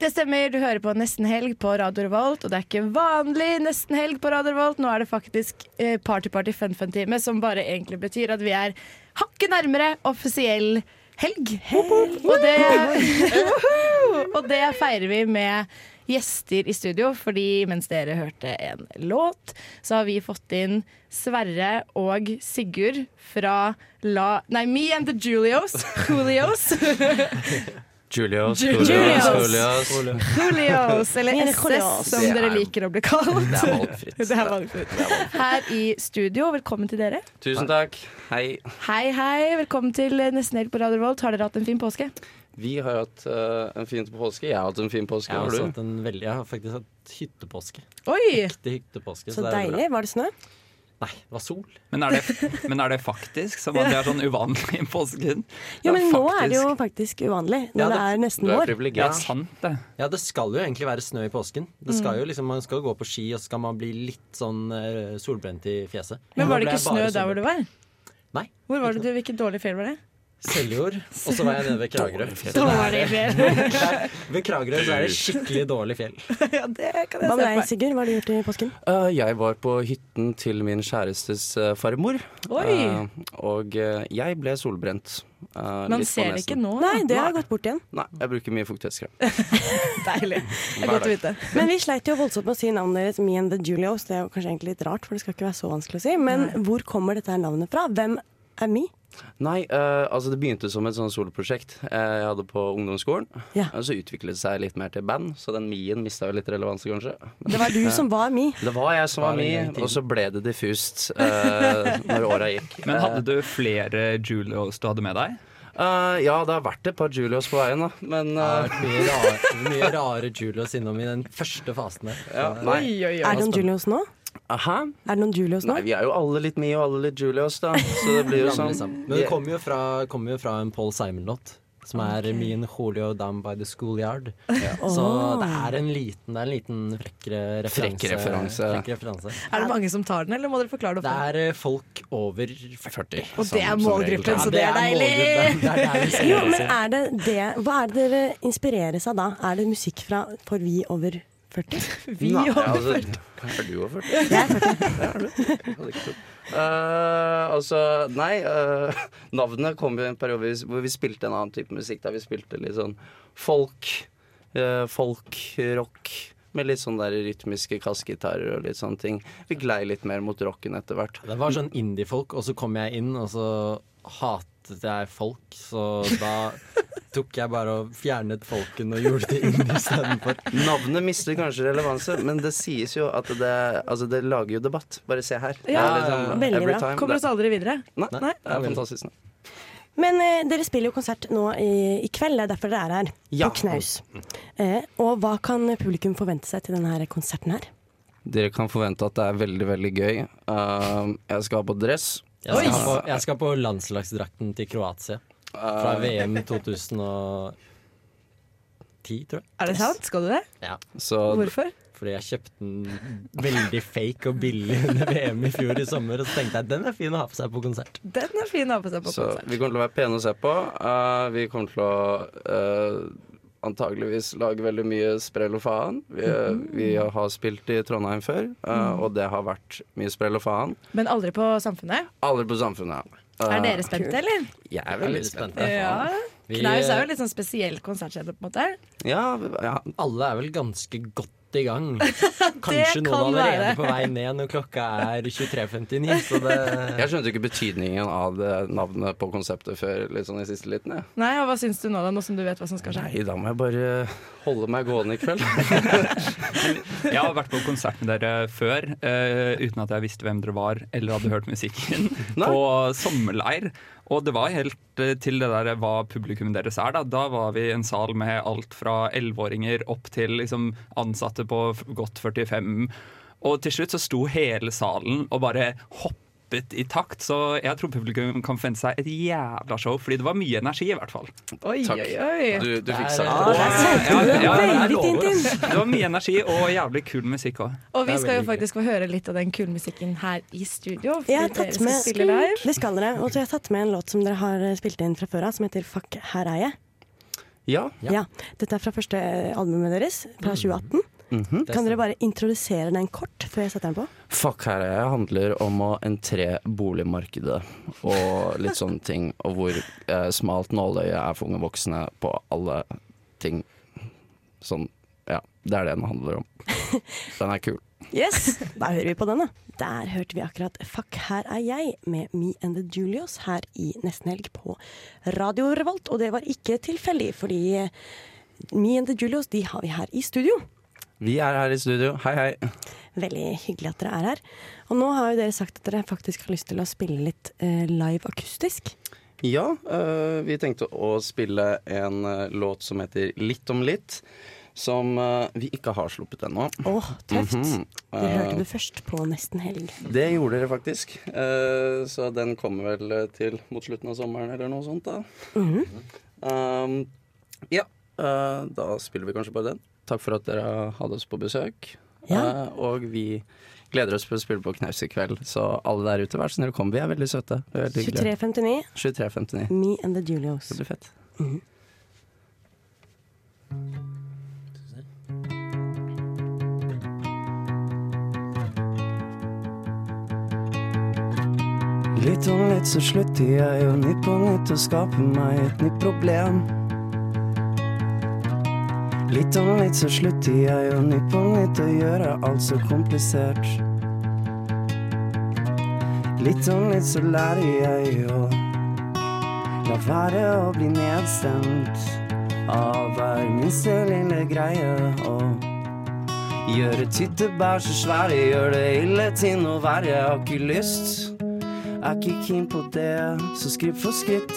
[SPEAKER 2] Det stemmer, du hører på Nesten Helg på Radio Revolt, og det er ikke vanlig Nesten Helg på Radio Revolt. Nå er det faktisk eh, Party Party Fun Fun-time, som bare egentlig betyr at vi er hakket nærmere offisiell helg. Og det, og det feirer vi med gjester i studio, fordi mens dere hørte en låt, så har vi fått inn Sverre og Sigurd fra La... Nei, Me and the Julios. Julios.
[SPEAKER 13] Julios.
[SPEAKER 12] Julios.
[SPEAKER 13] Julios. Julios.
[SPEAKER 2] Julios, eller
[SPEAKER 12] Mine
[SPEAKER 2] SS,
[SPEAKER 12] Julios.
[SPEAKER 2] som
[SPEAKER 13] Det
[SPEAKER 2] dere
[SPEAKER 13] er-
[SPEAKER 2] liker å bli kalt.
[SPEAKER 13] det er valgfritt.
[SPEAKER 2] Det er valgfritt. Her i studio, velkommen til dere.
[SPEAKER 13] Tusen takk. Hei.
[SPEAKER 2] Hei, hei. Velkommen til Nesten Helg på Radio Revolt. Har dere hatt en fin påske?
[SPEAKER 13] Vi har hatt eh, en fin påske. Jeg har hatt en fin påske.
[SPEAKER 11] Jeg har
[SPEAKER 13] Har
[SPEAKER 11] også
[SPEAKER 13] du?
[SPEAKER 11] hatt en veldig Jeg har faktisk hatt hyttepåske.
[SPEAKER 2] Oi!
[SPEAKER 11] Riktig hyttepåske.
[SPEAKER 1] Så
[SPEAKER 11] det er bra.
[SPEAKER 1] deilig. Var det snø?
[SPEAKER 11] Nei, det var sol.
[SPEAKER 7] Men er det, men er det faktisk? Som at det er sånn uvanlig i påsken?
[SPEAKER 1] Jo, men nå er det jo faktisk uvanlig. Når det, er nesten vår.
[SPEAKER 7] Ja, sant det.
[SPEAKER 11] Ja, det skal jo egentlig være snø i påsken. Det skal
[SPEAKER 2] Mm.
[SPEAKER 11] jo liksom, Man skal gå på ski, og så skal man bli litt sånn eh, solbrent i fjeset.
[SPEAKER 2] Men
[SPEAKER 11] Nå
[SPEAKER 2] var det ikke
[SPEAKER 11] ble jeg bare
[SPEAKER 2] snø der
[SPEAKER 11] solbrent.
[SPEAKER 2] hvor du var?
[SPEAKER 11] Nei.
[SPEAKER 2] Hvor var det du, Hvilket dårlig fjell var det?
[SPEAKER 11] Seljord, og så var jeg nede ved Kragerø.
[SPEAKER 2] Dårlig fjell.
[SPEAKER 11] Nei, Ved Kragerø så er det skikkelig dårlig fjell.
[SPEAKER 1] Hva med deg, Sigurd? Hva har du gjort i påsken?
[SPEAKER 13] Eh, jeg var på hytten til min kjærestes eh, farmor.
[SPEAKER 1] Oi!
[SPEAKER 13] Eh, og eh, jeg ble solbrent. eh,
[SPEAKER 2] Man
[SPEAKER 13] litt på
[SPEAKER 2] ser det ikke
[SPEAKER 13] nesen.
[SPEAKER 2] nå.
[SPEAKER 1] Nei, det har gått bort igjen.
[SPEAKER 13] Nei, jeg bruker mye fuktighetskrem.
[SPEAKER 2] Deilig. Det er
[SPEAKER 13] Hver
[SPEAKER 2] godt å
[SPEAKER 13] dag.
[SPEAKER 2] vite.
[SPEAKER 1] Men vi sleit jo voldsomt med å si navnet deres, Me and the Julios. Det er jo kanskje egentlig litt rart, for det skal ikke være så vanskelig å si. Men hvor kommer dette her navnet fra? Hvem er Me?
[SPEAKER 13] Nei, eh, altså det begynte som et sånn soloprosjekt eh, jeg hadde på ungdomsskolen. Og så utviklet det seg litt mer til band, så den mien mista jo litt relevans, kanskje.
[SPEAKER 1] Det var du
[SPEAKER 13] Eh,
[SPEAKER 1] som var Me.
[SPEAKER 13] Det var jeg som var
[SPEAKER 1] Bare en
[SPEAKER 13] mi,
[SPEAKER 1] gang i tiden.
[SPEAKER 13] og så ble det diffust eh, når åra gikk.
[SPEAKER 7] Men hadde du flere Julios du hadde med deg?
[SPEAKER 13] Eh, ja, det har vært et par Julios på veien, da, men eh,
[SPEAKER 11] Det har vært mye rare, mye rare Julius innom i den første fasen der.
[SPEAKER 13] Ja, nei. Oi, oi, oi.
[SPEAKER 1] Er det noen Julios nå?
[SPEAKER 13] Aha.
[SPEAKER 1] Er det noen Julios nå?
[SPEAKER 13] Nei, vi er jo alle litt Mio og alle litt Julios, da. Så det blir jo
[SPEAKER 11] Ramler
[SPEAKER 13] sånn.
[SPEAKER 11] sammen. Men det kommer jo fra, kommer jo fra en Paul Simon-låt. Som
[SPEAKER 2] Ah,
[SPEAKER 11] er
[SPEAKER 13] Ok.
[SPEAKER 11] min Julio down by the schoolyard.
[SPEAKER 2] Åh.
[SPEAKER 11] Så det er en liten, det er en liten frekk eh, referanse.
[SPEAKER 13] Frekk referanse.
[SPEAKER 11] Frekk referanse.
[SPEAKER 2] Er det mange som tar den, eller må dere forklare det?
[SPEAKER 11] Det er eh, folk over 40.
[SPEAKER 2] Og det er
[SPEAKER 11] som- som regel.
[SPEAKER 2] målgruppen, så
[SPEAKER 11] Ja,
[SPEAKER 2] det er deilig!
[SPEAKER 11] målgruppen. Det er der vi ser
[SPEAKER 1] Jo,
[SPEAKER 11] oss.
[SPEAKER 1] men er det det? Hva er det dere inspireres av da? Er det musikk fra For vi over 40?
[SPEAKER 13] Nei, altså, Er du over 40?
[SPEAKER 1] Jeg er 40.
[SPEAKER 13] Ja, er du? Jeg hadde ikke trodd. Eh, altså, nei eh, Navnet kom jo i en periode hvor vi- hvor vi spilte en annen type musikk. Da vi spilte litt sånn folk, eh, folk-rock. Med litt sånn der rytmiske kassegitarer og litt sånne ting. Vi glei litt mer mot rocken etter hvert.
[SPEAKER 11] Det var sånn indie-folk, og så kom jeg inn, og så hatet jeg folk, så da tok jeg bare og fjernet folken og gjorde det indie istedenfor.
[SPEAKER 13] Navnet mister kanskje relevanse, men det sies jo at det, altså, det lager jo debatt. Bare se her. Det er
[SPEAKER 2] Ja,
[SPEAKER 13] litt sånn
[SPEAKER 2] veldig
[SPEAKER 13] every
[SPEAKER 2] bra.
[SPEAKER 13] time.
[SPEAKER 2] Kommer oss
[SPEAKER 13] Det-
[SPEAKER 2] aldri videre.
[SPEAKER 13] Nei, det er fantastisk. navn.
[SPEAKER 1] Men eh, dere spiller jo konsert nå i, i kveld, det er derfor dere er her.
[SPEAKER 13] Ja.
[SPEAKER 1] På Knaus. Eh, og hva kan publikum forvente seg til denne her konserten her?
[SPEAKER 13] Dere kan forvente at det er veldig, veldig gøy. Um, jeg skal ha på dress.
[SPEAKER 11] Jeg skal, på, jeg skal på landslagsdrakten til Kroatia.
[SPEAKER 13] Ah.
[SPEAKER 11] Fra VM 2010, tror jeg.
[SPEAKER 2] Er det sant? Skal du det?
[SPEAKER 11] Ja.
[SPEAKER 2] Hvorfor?
[SPEAKER 11] Fordi jeg kjøpte den veldig fake og billig under VM i fjor i sommer, og så tenkte jeg den er fin å ha på seg på konsert.
[SPEAKER 2] Den er fin å ha på seg på
[SPEAKER 13] Så
[SPEAKER 2] konsert.
[SPEAKER 13] vi kommer til å være pene å se på. Uh, vi kommer til å uh, antageligvis lage veldig mye sprell og faen. Vi,
[SPEAKER 2] Mm-hmm.
[SPEAKER 13] vi har spilt i Trondheim før, uh,
[SPEAKER 2] Mm.
[SPEAKER 13] og det har vært mye sprell og faen.
[SPEAKER 2] Men aldri på Samfunnet.
[SPEAKER 13] Alle på Samfunnet. Uh,
[SPEAKER 2] Er dere spente, eller?
[SPEAKER 13] Jeg er veldig spent.
[SPEAKER 2] Ja.
[SPEAKER 11] Vi-
[SPEAKER 2] Knaus er jo litt sånn spesiell konsertscene, på en måte.
[SPEAKER 13] Ja,
[SPEAKER 11] Alle er vel ganske godt i gang.
[SPEAKER 2] Det
[SPEAKER 11] Kanskje
[SPEAKER 2] kan
[SPEAKER 11] noen allerede
[SPEAKER 2] være.
[SPEAKER 11] på vei ned når klokka er 23.59, så det
[SPEAKER 13] Jeg skjønte ikke betydningen av det navnet på konseptet før litt sånn i siste liten. Jeg.
[SPEAKER 2] Nei, og Hva syns du nå, da, nå som du vet hva som skal skje?
[SPEAKER 13] Nei, da må jeg bare holde meg gående i kveld.
[SPEAKER 7] Jeg har vært på konsert med dere før eh, uten at jeg visste hvem dere var eller hadde hørt musikken. På sommerleir. Og det var helt eh, til det der hva publikummet deres er. Da Da var vi i en sal med alt fra 11-åringer opp til liksom, ansatte på f- godt 45. Og til slutt så sto hele salen og bare hoppet i takt, Så jeg tror publikum kan forvente seg et jævla show, fordi det var mye energi, i hvert fall.
[SPEAKER 2] Oi, Takk. oi, oi.
[SPEAKER 13] Du- du fikk sagt
[SPEAKER 2] det.
[SPEAKER 7] Ja, ja, ja, ja,
[SPEAKER 2] Veldig
[SPEAKER 7] jeg lover,
[SPEAKER 2] fint,
[SPEAKER 7] altså. Det var mye energi og jævlig kul musikk òg.
[SPEAKER 2] Og vi skal jo faktisk få høre litt av den kule musikken her i studio. fordi
[SPEAKER 1] Jeg har
[SPEAKER 2] dere
[SPEAKER 1] tatt
[SPEAKER 2] skal
[SPEAKER 1] med,
[SPEAKER 2] spille live.
[SPEAKER 1] det skal dere, og så har jeg tatt med en låt som dere har eh, spilt inn fra før av, som heter Fuck, her er jeg.
[SPEAKER 13] Ja. Mm.
[SPEAKER 1] Ja. Dette er fra første eh, albumet deres, fra 2018.
[SPEAKER 13] Mhm.
[SPEAKER 1] Mm, Kan dere bare introdusere den kort før jeg setter den på?
[SPEAKER 13] Fuck her er jeg handler om å entre boligmarkedet og litt sånne ting. Og hvor eh, smalt nåløyet er for unge voksne på alle ting. Sånn, ja. Det er det den handler om. Den er kul.
[SPEAKER 1] Yes, Da hører vi på den, da. Der hørte vi akkurat 'Fuck, her er jeg' med Me and the Julios her i Nesten Helg på Radio Revolt. Og det var ikke tilfeldig, fordi eh, Me and the Julios de har vi her i studio.
[SPEAKER 13] Vi er her i studio. Hei, hei.
[SPEAKER 1] Veldig hyggelig at dere er her. Og nå har jo dere sagt at dere faktisk har lyst til å spille litt eh, live akustisk.
[SPEAKER 13] Ja, øh, vi tenkte å spille en øh, låt som heter Litt om litt. Som øh, vi ikke har sluppet ennå.
[SPEAKER 1] Åh, tøft.
[SPEAKER 13] Mhm.
[SPEAKER 1] Dere
[SPEAKER 13] Eh,
[SPEAKER 1] hørte det først på Nesten Helg.
[SPEAKER 13] Det gjorde dere faktisk. Eh, Så den kommer vel eh, til mot slutten av sommeren eller noe sånt, da. Um, ja, eh, da spiller vi kanskje bare den. Takk for at dere hadde oss på besøk.
[SPEAKER 1] Ja.
[SPEAKER 13] Eh, og vi gleder oss til å spille på Knaus i kveld, så alle der ute, vær så snill, kom. Vi er veldig søte. Vi er veldig hyggelige.
[SPEAKER 1] 23.59,
[SPEAKER 13] 23.59.
[SPEAKER 1] Me and the Julios.
[SPEAKER 13] Det blir fett.
[SPEAKER 1] Mhm.
[SPEAKER 14] Litt om litt så slutter jeg å nytt på nytt og skaper meg et nytt problem. Litt om litt så slutter jeg å nytt på nytt og gjøre alt så komplisert. Litt om litt så lærer jeg å la være å bli nedstemt av hver minste lille greie. Og gjøre tyttebær så svære, gjør det ille til noe verre. Jeg har ikke lyst. Er ikke keen på det, så skritt for skritt.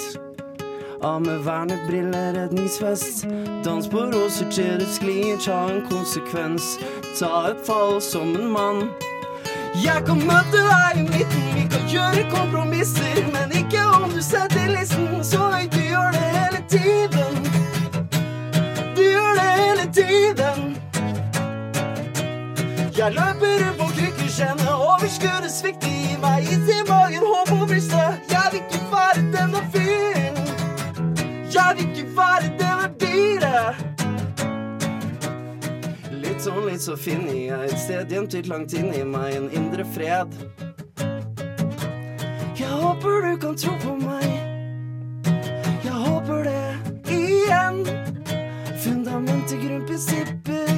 [SPEAKER 14] Av med vernebriller, redningsvest. Dans på roser til det sklir, ta en konsekvens. Ta et fall som en mann. Jeg kan møte deg i midten, vi kan gjøre kompromisser. Men ikke om du setter listen så høyt, du gjør det hele tiden. Du gjør det hele tiden. Jeg løper rundt på krykkeskjene, overskuddet svikter i meg. Is i magen, håp og brystet. Jeg vil ikke være denne fyren. Jeg vil ikke være denne dyret. Litt sånn, litt så finner jeg et sted gjemt ut langt inni meg, en indre fred. Jeg håper du kan tro på meg. Jeg håper det igjen. Fundamentet, grunnprinsipper.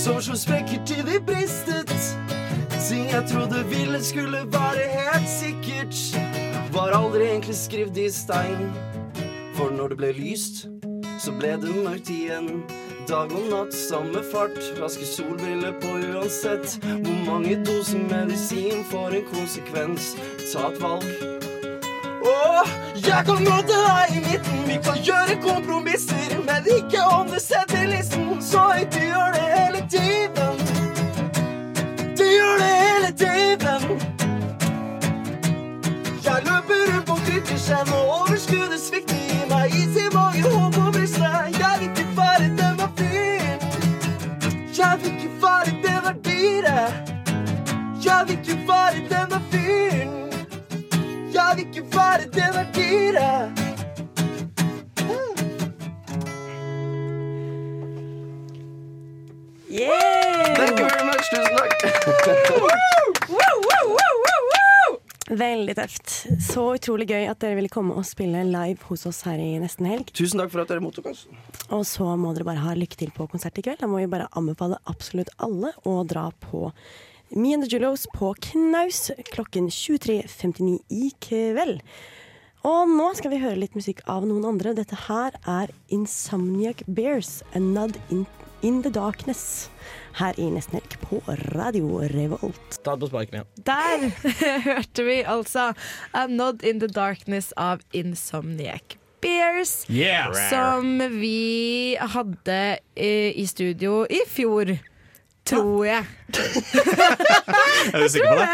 [SPEAKER 14] Sår som sprekker til de bristet. Ting jeg trodde ville skulle være helt sikkert, var aldri egentlig skrevet i stein. For når det ble lyst, så ble det mørkt igjen. Dag og natt, samme fart. Raske solbriller på uansett. Hvor mange doser medisin får en konsekvens? Ta et valg. Åh, jeg kan møte deg i midten. Vi kan gjøre kompromisser, men ikke om du setter listen så høyt. Du gjør det hele tiden. Du gjør det hele tiden. Jeg løper rundt på krykkeskjeen, og overskuddet svikter i meg. Is i magen, håp og brystet. Jeg vil ikke være denne fyren. Jeg vil ikke være denne dyret. Jeg vil ikke være denne fyren. Jeg vil ikke være denne dyret.
[SPEAKER 13] Thank you very much. Tusen
[SPEAKER 1] Veldig tøft. Så utrolig gøy at dere ville komme og spille live hos oss her i Nesten Helg.
[SPEAKER 13] Tusen takk for at dere mottok oss.
[SPEAKER 1] Og så må dere bare ha lykke til på konsert i kveld. Da må vi bare anbefale absolutt alle å dra på Me and the Julos på Knaus klokken 23.59 i kveld. Og nå skal vi høre litt musikk av noen andre. Dette her er Insomniac Bears, A Nod in, in the Darkness. Her i Nesten Helg på Radio Revolt.
[SPEAKER 6] Ta det på sparken igjen.
[SPEAKER 2] Der hørte vi altså I'm Not In The Darkness av Insomniac Bears.
[SPEAKER 15] Yeah.
[SPEAKER 2] Som vi hadde eh, i studio i fjor. Tror jeg.
[SPEAKER 16] Er du sikker på det?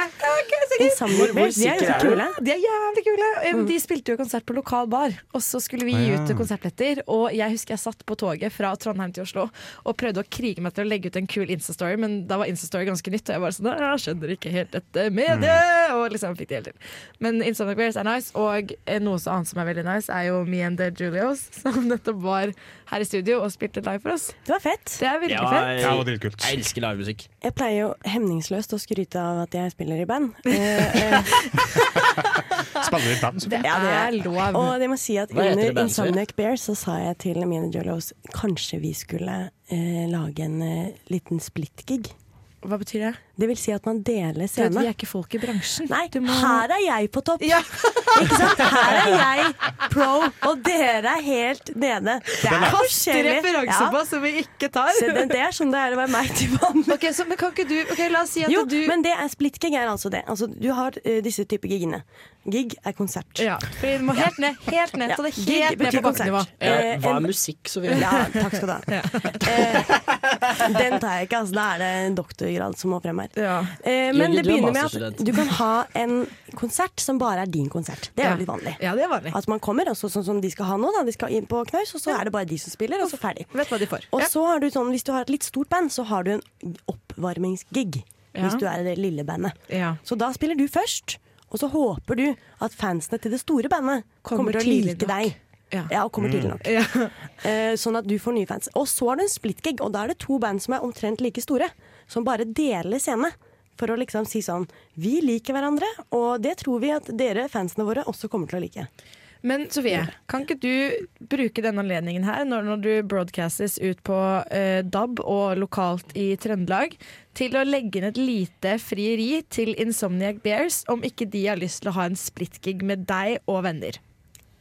[SPEAKER 2] Insomniac
[SPEAKER 16] Hvor- hvor
[SPEAKER 2] Bears, de
[SPEAKER 16] sikker
[SPEAKER 2] er ganske
[SPEAKER 16] er du?
[SPEAKER 2] kule. De er jævlig kule. Eh,
[SPEAKER 1] Mm.
[SPEAKER 2] De spilte jo konsert på lokal bar, og så skulle vi gi
[SPEAKER 16] Ah, ja.
[SPEAKER 2] ut konsertbilletter. Og jeg husker jeg satt på toget fra Trondheim til Oslo og prøvde å krige meg til å legge ut en kul Insta-story, men da var Insta-story ganske nytt, og jeg bare sånn Jeg skjønner ikke helt dette med det!
[SPEAKER 16] Mm.
[SPEAKER 2] Og liksom fikk det helt til. Men Insomniac Bears er nice, og eh, noe så annet som er veldig nice, er jo Me and The Julios, som nettopp var her i studio og spilte live for oss.
[SPEAKER 1] Det var fett.
[SPEAKER 2] Det er virkelig fett.
[SPEAKER 6] Jeg elsker livemusikk.
[SPEAKER 1] Jeg pleier jo hemningsløst å skryte av at jeg spiller i band. Eh, eh,
[SPEAKER 16] Spiller i band,
[SPEAKER 1] Det er lov. Og jeg må si at
[SPEAKER 16] Hva heter det
[SPEAKER 1] under
[SPEAKER 16] bandet
[SPEAKER 1] Insomniac Bear så sa jeg til mine Jolos kanskje vi skulle eh, lage en eh, liten splitt-gig. Hva betyr det? Det vil si at man deler
[SPEAKER 2] Du vet,
[SPEAKER 1] scene.
[SPEAKER 2] vi er ikke folk i bransjen.
[SPEAKER 1] Nei, her er jeg på topp! ikke sant? Her er jeg pro, og dere er helt nede. Det
[SPEAKER 2] Den
[SPEAKER 1] er
[SPEAKER 2] er-
[SPEAKER 1] forskjellig.
[SPEAKER 2] Faste referanser på som vi ikke tar.
[SPEAKER 1] Så det, det er sånn det er å være meg til vanlig. men kan ikke du La oss si
[SPEAKER 2] at
[SPEAKER 1] jo,
[SPEAKER 2] du-
[SPEAKER 1] men det er splittgig er altså det. Altså, du har eh, disse typer gigene. Gig er konsert. Ja,
[SPEAKER 2] Vi må helt ned, helt ned. Ta det helt ned på bakkenivå.
[SPEAKER 6] Eh, hva er musikk, så vel?
[SPEAKER 1] Ja, takk skal du ha. Den tar jeg ikke, altså. Da er det en doktorgrad som må frem her. Eh,
[SPEAKER 6] Jørgen,
[SPEAKER 1] men
[SPEAKER 6] du
[SPEAKER 1] det
[SPEAKER 6] er
[SPEAKER 1] begynner med at
[SPEAKER 6] masterstudent.
[SPEAKER 1] du kan ha en konsert som bare er din konsert. Det er
[SPEAKER 6] Ja.
[SPEAKER 1] jo litt vanlig. At man kommer, og så, sånn som de skal ha nå, da. De skal inn på knaus, og så er det bare de som spiller, og så ferdig. Og så har du sånn, hvis du har et litt stort band, så har du en oppvarmingsgig.
[SPEAKER 2] Ja.
[SPEAKER 1] Hvis du er i det lille bandet.
[SPEAKER 2] Ja.
[SPEAKER 1] Så da spiller du først, og så håper du at fansene til det store bandet kommer,
[SPEAKER 2] Kommer
[SPEAKER 1] til å
[SPEAKER 2] tidlig
[SPEAKER 1] like deg. Ja. og kommer
[SPEAKER 2] Mm.
[SPEAKER 1] tidlig nok. Eh, sånn at du får nye fans. Og så er det en splitgig, og da er det to band som er omtrent like store, som bare deler scene. For å liksom si sånn Vi liker hverandre, og det tror vi at dere, fansene våre, også kommer til å like.
[SPEAKER 2] Men Sofie, kan ikke du bruke denne anledningen her, når, når du broadcastes ut på eh, DAB og lokalt i Trøndelag, til å legge inn et lite frieri til Insomniac Bears om ikke de har lyst til å ha en splitgig med deg og venner?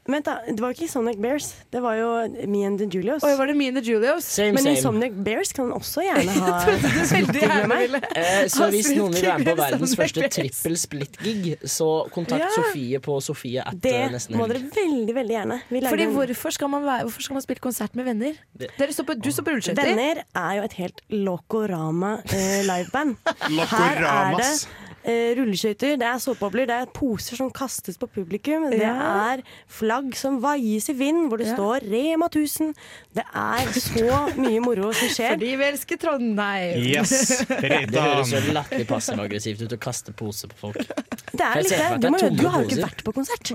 [SPEAKER 1] Vent, da. Det var ikke Sonic Bears. Det var jo Me and the Julios.
[SPEAKER 2] Oi, var det Me and the Julios?
[SPEAKER 1] Men Insomniac Bears kan også gjerne ha
[SPEAKER 2] Jeg trodde du veldig
[SPEAKER 1] splitgig med
[SPEAKER 2] gjerne
[SPEAKER 1] meg.
[SPEAKER 2] ville
[SPEAKER 6] Eh, så
[SPEAKER 2] ha
[SPEAKER 6] hvis noen vil være med på
[SPEAKER 2] splitgig med
[SPEAKER 6] verdens
[SPEAKER 2] Sonic
[SPEAKER 6] første
[SPEAKER 2] Bears.
[SPEAKER 6] trippel split-gig, så kontakt
[SPEAKER 1] Ja.
[SPEAKER 6] Sofie på Sofie at
[SPEAKER 1] Det
[SPEAKER 6] eh, nesten
[SPEAKER 1] må
[SPEAKER 6] helg.
[SPEAKER 1] dere veldig, veldig gjerne. Vi lager
[SPEAKER 2] Fordi
[SPEAKER 1] en-
[SPEAKER 2] hvorfor skal, man være, hvorfor skal man spille konsert med venner? Dere står på, du står på rulleskøyter.
[SPEAKER 1] Venner er jo et helt lokorama eh, liveband. Her er det
[SPEAKER 2] Lokoramas.
[SPEAKER 1] eh, rulleskøyter, det er såpebobler, det er poser som kastes på publikum. Det
[SPEAKER 2] Ja.
[SPEAKER 1] er flagg som vaies i vind, hvor det
[SPEAKER 2] Ja.
[SPEAKER 1] står Rema 1000. Det er så mye moro som skjer.
[SPEAKER 2] Fordi vi elsker Trondheim.
[SPEAKER 6] Det høres jo latterlig passende og aggressivt ut å kaste pose på folk.
[SPEAKER 1] Det er
[SPEAKER 6] Jeg
[SPEAKER 1] litt
[SPEAKER 6] ser
[SPEAKER 1] det.
[SPEAKER 6] for meg at
[SPEAKER 1] Du,
[SPEAKER 6] det er
[SPEAKER 1] må, jo-
[SPEAKER 6] tomme
[SPEAKER 1] du har jo ikke
[SPEAKER 6] poser.
[SPEAKER 1] vært på konsert.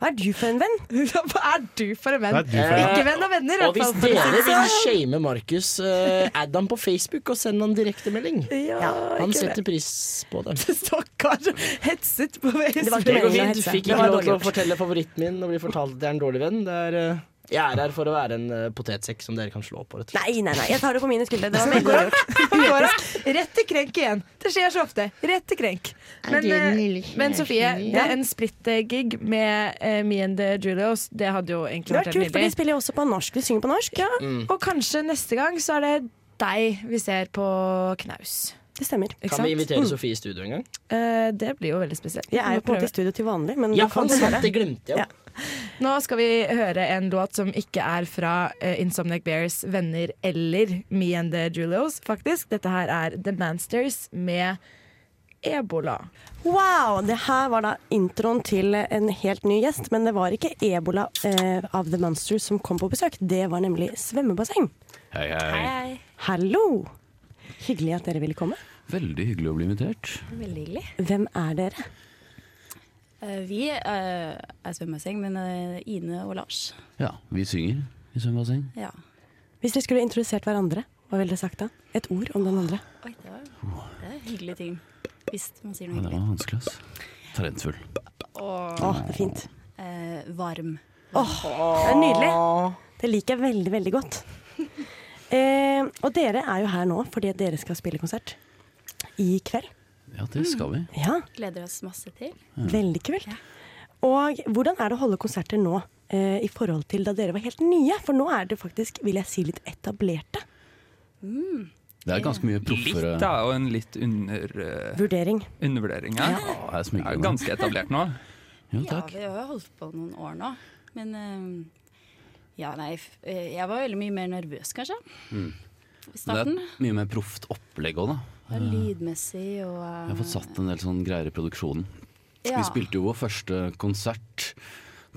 [SPEAKER 1] Hva er du for en venn?
[SPEAKER 2] Hva er du for en venn?
[SPEAKER 6] Hva er du
[SPEAKER 1] Eh,
[SPEAKER 6] for en venn?
[SPEAKER 2] Ikke venn av venner, i
[SPEAKER 6] Og
[SPEAKER 2] hvert
[SPEAKER 6] hvis
[SPEAKER 2] fall.
[SPEAKER 6] dere vil shame Markus, eh, add ham på Facebook og send ham direktemelding. Han
[SPEAKER 2] ikke
[SPEAKER 6] setter
[SPEAKER 2] det.
[SPEAKER 6] pris på det.
[SPEAKER 2] Stakkar. Hetset på Facebook.
[SPEAKER 6] Det, går fint. Du fikk ikke lov til å fortelle favoritten min og bli fortalt at jeg er en dårlig venn. Det er, eh, jeg er her for å være en eh, potetsekk som dere kan slå på. Rett. og slett.
[SPEAKER 1] Nei, nei, nei. Jeg tar det på mine skuldre. Det var
[SPEAKER 2] Sånn
[SPEAKER 1] veldig
[SPEAKER 2] går
[SPEAKER 1] lurt.
[SPEAKER 2] Går han Rett til krenk igjen. Det skjer så ofte. Rett til krenk. Men,
[SPEAKER 1] det er den
[SPEAKER 2] eh,
[SPEAKER 1] lille kjæresten
[SPEAKER 2] men Sofie,
[SPEAKER 1] min.
[SPEAKER 2] det er en splitt-gig med eh, Me and the Julios. Det hadde jo egentlig
[SPEAKER 1] Det var
[SPEAKER 2] vært
[SPEAKER 1] kult,
[SPEAKER 2] helt
[SPEAKER 1] for de
[SPEAKER 2] nydelig.
[SPEAKER 1] spiller jo også på norsk. De synger på norsk.
[SPEAKER 2] Ja,
[SPEAKER 6] Mm.
[SPEAKER 2] Og kanskje neste gang så er det deg vi ser på knaus.
[SPEAKER 1] Det stemmer.
[SPEAKER 6] Kan vi
[SPEAKER 2] Mm.
[SPEAKER 6] invitere Sofie i studio en gang?
[SPEAKER 2] Eh, det blir jo veldig spesielt.
[SPEAKER 1] Jeg er jo på en måte i studio til vanlig, men
[SPEAKER 6] Ja,
[SPEAKER 1] du kan
[SPEAKER 6] faen, sant,
[SPEAKER 1] høre.
[SPEAKER 6] det glemte jeg.
[SPEAKER 2] Nå skal vi høre en låt som ikke er fra eh, Insomniac Bears venner eller Me and the Julios, faktisk. Dette her er The Mansters med Ebola.
[SPEAKER 1] Wow! Det her var da introen til en helt ny gjest, men det var ikke Ebola eh, av The Monsters som kom på besøk. Det var nemlig svømmebasseng.
[SPEAKER 17] Hei, hei.
[SPEAKER 1] Hallo! Hyggelig at dere ville komme.
[SPEAKER 17] Veldig hyggelig å bli invitert.
[SPEAKER 18] Veldig hyggelig.
[SPEAKER 1] Hvem er dere?
[SPEAKER 18] Eh, vi eh, er svømmebasseng, men eh, Ine og Lars.
[SPEAKER 17] Ja, vi synger i svømmebasseng.
[SPEAKER 18] Ja.
[SPEAKER 1] Hvis dere skulle introdusert hverandre, hva ville dere sagt da? Et ord om den andre.
[SPEAKER 18] Oi, det var, det er hyggelige ting. Hvis man sier
[SPEAKER 17] Ja,
[SPEAKER 18] noe
[SPEAKER 17] det var
[SPEAKER 18] hyggelig.
[SPEAKER 17] vanskelig, ass. Talentfull.
[SPEAKER 18] Og
[SPEAKER 1] Å, det er fint.
[SPEAKER 18] eh, varm.
[SPEAKER 1] Åh, det er nydelig. Det liker jeg veldig, veldig godt. Eh, og dere er jo her nå fordi at dere skal spille konsert i kveld.
[SPEAKER 17] Ja,
[SPEAKER 1] Mm.
[SPEAKER 17] det skal vi.
[SPEAKER 1] Ja.
[SPEAKER 18] Gleder oss masse til.
[SPEAKER 1] Veldig kult. Og hvordan er det å holde konserter nå eh, i forhold til da dere var helt nye? For nå er det faktisk, vil jeg si, litt etablerte.
[SPEAKER 17] Det er ganske mye eh. proffere
[SPEAKER 7] Litt, da, og en litt under... eh,
[SPEAKER 1] Vurdering.
[SPEAKER 7] Undervurdering, ja. Det er jo ganske etablert nå.
[SPEAKER 18] Ja, vi har jo holdt på noen år nå. Men eh, ja, nei, f- eh, jeg var veldig mye mer nervøs, kanskje.
[SPEAKER 17] Mm.
[SPEAKER 18] I
[SPEAKER 17] Men Det er
[SPEAKER 18] starten.
[SPEAKER 17] et mye mer proft opplegg òg, da.
[SPEAKER 18] Og lydmessig og eh,
[SPEAKER 17] Jeg har fått satt en del sånn greier i produksjonen.
[SPEAKER 18] Ja.
[SPEAKER 17] Vi spilte jo vår første konsert.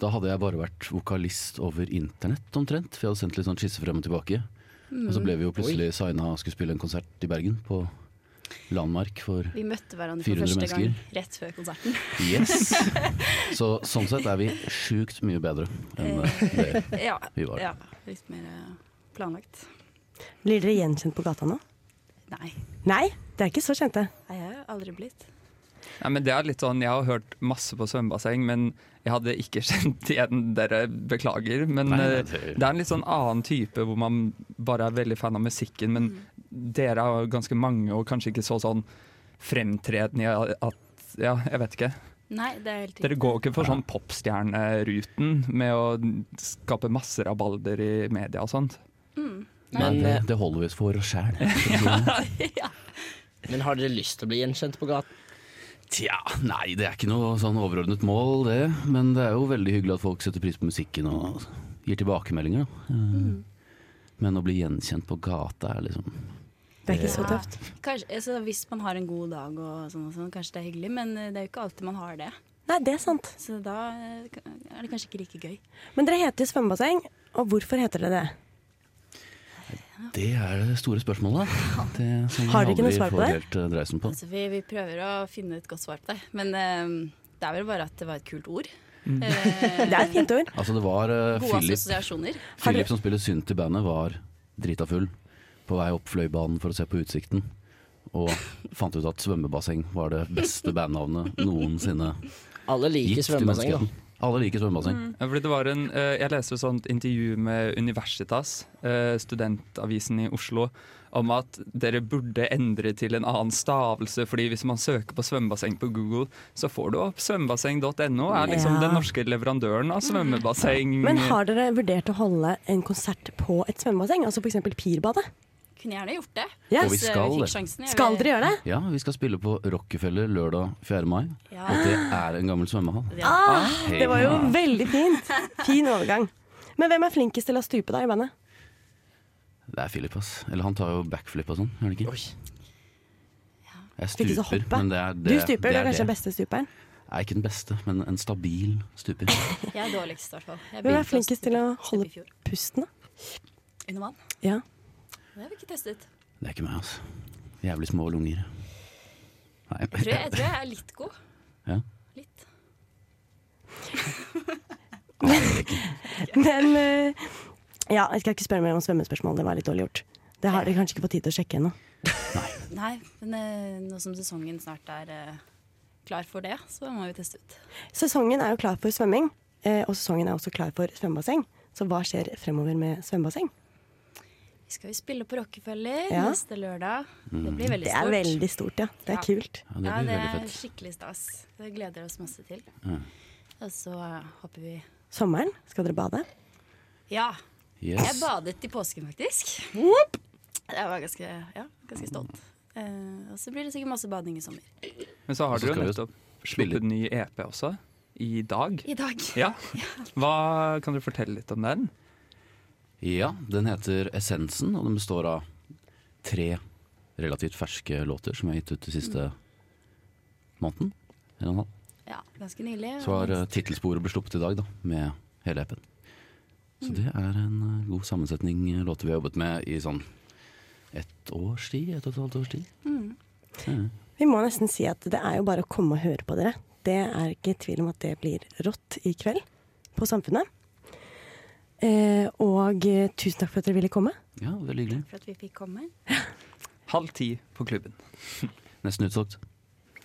[SPEAKER 17] Da hadde jeg bare vært vokalist over internett, omtrent. For jeg hadde sendt litt sånn skisse frem og tilbake.
[SPEAKER 18] Mm.
[SPEAKER 17] Og så ble vi jo plutselig
[SPEAKER 18] Oi.
[SPEAKER 17] signa og skulle spille en konsert i Bergen, på Landmark, for
[SPEAKER 18] Vi møtte hverandre
[SPEAKER 17] 400
[SPEAKER 18] for første
[SPEAKER 17] mennesker.
[SPEAKER 18] gang rett før konserten.
[SPEAKER 17] Yes! Så sånn sett er vi sjukt mye bedre enn eh, det
[SPEAKER 18] ja,
[SPEAKER 17] vi var.
[SPEAKER 18] ja. Litt mer eh, planlagt.
[SPEAKER 1] Blir dere gjenkjent på gata nå?
[SPEAKER 18] Nei.
[SPEAKER 1] Nei, det er ikke så kjente.
[SPEAKER 18] Nei, jeg har aldri blitt.
[SPEAKER 7] Nei, men det er litt sånn, Jeg har hørt masse på svømmebasseng, men jeg hadde ikke kjent igjen dere. Beklager. Men
[SPEAKER 17] Nei, nei,
[SPEAKER 7] eh,
[SPEAKER 17] det-
[SPEAKER 7] det er en litt sånn annen type hvor man bare er veldig fan av musikken, men
[SPEAKER 2] Mm.
[SPEAKER 7] dere er jo ganske mange og kanskje ikke så sånn fremtredende at Ja, jeg vet ikke.
[SPEAKER 18] Nei, det er helt
[SPEAKER 7] Dere går ikke for sånn popstjerneruten med å skape masse rabalder i media og sånt.
[SPEAKER 18] Mm.
[SPEAKER 17] Nei,
[SPEAKER 6] Men,
[SPEAKER 17] det,
[SPEAKER 6] eh,
[SPEAKER 17] det holder vi oss for oss sjæl.
[SPEAKER 6] Men har dere lyst til å bli gjenkjent på gaten?
[SPEAKER 17] Tja, Ah, nei, det er ikke noe sånn overordnet mål, det. Men det er jo veldig hyggelig at folk setter pris på musikken og gir tilbakemeldinger. da. Eh,
[SPEAKER 18] Mm.
[SPEAKER 17] Men å bli gjenkjent på gata er liksom
[SPEAKER 1] Det er ikke så tøft.
[SPEAKER 18] Kanskje, altså, hvis man har en god dag, og sånn og sånn, kanskje det er hyggelig, men eh, det er jo ikke alltid man har det.
[SPEAKER 1] Nei, det er sant.
[SPEAKER 18] Så da eh, er det kanskje ikke like gøy.
[SPEAKER 1] Men dere heter svømmebasseng, og hvorfor heter dere det?
[SPEAKER 17] Det er det store spørsmålet. da. Det som
[SPEAKER 1] Har dere ikke noe
[SPEAKER 17] aldri
[SPEAKER 1] svar på
[SPEAKER 17] får
[SPEAKER 1] det?
[SPEAKER 17] helt, eh, dreisen på.
[SPEAKER 18] Altså, vi, vi prøver å finne et godt svar på det, men eh, det er vel bare at det var et kult ord.
[SPEAKER 17] Mm.
[SPEAKER 18] Eh,
[SPEAKER 1] Det er et fint ord.
[SPEAKER 17] Altså, det var eh,
[SPEAKER 18] Gode
[SPEAKER 17] Philip,
[SPEAKER 18] assosiasjoner.
[SPEAKER 17] Philip som spiller synt i bandet, var drita full på vei opp Fløibanen for å se på utsikten. Og fant ut at svømmebasseng var det beste bandnavnet noensinne.
[SPEAKER 6] Alle liker
[SPEAKER 17] gitt til
[SPEAKER 6] svømmebasseng,
[SPEAKER 17] menneskeheten. Alle liker svømmebasseng.
[SPEAKER 1] Mm.
[SPEAKER 7] Ja, fordi det var en, eh, jeg leste et sånt intervju med Universitas, eh, studentavisen i Oslo, om at dere burde endre til en annen stavelse, fordi hvis man søker på svømmebasseng på Google, så får du opp svømmebasseng.no, er liksom
[SPEAKER 1] Ja. Mm.
[SPEAKER 7] den norske leverandøren av svømmebasseng.
[SPEAKER 1] Men har dere vurdert å holde en konsert på et svømmebasseng? Altså f.eks. Pirbadet?
[SPEAKER 18] Eh, Kunne gjerne gjort det.
[SPEAKER 1] Yes.
[SPEAKER 17] Og vi
[SPEAKER 18] Hvis, eh,
[SPEAKER 17] skal
[SPEAKER 18] vi
[SPEAKER 17] det.
[SPEAKER 18] fikk sjansen. Jeg
[SPEAKER 1] Skal
[SPEAKER 18] vil-
[SPEAKER 1] dere gjøre det?
[SPEAKER 17] Ja, vi skal spille på Rockefeller lørdag 4. mai.
[SPEAKER 18] Ja.
[SPEAKER 17] Og det er en gammel svømmehall.
[SPEAKER 1] Ah,
[SPEAKER 17] Hei.
[SPEAKER 1] det var jo veldig fint. Fin overgang. Men hvem er flinkest til å stupe da i bandet?
[SPEAKER 17] Det er Philip, ass. Eller han tar jo backflip og sånn, gjør han ikke? Jeg
[SPEAKER 1] Flinkest til å
[SPEAKER 17] stuper,
[SPEAKER 1] hoppe?
[SPEAKER 17] men det er det.
[SPEAKER 1] du stuper,
[SPEAKER 17] det
[SPEAKER 1] du er kanskje
[SPEAKER 17] det.
[SPEAKER 1] den beste stuperen.
[SPEAKER 17] Jeg er ikke den beste, men en stabil stuper.
[SPEAKER 18] Jeg er dårligst, i hvert fall. Jeg
[SPEAKER 1] Hvem
[SPEAKER 18] begynte
[SPEAKER 1] er flinkest til å holde pusten, da?
[SPEAKER 18] å- under vann.
[SPEAKER 1] Ja.
[SPEAKER 18] Det har vi ikke testet.
[SPEAKER 17] Det er ikke meg, altså. Jævlig små lunger. Nei.
[SPEAKER 18] Jeg tror jeg, jeg, tror jeg er litt god.
[SPEAKER 17] Ja.
[SPEAKER 18] Litt.
[SPEAKER 1] Men eh, ja, jeg skal ikke spørre mer om svømmespørsmål, det var litt dårlig gjort. Det har dere kanskje ikke fått tid til å sjekke ennå.
[SPEAKER 18] Nei, men eh, nå som sesongen snart er eh, klar for det, så må vi teste ut.
[SPEAKER 1] Sesongen er jo klar for svømming, eh, og sesongen er også klar for svømmebasseng. Så hva skjer fremover med svømmebasseng?
[SPEAKER 18] Vi skal jo spille på Rockefeller
[SPEAKER 1] Ja.
[SPEAKER 18] neste lørdag. Det
[SPEAKER 17] Mm.
[SPEAKER 18] blir veldig
[SPEAKER 1] Det er
[SPEAKER 18] stort.
[SPEAKER 1] veldig stort, ja. Det er
[SPEAKER 18] Ja.
[SPEAKER 17] Ja, det
[SPEAKER 1] kult.
[SPEAKER 18] Ja,
[SPEAKER 17] blir
[SPEAKER 18] det
[SPEAKER 17] veldig
[SPEAKER 18] er
[SPEAKER 17] fett.
[SPEAKER 18] skikkelig stas. Det gleder vi oss masse til.
[SPEAKER 17] Ja.
[SPEAKER 18] Og så eh, håper vi
[SPEAKER 1] Sommeren, skal dere bade?
[SPEAKER 18] Ja.
[SPEAKER 1] Yes.
[SPEAKER 18] Jeg badet i påsken, faktisk. Jeg var ganske, ja, ganske stolt. Eh, og så blir det sikkert masse bading i sommer.
[SPEAKER 7] Men så har
[SPEAKER 17] Og så
[SPEAKER 7] dere jo
[SPEAKER 17] skal vi
[SPEAKER 7] nettopp sluppet ny EP også, i dag.
[SPEAKER 18] I dag.
[SPEAKER 7] Ja. Hva, kan dere fortelle litt om den?
[SPEAKER 17] Ja, den heter Essensen, og den består av tre relativt ferske låter som jeg har gitt ut de siste måneden. En og en halv.
[SPEAKER 18] Ja, ganske nylig.
[SPEAKER 17] Så har eh, tittelsporet blitt sluppet i dag, da, med hele appen. Så det er en eh, god sammensetning eh, låter vi har jobbet med i sånn ett års tid, ett og et halvt års tid.
[SPEAKER 1] Mm.
[SPEAKER 17] Ja.
[SPEAKER 1] Vi må nesten si at det er jo bare å komme og høre på dere. Det er ikke tvil om at det blir rått i kveld på Samfunnet. Eh, og eh, tusen takk for at dere ville komme.
[SPEAKER 17] ja, veldig hyggelig.
[SPEAKER 18] For at vi fikk komme.
[SPEAKER 7] Halv ti på klubben.
[SPEAKER 17] Nesten utsolgt.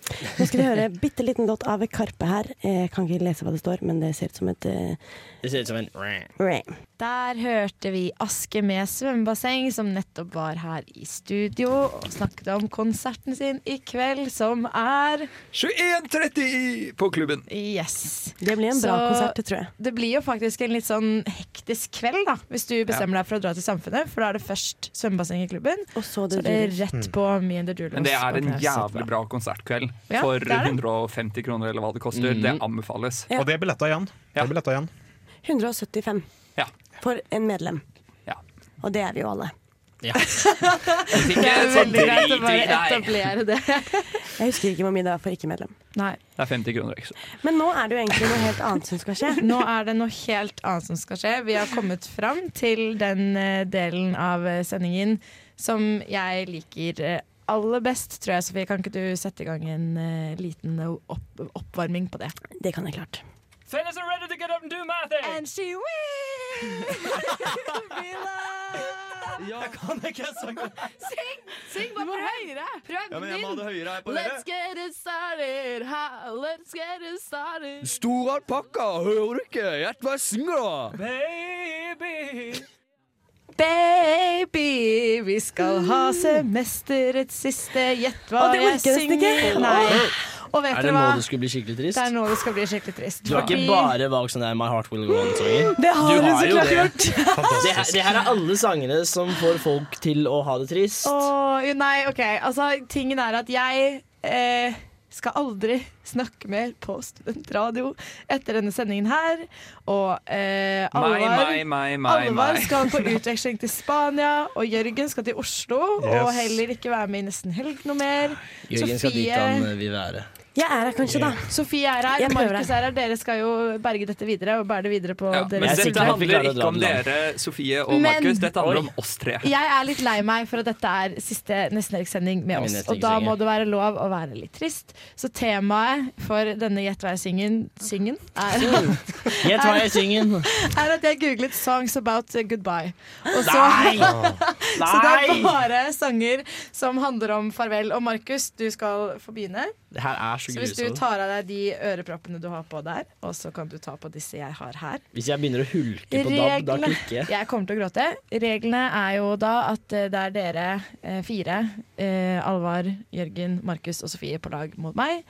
[SPEAKER 1] Nå skal vi høre bitte liten låt av Karpe her. Eh, Jeg kan ikke lese hva det står, men det ser ut som et eh,
[SPEAKER 6] Det ser ut som en
[SPEAKER 12] Der hørte vi Aske med svømmebasseng, som nettopp var her i studio og snakket om konserten sin i kveld, som er
[SPEAKER 7] 21.30 på klubben!
[SPEAKER 12] Yes.
[SPEAKER 1] Det blir en bra konsert, tror jeg.
[SPEAKER 12] Det blir jo faktisk en litt sånn hektisk kveld, da, hvis du bestemmer deg for å dra til Samfunnet. For da er det først svømmebasseng i klubben,
[SPEAKER 1] og så,
[SPEAKER 12] er det
[SPEAKER 7] Doodles.
[SPEAKER 12] rett på Me and the Doodles.
[SPEAKER 7] Mm. Men det er en
[SPEAKER 12] på Knaus.
[SPEAKER 7] jævlig bra konsertkveld
[SPEAKER 12] Ja,
[SPEAKER 7] for
[SPEAKER 12] det er det.
[SPEAKER 7] 150 kroner eller hva det koster.
[SPEAKER 17] Mm.
[SPEAKER 7] Det anbefales.
[SPEAKER 1] Ja. Og
[SPEAKER 7] det er billetter igjen. Ja.
[SPEAKER 1] 175
[SPEAKER 7] Ja.
[SPEAKER 1] for en medlem.
[SPEAKER 7] Ja.
[SPEAKER 1] Og det er vi jo alle.
[SPEAKER 12] Det er
[SPEAKER 7] Så
[SPEAKER 12] veldig greit
[SPEAKER 7] drit
[SPEAKER 12] å
[SPEAKER 7] i
[SPEAKER 12] bare
[SPEAKER 7] deg.
[SPEAKER 12] etablere det.
[SPEAKER 1] Jeg husker ikke hvor mye det var for ikke-medlem.
[SPEAKER 12] Nei.
[SPEAKER 7] Det er 50 kroner ekstra.
[SPEAKER 1] Men nå er det jo egentlig noe helt annet som skal skje.
[SPEAKER 12] Nå er det noe helt annet som skal skje. Vi har kommet fram til den eh, delen av eh, sendingen som jeg liker eh, aller best, tror jeg. Sofie, kan ikke du sette i gang en eh, liten eh, opp oppvarming på det?
[SPEAKER 1] Det kan jeg klart.
[SPEAKER 10] Fellas are ready to get up and do my thing.
[SPEAKER 12] And she will be
[SPEAKER 10] Jeg kan ikke sangen.
[SPEAKER 18] Syng! Syng bare høyere! Prøv
[SPEAKER 10] Ja, men jeg må ha det høyere her på dere.
[SPEAKER 18] Let's get it started, ha, let's get it started.
[SPEAKER 10] Stor alpakka, hører du ikke? Gjett hva jeg synger, da. Baby.
[SPEAKER 2] Baby, vi skal ha semesterets siste. Gjett hva
[SPEAKER 1] Å, det
[SPEAKER 2] jeg
[SPEAKER 1] orker jeg nesten ikke.
[SPEAKER 2] synger. Nei. Og
[SPEAKER 6] Er
[SPEAKER 2] vet dere
[SPEAKER 6] det nå
[SPEAKER 2] hva?
[SPEAKER 6] det skulle bli skikkelig trist?
[SPEAKER 2] Det er nå det skal bli skikkelig trist.
[SPEAKER 6] Du har ikke
[SPEAKER 2] Fordi-
[SPEAKER 6] bare valgt sånn der My Heart Will Go On-sanger.
[SPEAKER 2] Det har
[SPEAKER 6] du
[SPEAKER 2] hun så
[SPEAKER 6] jo
[SPEAKER 2] klart
[SPEAKER 6] det.
[SPEAKER 2] gjort.
[SPEAKER 6] Det her, det her er alle sangene som får folk til å ha det trist.
[SPEAKER 2] Åh, jo, nei, ok. Altså, tingen er at jeg eh, skal aldri snakke mer på studentradio etter denne sendingen her. Og eh,
[SPEAKER 7] Meg,
[SPEAKER 2] Alvar,
[SPEAKER 7] meg, meg, meg,
[SPEAKER 2] Alvar
[SPEAKER 7] meg.
[SPEAKER 2] skal på utveksling til Spania, og Jørgen skal til Oslo. Og
[SPEAKER 6] Yes.
[SPEAKER 2] heller ikke være med i Nesten Helg noe mer.
[SPEAKER 6] Jørgen skal dit han eh, vil være.
[SPEAKER 1] Jeg er her kanskje, da.
[SPEAKER 2] Sofie er her,
[SPEAKER 1] Jeg prøver
[SPEAKER 2] Markus er her. Dere skal jo berge dette videre. Og bære det videre på
[SPEAKER 7] Men
[SPEAKER 2] deres
[SPEAKER 7] dette
[SPEAKER 2] sikkerhet.
[SPEAKER 7] handler ikke om dere, Sofie og
[SPEAKER 2] Men-
[SPEAKER 7] Markus. Dette handler om oss tre.
[SPEAKER 2] Jeg er litt lei meg for at dette er siste Nesten Helg-sending med
[SPEAKER 7] Min
[SPEAKER 2] oss.
[SPEAKER 7] nesten
[SPEAKER 2] Og da
[SPEAKER 7] helg-sending.
[SPEAKER 2] må det være lov å være litt trist. Så temaet for denne Gjett hva jeg synger- synger er,
[SPEAKER 6] Gjett hva jeg synger.
[SPEAKER 2] er at jeg googlet 'Songs about goodbye'. Og så,
[SPEAKER 6] Nei!
[SPEAKER 2] så det er
[SPEAKER 6] Nei!
[SPEAKER 2] bare sanger som handler om farvel. Og Markus, du skal få begynne.
[SPEAKER 6] Det her er så
[SPEAKER 2] Så hvis du
[SPEAKER 6] grusomt.
[SPEAKER 2] tar av deg de øreproppene du har på der, og så kan du ta på disse jeg har her.
[SPEAKER 6] Hvis jeg begynner å hulke på DAB, da klikker jeg.
[SPEAKER 2] Jeg kommer til å gråte. Reglene er jo da at eh, det er dere eh, fire, eh, Alvar, Jørgen, Markus og Sofie på lag mot meg.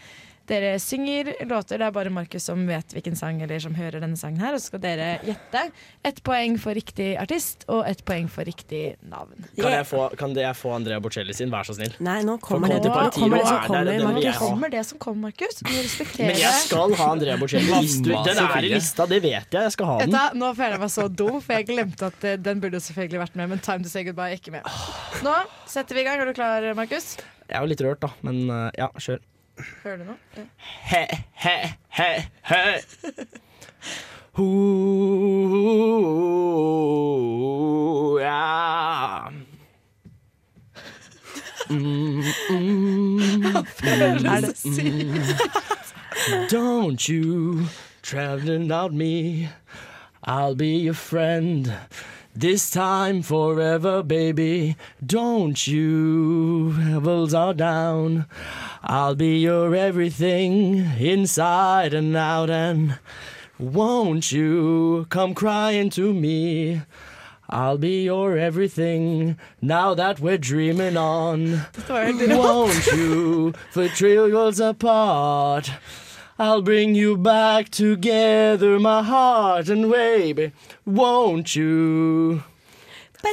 [SPEAKER 2] Dere synger låter, det er bare Markus som vet hvilken sang eller som hører denne sangen her. Og så skal dere gjette. Ett poeng for riktig artist og ett poeng for riktig navn.
[SPEAKER 6] Kan jeg få, kan det jeg få Andrea Bocelli sin, vær så snill?
[SPEAKER 1] Nei, nå
[SPEAKER 2] kommer det-
[SPEAKER 6] til
[SPEAKER 2] nå
[SPEAKER 6] Partiro,
[SPEAKER 2] kommer det som
[SPEAKER 6] er det den vil
[SPEAKER 2] Det
[SPEAKER 6] jeg ha.
[SPEAKER 2] kommer det som kommer, Markus. Du må respektere
[SPEAKER 6] Men jeg skal ha Andrea Bocelli.
[SPEAKER 7] Mamma
[SPEAKER 6] Hvis du- Den er i
[SPEAKER 7] Sofie.
[SPEAKER 6] lista, det vet jeg. Jeg skal ha
[SPEAKER 2] Vet
[SPEAKER 6] den.
[SPEAKER 2] du hva, nå føler jeg meg så dum, for jeg glemte at eh, den burde jo selvfølgelig vært med. Men Time to say goodbye er ikke med. Nå setter vi i gang. Er du klar, Markus?
[SPEAKER 6] Jeg er jo litt rørt, da, men eh, ja, kjør.
[SPEAKER 2] Hører du noe? Ja.
[SPEAKER 6] He, he, he, he.
[SPEAKER 16] Ho, ja.
[SPEAKER 6] Mm, mm,
[SPEAKER 16] prøver
[SPEAKER 6] mm,
[SPEAKER 16] å si.
[SPEAKER 6] mm. Don't you travel without me. I'll be your friend. This time forever, baby. Don't you levels are down. I'll be your everything, inside and out. And won't you come crying to me? I'll be your everything now that we're dreaming on. Won't you, for trillions apart? I'll bring you back together, my heart and baby. Won't you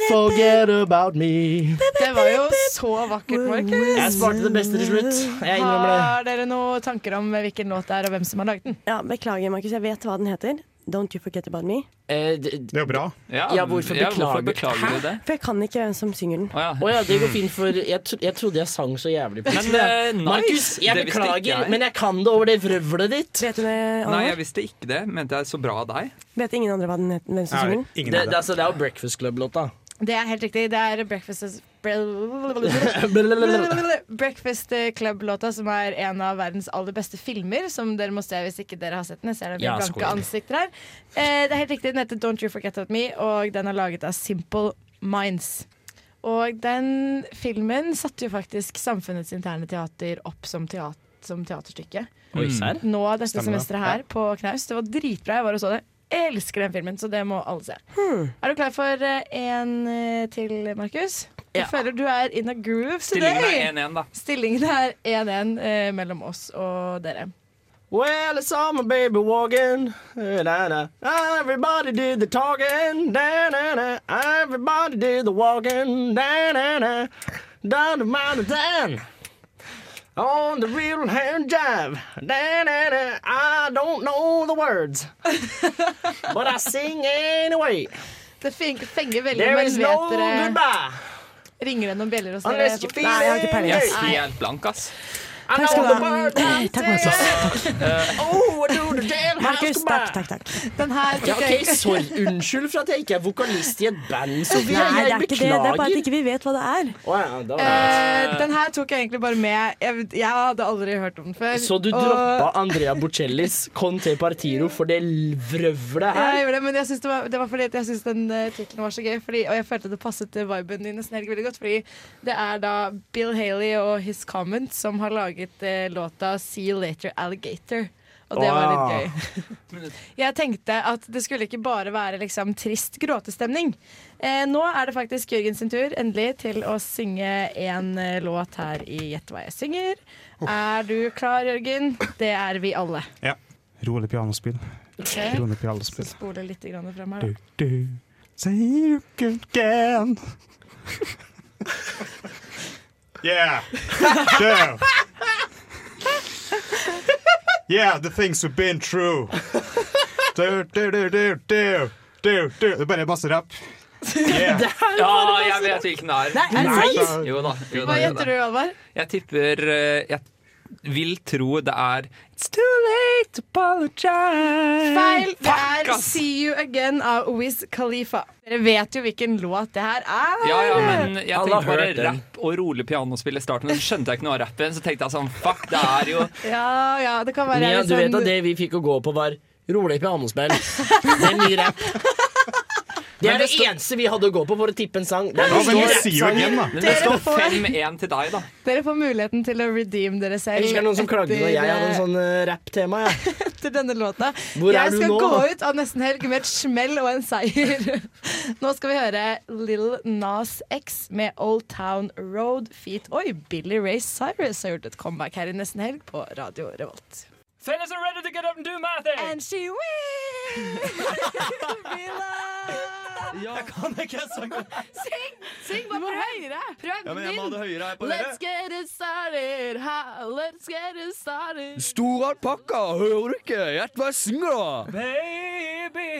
[SPEAKER 6] forget about me?
[SPEAKER 2] Det var jo så vakkert, Markus.
[SPEAKER 6] Jeg svarte det beste til slutt. Jeg innrømmer det.
[SPEAKER 2] Har dere noen tanker om hvilken låt det er, og hvem som har laget den?
[SPEAKER 1] Ja, Beklager, Markus. Jeg vet hva den heter. Don't you forget about me.
[SPEAKER 6] det Eh,
[SPEAKER 19] er jo bra.
[SPEAKER 7] Ja,
[SPEAKER 6] Ja, hvorfor
[SPEAKER 7] ja,
[SPEAKER 6] beklager-
[SPEAKER 7] beklager du det?
[SPEAKER 1] For jeg kan ikke hvem som synger den.
[SPEAKER 7] Å ja.
[SPEAKER 6] Å ja, det går fint, for jeg, tro jeg trodde jeg sang så jævlig på
[SPEAKER 7] Men,
[SPEAKER 6] det.
[SPEAKER 7] eh, nice.
[SPEAKER 6] Markus, jeg
[SPEAKER 7] Det visste ikke
[SPEAKER 6] beklager,
[SPEAKER 7] jeg.
[SPEAKER 6] men jeg kan det over det vrøvlet ditt.
[SPEAKER 1] Vet du det,
[SPEAKER 7] Nei, jeg visste ikke det. Mente jeg så bra av deg.
[SPEAKER 1] Vet ingen andre hva den het- hvem som synger den?
[SPEAKER 6] det, det, altså, det er jo Breakfast Club-låta.
[SPEAKER 2] Det er helt riktig. Det er Breakfast is Breakfast Club-låta, som er en av verdens aller beste filmer. Som dere må se hvis ikke dere har sett den. Jeg ser det
[SPEAKER 6] Ja,
[SPEAKER 2] med blanke
[SPEAKER 6] skål.
[SPEAKER 2] ansikter her. Eh, det er helt riktig. Den heter Don't You Forget About Me, og den er laget av Simple Minds. Og den filmen satte jo faktisk Samfunnets interne teater opp som, teat som teaterstykke.
[SPEAKER 6] Oi, serr?
[SPEAKER 2] Nå dette
[SPEAKER 6] Stemmer det.
[SPEAKER 2] semesteret her på Knaus. Det var dritbra. Jeg var og så det. Jeg elsker den filmen, så det må alle se. Er du klar for eh, en eh, til, Markus? Jeg føler du er in a groove today.
[SPEAKER 7] Stillingen er 1-1, da.
[SPEAKER 2] Stillingen er 1-1 eh, mellom oss og dere.
[SPEAKER 6] Well, I saw my baby walking. Uh, na, na. Everybody did the talking. Na, na, na. Everybody did the walking. Na, na, na. Down the mountain. On the real hand jive. Na, na, na. I don't know the words. but I sing anyway.
[SPEAKER 2] Det feng- fenger
[SPEAKER 1] er
[SPEAKER 2] veldig,
[SPEAKER 6] There
[SPEAKER 2] men
[SPEAKER 6] is
[SPEAKER 2] vet
[SPEAKER 6] no
[SPEAKER 2] dere
[SPEAKER 6] goodbye.
[SPEAKER 2] Ringer det noen bjeller hos dere?
[SPEAKER 6] Unless you feel
[SPEAKER 2] Nei, jeg har ikke peiling.
[SPEAKER 7] Jeg er
[SPEAKER 2] Nei.
[SPEAKER 7] helt blank, ass.
[SPEAKER 6] I
[SPEAKER 2] Takk skal
[SPEAKER 6] know
[SPEAKER 2] du
[SPEAKER 6] the
[SPEAKER 2] ha.
[SPEAKER 6] words. I'm
[SPEAKER 2] Takk, Markus.
[SPEAKER 6] singing.
[SPEAKER 7] Eh,
[SPEAKER 6] Oh, I do the jailhouse
[SPEAKER 1] Markus, takk,
[SPEAKER 6] goodbye.
[SPEAKER 1] takk, takk.
[SPEAKER 2] Den her
[SPEAKER 6] Ja,
[SPEAKER 2] fikk jeg
[SPEAKER 6] ok, sorry. Unnskyld for at jeg ikke er vokalist i et band, Sofie.
[SPEAKER 1] Nei, det
[SPEAKER 6] Jeg
[SPEAKER 1] er ikke det. Det er bare at
[SPEAKER 6] beklager.
[SPEAKER 1] ikke vi vet hva det er.
[SPEAKER 6] Å ja, da var
[SPEAKER 2] Eh, den her tok jeg egentlig bare med. Jeg, jeg hadde aldri hørt om den før.
[SPEAKER 6] det. Så du
[SPEAKER 2] og-
[SPEAKER 6] droppa Andrea Bocellis Con te partiro for det vrøvlet
[SPEAKER 2] Ja,
[SPEAKER 6] her?
[SPEAKER 2] jeg gjorde det, men jeg synes det, var, det var fordi at jeg syntes den uh, tittelen var så gøy. Fordi, og jeg følte det passet til viben din nesten helg veldig godt. Fordi det er da Bill Haley og His Comment som har laget eh, låta 'See You Later Alligator'. Og det var litt gøy. Jeg tenkte at det skulle ikke bare være liksom, trist gråtestemning. Eh, nå er det faktisk Jørgen sin tur endelig til å synge en eh, låt her i Gjett hva jeg synger. Er du klar, Jørgen? Det er vi alle.
[SPEAKER 4] Ja. Rolig pianospill.
[SPEAKER 2] Ok.
[SPEAKER 4] Rolig pianospill.
[SPEAKER 2] Spole litt grann frem her.
[SPEAKER 4] Du,
[SPEAKER 2] da.
[SPEAKER 4] du, say you can. yeah. Sure. Yeah, the things have been true. Du, du, du, du, du, du, du. Det er bare masse rapp. Yeah.
[SPEAKER 7] Ja, jeg vet hvilken det er.
[SPEAKER 2] Nei, er det sant?
[SPEAKER 7] Jo da. Jo da,
[SPEAKER 2] Hva
[SPEAKER 7] jo da.
[SPEAKER 2] gjetter du, Alvar?
[SPEAKER 7] Jeg tipper eh, Jeg vil tro det er It's too late to apologize.
[SPEAKER 2] Feil. Det
[SPEAKER 7] Fuck,
[SPEAKER 2] er
[SPEAKER 7] ass!
[SPEAKER 2] See You Again av Wiz Khalifa. Dere vet jo hvilken låt det her er.
[SPEAKER 7] Ja, ja, men jeg
[SPEAKER 2] Alle
[SPEAKER 7] tenkte
[SPEAKER 2] har
[SPEAKER 7] bare
[SPEAKER 2] hørt den.
[SPEAKER 7] rapp og rolig pianospill i starten. Men så skjønte jeg ikke noe av rappen, så tenkte jeg sånn Fuck, det er jo
[SPEAKER 2] Ja, ja, det kan være
[SPEAKER 6] Mia,
[SPEAKER 2] litt
[SPEAKER 6] du vet
[SPEAKER 2] sånn-
[SPEAKER 6] at det vi fikk å gå på, var rolig pianospill. Det er mye rapp. Det
[SPEAKER 7] Men
[SPEAKER 6] er det
[SPEAKER 7] det står-
[SPEAKER 6] eneste vi hadde å gå på for å tippe en sang.
[SPEAKER 7] Ja, men
[SPEAKER 6] mye
[SPEAKER 7] vi sier jo
[SPEAKER 6] rappsanger.
[SPEAKER 7] igjen, da. Men det står 5-1 til deg, da.
[SPEAKER 2] Dere får muligheten til å redeeme dere selv.
[SPEAKER 6] Jeg husker det er noen som klagde når jeg hadde en sånn uh, rapptema. Ja.
[SPEAKER 2] etter denne låta.
[SPEAKER 6] Hvor er
[SPEAKER 2] jeg
[SPEAKER 6] du
[SPEAKER 2] skal
[SPEAKER 6] nå?
[SPEAKER 2] gå ut av nesten helg med et smell og en seier. Nå skal vi høre Lil Nas X med Old Town Road Feet. Oi, Billy Ray Cyrus har gjort et comeback her i nesten helg på Radio Revolt.
[SPEAKER 20] Fellas are ready to get up and do my thing. And she will be loved. Jeg kan ikke synge.
[SPEAKER 10] Syng! Syng bare prøv! Høyere. Prøv
[SPEAKER 20] Ja, men jeg må ha det høyere her på
[SPEAKER 10] Let's get it started, ha, let's get it started.
[SPEAKER 12] Stor alpakka, hører du ikke? Gjett hva jeg synger, da!
[SPEAKER 20] Baby.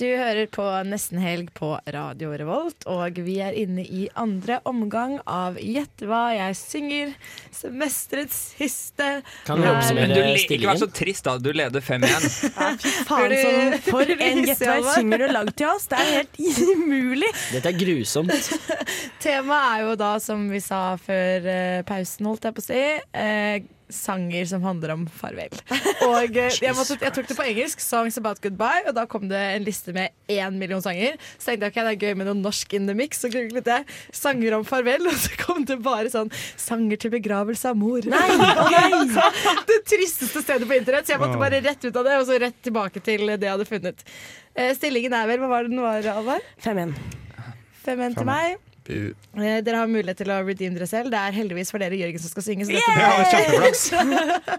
[SPEAKER 2] Du hører på Nesten helg på Radio Revolt, og vi er inne i andre omgang av Gjett hva jeg synger, semesterets siste
[SPEAKER 6] Kan dere oppsummere
[SPEAKER 7] Men du, le- ikke
[SPEAKER 6] eh, stillingen?
[SPEAKER 7] vær så trist, da. Du leder 5-1.
[SPEAKER 1] Faen, sånn, for en gjett hva jeg synger og lagd til oss. Det er helt umulig.
[SPEAKER 6] Dette er grusomt.
[SPEAKER 2] Temaet er jo da, som vi sa før eh, pausen, holdt jeg på å si, eh, sanger som handler om farvel. Og eh, jeg, måtte, jeg tok det på engelsk, 'Songs About Goodbye', og da kom det en liste med én million sanger. Så tenkte jeg ok, det er gøy med noe norsk in the mix, så googlet jeg 'sanger om farvel', og så kom det bare sånn 'sanger til begravelse av mor'. Så det tristeste stedet på internett, så jeg måtte bare rett ut av det, og så rett tilbake til det jeg hadde funnet. Eh, Stillingen er vel, hva var det den var, Alvar?
[SPEAKER 1] 5-1.
[SPEAKER 2] 5-1 til meg. Eh, Dere har mulighet til å redeeme dere selv. Det er heldigvis for dere Jørgen som skal synge. Så dette
[SPEAKER 6] Ja,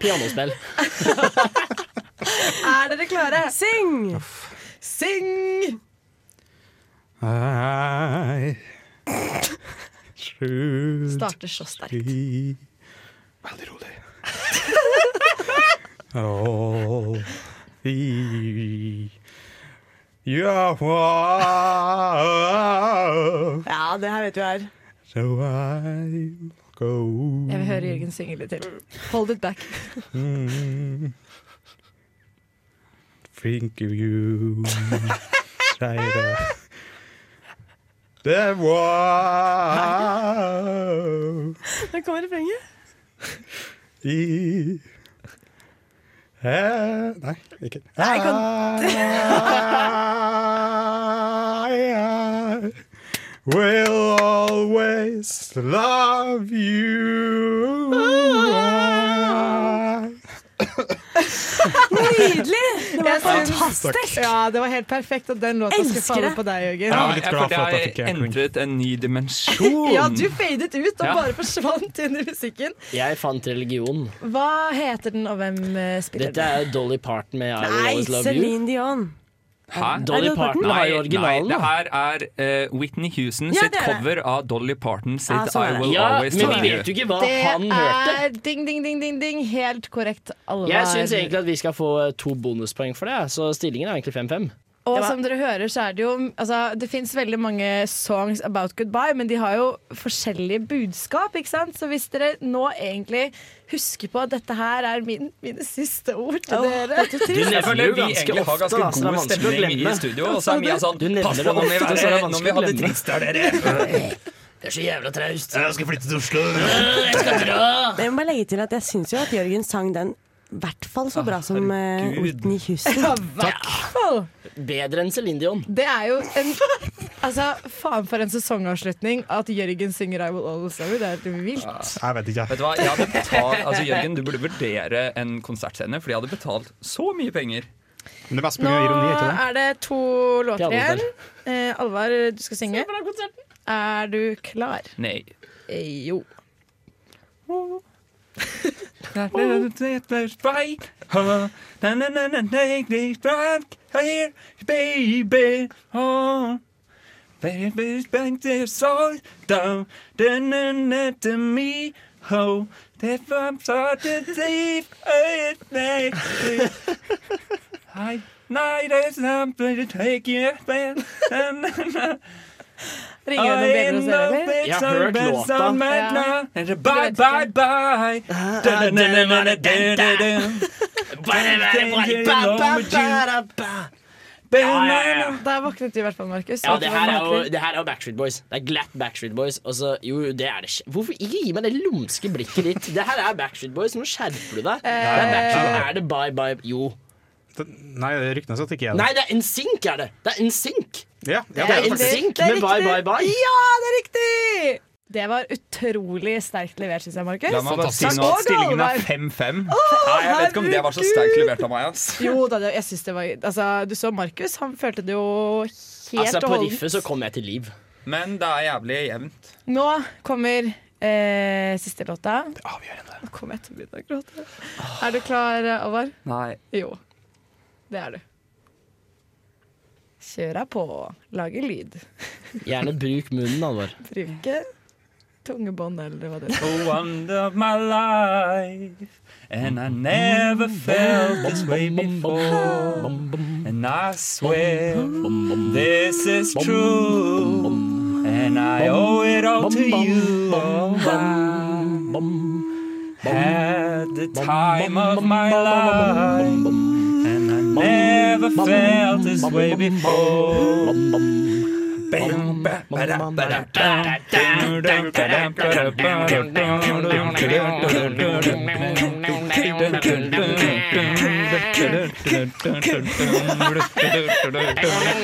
[SPEAKER 2] blir-
[SPEAKER 6] Pianospill.
[SPEAKER 2] er dere klare?
[SPEAKER 1] Syng!
[SPEAKER 2] Syng!
[SPEAKER 4] I should
[SPEAKER 1] er
[SPEAKER 2] Starter så sterkt.
[SPEAKER 4] be Veldig rolig. All the your love.
[SPEAKER 1] Ja, det her vet du er.
[SPEAKER 4] So I go
[SPEAKER 2] Jeg vil høre Jørgen synge litt til. Hold it back.
[SPEAKER 4] Mm. Think of you Later There was
[SPEAKER 1] Der kommer refrenget.
[SPEAKER 4] i Eh, Nei, ikke
[SPEAKER 20] Nei, jeg
[SPEAKER 4] I, I will always love you.
[SPEAKER 1] Nydelig! Det var
[SPEAKER 2] Jeg synes-
[SPEAKER 1] fantastisk.
[SPEAKER 2] Ja, det var helt perfekt at den låta skulle
[SPEAKER 1] Elsker
[SPEAKER 2] falle
[SPEAKER 1] det.
[SPEAKER 2] på deg, Jørgen.
[SPEAKER 7] Ja,
[SPEAKER 4] var litt
[SPEAKER 7] jeg
[SPEAKER 4] glad
[SPEAKER 7] følte
[SPEAKER 4] for at jeg
[SPEAKER 7] jeg
[SPEAKER 4] fikk en queen.
[SPEAKER 7] endret en ny
[SPEAKER 6] Oh.
[SPEAKER 7] dimensjon.
[SPEAKER 2] Ja, du fadet ut og
[SPEAKER 7] Ja.
[SPEAKER 2] bare forsvant inn i musikken.
[SPEAKER 6] Jeg fant religion.
[SPEAKER 2] Hva heter den, og hvem eh, spiller
[SPEAKER 6] Dette
[SPEAKER 2] den?
[SPEAKER 6] er Dolly Parton med I Will
[SPEAKER 1] Nei,
[SPEAKER 6] Always Love You.
[SPEAKER 1] Celine Dion.
[SPEAKER 7] Hæ?
[SPEAKER 6] Dolly Dolly Parton? Parton?
[SPEAKER 7] Nei,
[SPEAKER 6] Det var jo originalen,
[SPEAKER 7] Nei, det her er eh, Whitney Houston
[SPEAKER 2] Ja,
[SPEAKER 7] sitt
[SPEAKER 2] det er det.
[SPEAKER 7] cover av Dolly Parton sitt
[SPEAKER 6] Ja, sånn er
[SPEAKER 7] I
[SPEAKER 6] det.
[SPEAKER 7] Will
[SPEAKER 6] Ja,
[SPEAKER 7] Always
[SPEAKER 6] men vi
[SPEAKER 7] Love You.
[SPEAKER 6] vet jo ikke hva
[SPEAKER 2] Det
[SPEAKER 6] han hørte.
[SPEAKER 2] er ding, ding, ding, ding, ding. Helt korrekt. Alvar.
[SPEAKER 6] Jeg syns egentlig at vi skal få eh, to bonuspoeng for det, ja. så stillingen er egentlig 5-5.
[SPEAKER 2] Og som dere hører, så er det jo altså, Det fins veldig mange songs about goodbye, men de har jo forskjellige budskap, ikke sant? Så hvis dere nå egentlig husker på at dette her er min, mine siste ord til dere
[SPEAKER 7] Jeg føler vi egentlig har ganske
[SPEAKER 6] så det er
[SPEAKER 7] god
[SPEAKER 6] vanskelig å
[SPEAKER 7] stemning
[SPEAKER 6] glemme.
[SPEAKER 7] i studio, og så er Mia sånn
[SPEAKER 6] Du nevner
[SPEAKER 7] Pass
[SPEAKER 6] det
[SPEAKER 7] på når vi,
[SPEAKER 6] ofte, så er det
[SPEAKER 7] er, når vi
[SPEAKER 6] vanskelig å
[SPEAKER 7] har det
[SPEAKER 6] glemme.
[SPEAKER 7] trist, er dere
[SPEAKER 6] Det er så jævla traust.
[SPEAKER 4] Jeg skal flytte til Oslo.
[SPEAKER 1] Men Jeg må bare legge til at jeg syns jo at Jørgen sang den i hvert fall så
[SPEAKER 6] Ah,
[SPEAKER 1] bra som eh, Whitney Houston.
[SPEAKER 2] Takk.
[SPEAKER 6] Bedre enn Celine Dion.
[SPEAKER 2] Det er jo en Altså, Faen for en sesongavslutning at Jørgen synger I Will Always Love You. Det er helt vilt.
[SPEAKER 4] Jeg vet ikke.
[SPEAKER 7] Vet du hva, jeg hadde betalt, altså Jørgen, du burde vurdere en konsertscene, for jeg hadde betalt så mye penger.
[SPEAKER 4] Men det er mest
[SPEAKER 2] Nå er det to
[SPEAKER 7] Til
[SPEAKER 2] låter
[SPEAKER 7] alles
[SPEAKER 2] igjen. Eh, Alvar, du skal synge. Er du klar?
[SPEAKER 7] Nei.
[SPEAKER 2] Eh, jo.
[SPEAKER 12] Ringer det noe bedre å se, eller?
[SPEAKER 7] Jeg har hørt låta.
[SPEAKER 12] Ja.
[SPEAKER 7] And a Bye, bye, bye. Uh,
[SPEAKER 2] Der våknet du i hvert fall, Markus.
[SPEAKER 6] Ja, det her, er jo, det her er jo Backstreet Boys. Det er glatt Backstreet Boys. Og så- jo, det er det ikke. Hvorfor ikke gi meg det lumske blikket ditt? Det her er Backstreet Boys. Nå skjerper du deg. Det er, Backstreet- er det Bye Bye Jo.
[SPEAKER 4] Nei, ryktene sier at det ikke er det.
[SPEAKER 6] Nei, det er NSYNC er det. Det er NSYNC.
[SPEAKER 4] Ja,
[SPEAKER 6] Det er
[SPEAKER 4] faktisk.
[SPEAKER 6] NSYNC med Bye Bye Bye.
[SPEAKER 2] Ja, det er riktig! Det var utrolig sterkt levert, syns jeg, Markus.
[SPEAKER 7] La meg bare si nå
[SPEAKER 2] Og
[SPEAKER 7] at stillingen
[SPEAKER 2] Galvan.
[SPEAKER 7] er 5-5.
[SPEAKER 2] Å,
[SPEAKER 7] Nei, Jeg vet ikke om det var så sterkt
[SPEAKER 2] herregud.
[SPEAKER 7] levert av meg. ass
[SPEAKER 2] Jo da, det, jeg synes det var altså, Du så Markus, han følte det jo helt
[SPEAKER 6] Altså, på
[SPEAKER 2] og holdent.
[SPEAKER 6] riffet så kom jeg til liv.
[SPEAKER 7] Men det er jævlig jevnt.
[SPEAKER 2] Nå kommer eh, siste låta. Det er avgjørende. Nå kommer jeg til å begynne å gråte. Er du klar, Alvar?
[SPEAKER 7] Nei.
[SPEAKER 2] Jo. Det er du. Kjør deg på. Lager lyd.
[SPEAKER 6] Gjerne bruk munnen, altså. Alvar.
[SPEAKER 2] Bruke tungebånd eller hva det er.
[SPEAKER 7] Oh, wonder of my life, and I never felt this way before. And I swear this is true, and I owe it all to you. Oh, I had the time of my life, and I never felt this way before. Bam, ba, ba, da, ba, da, da, da, da, da, da, da, da.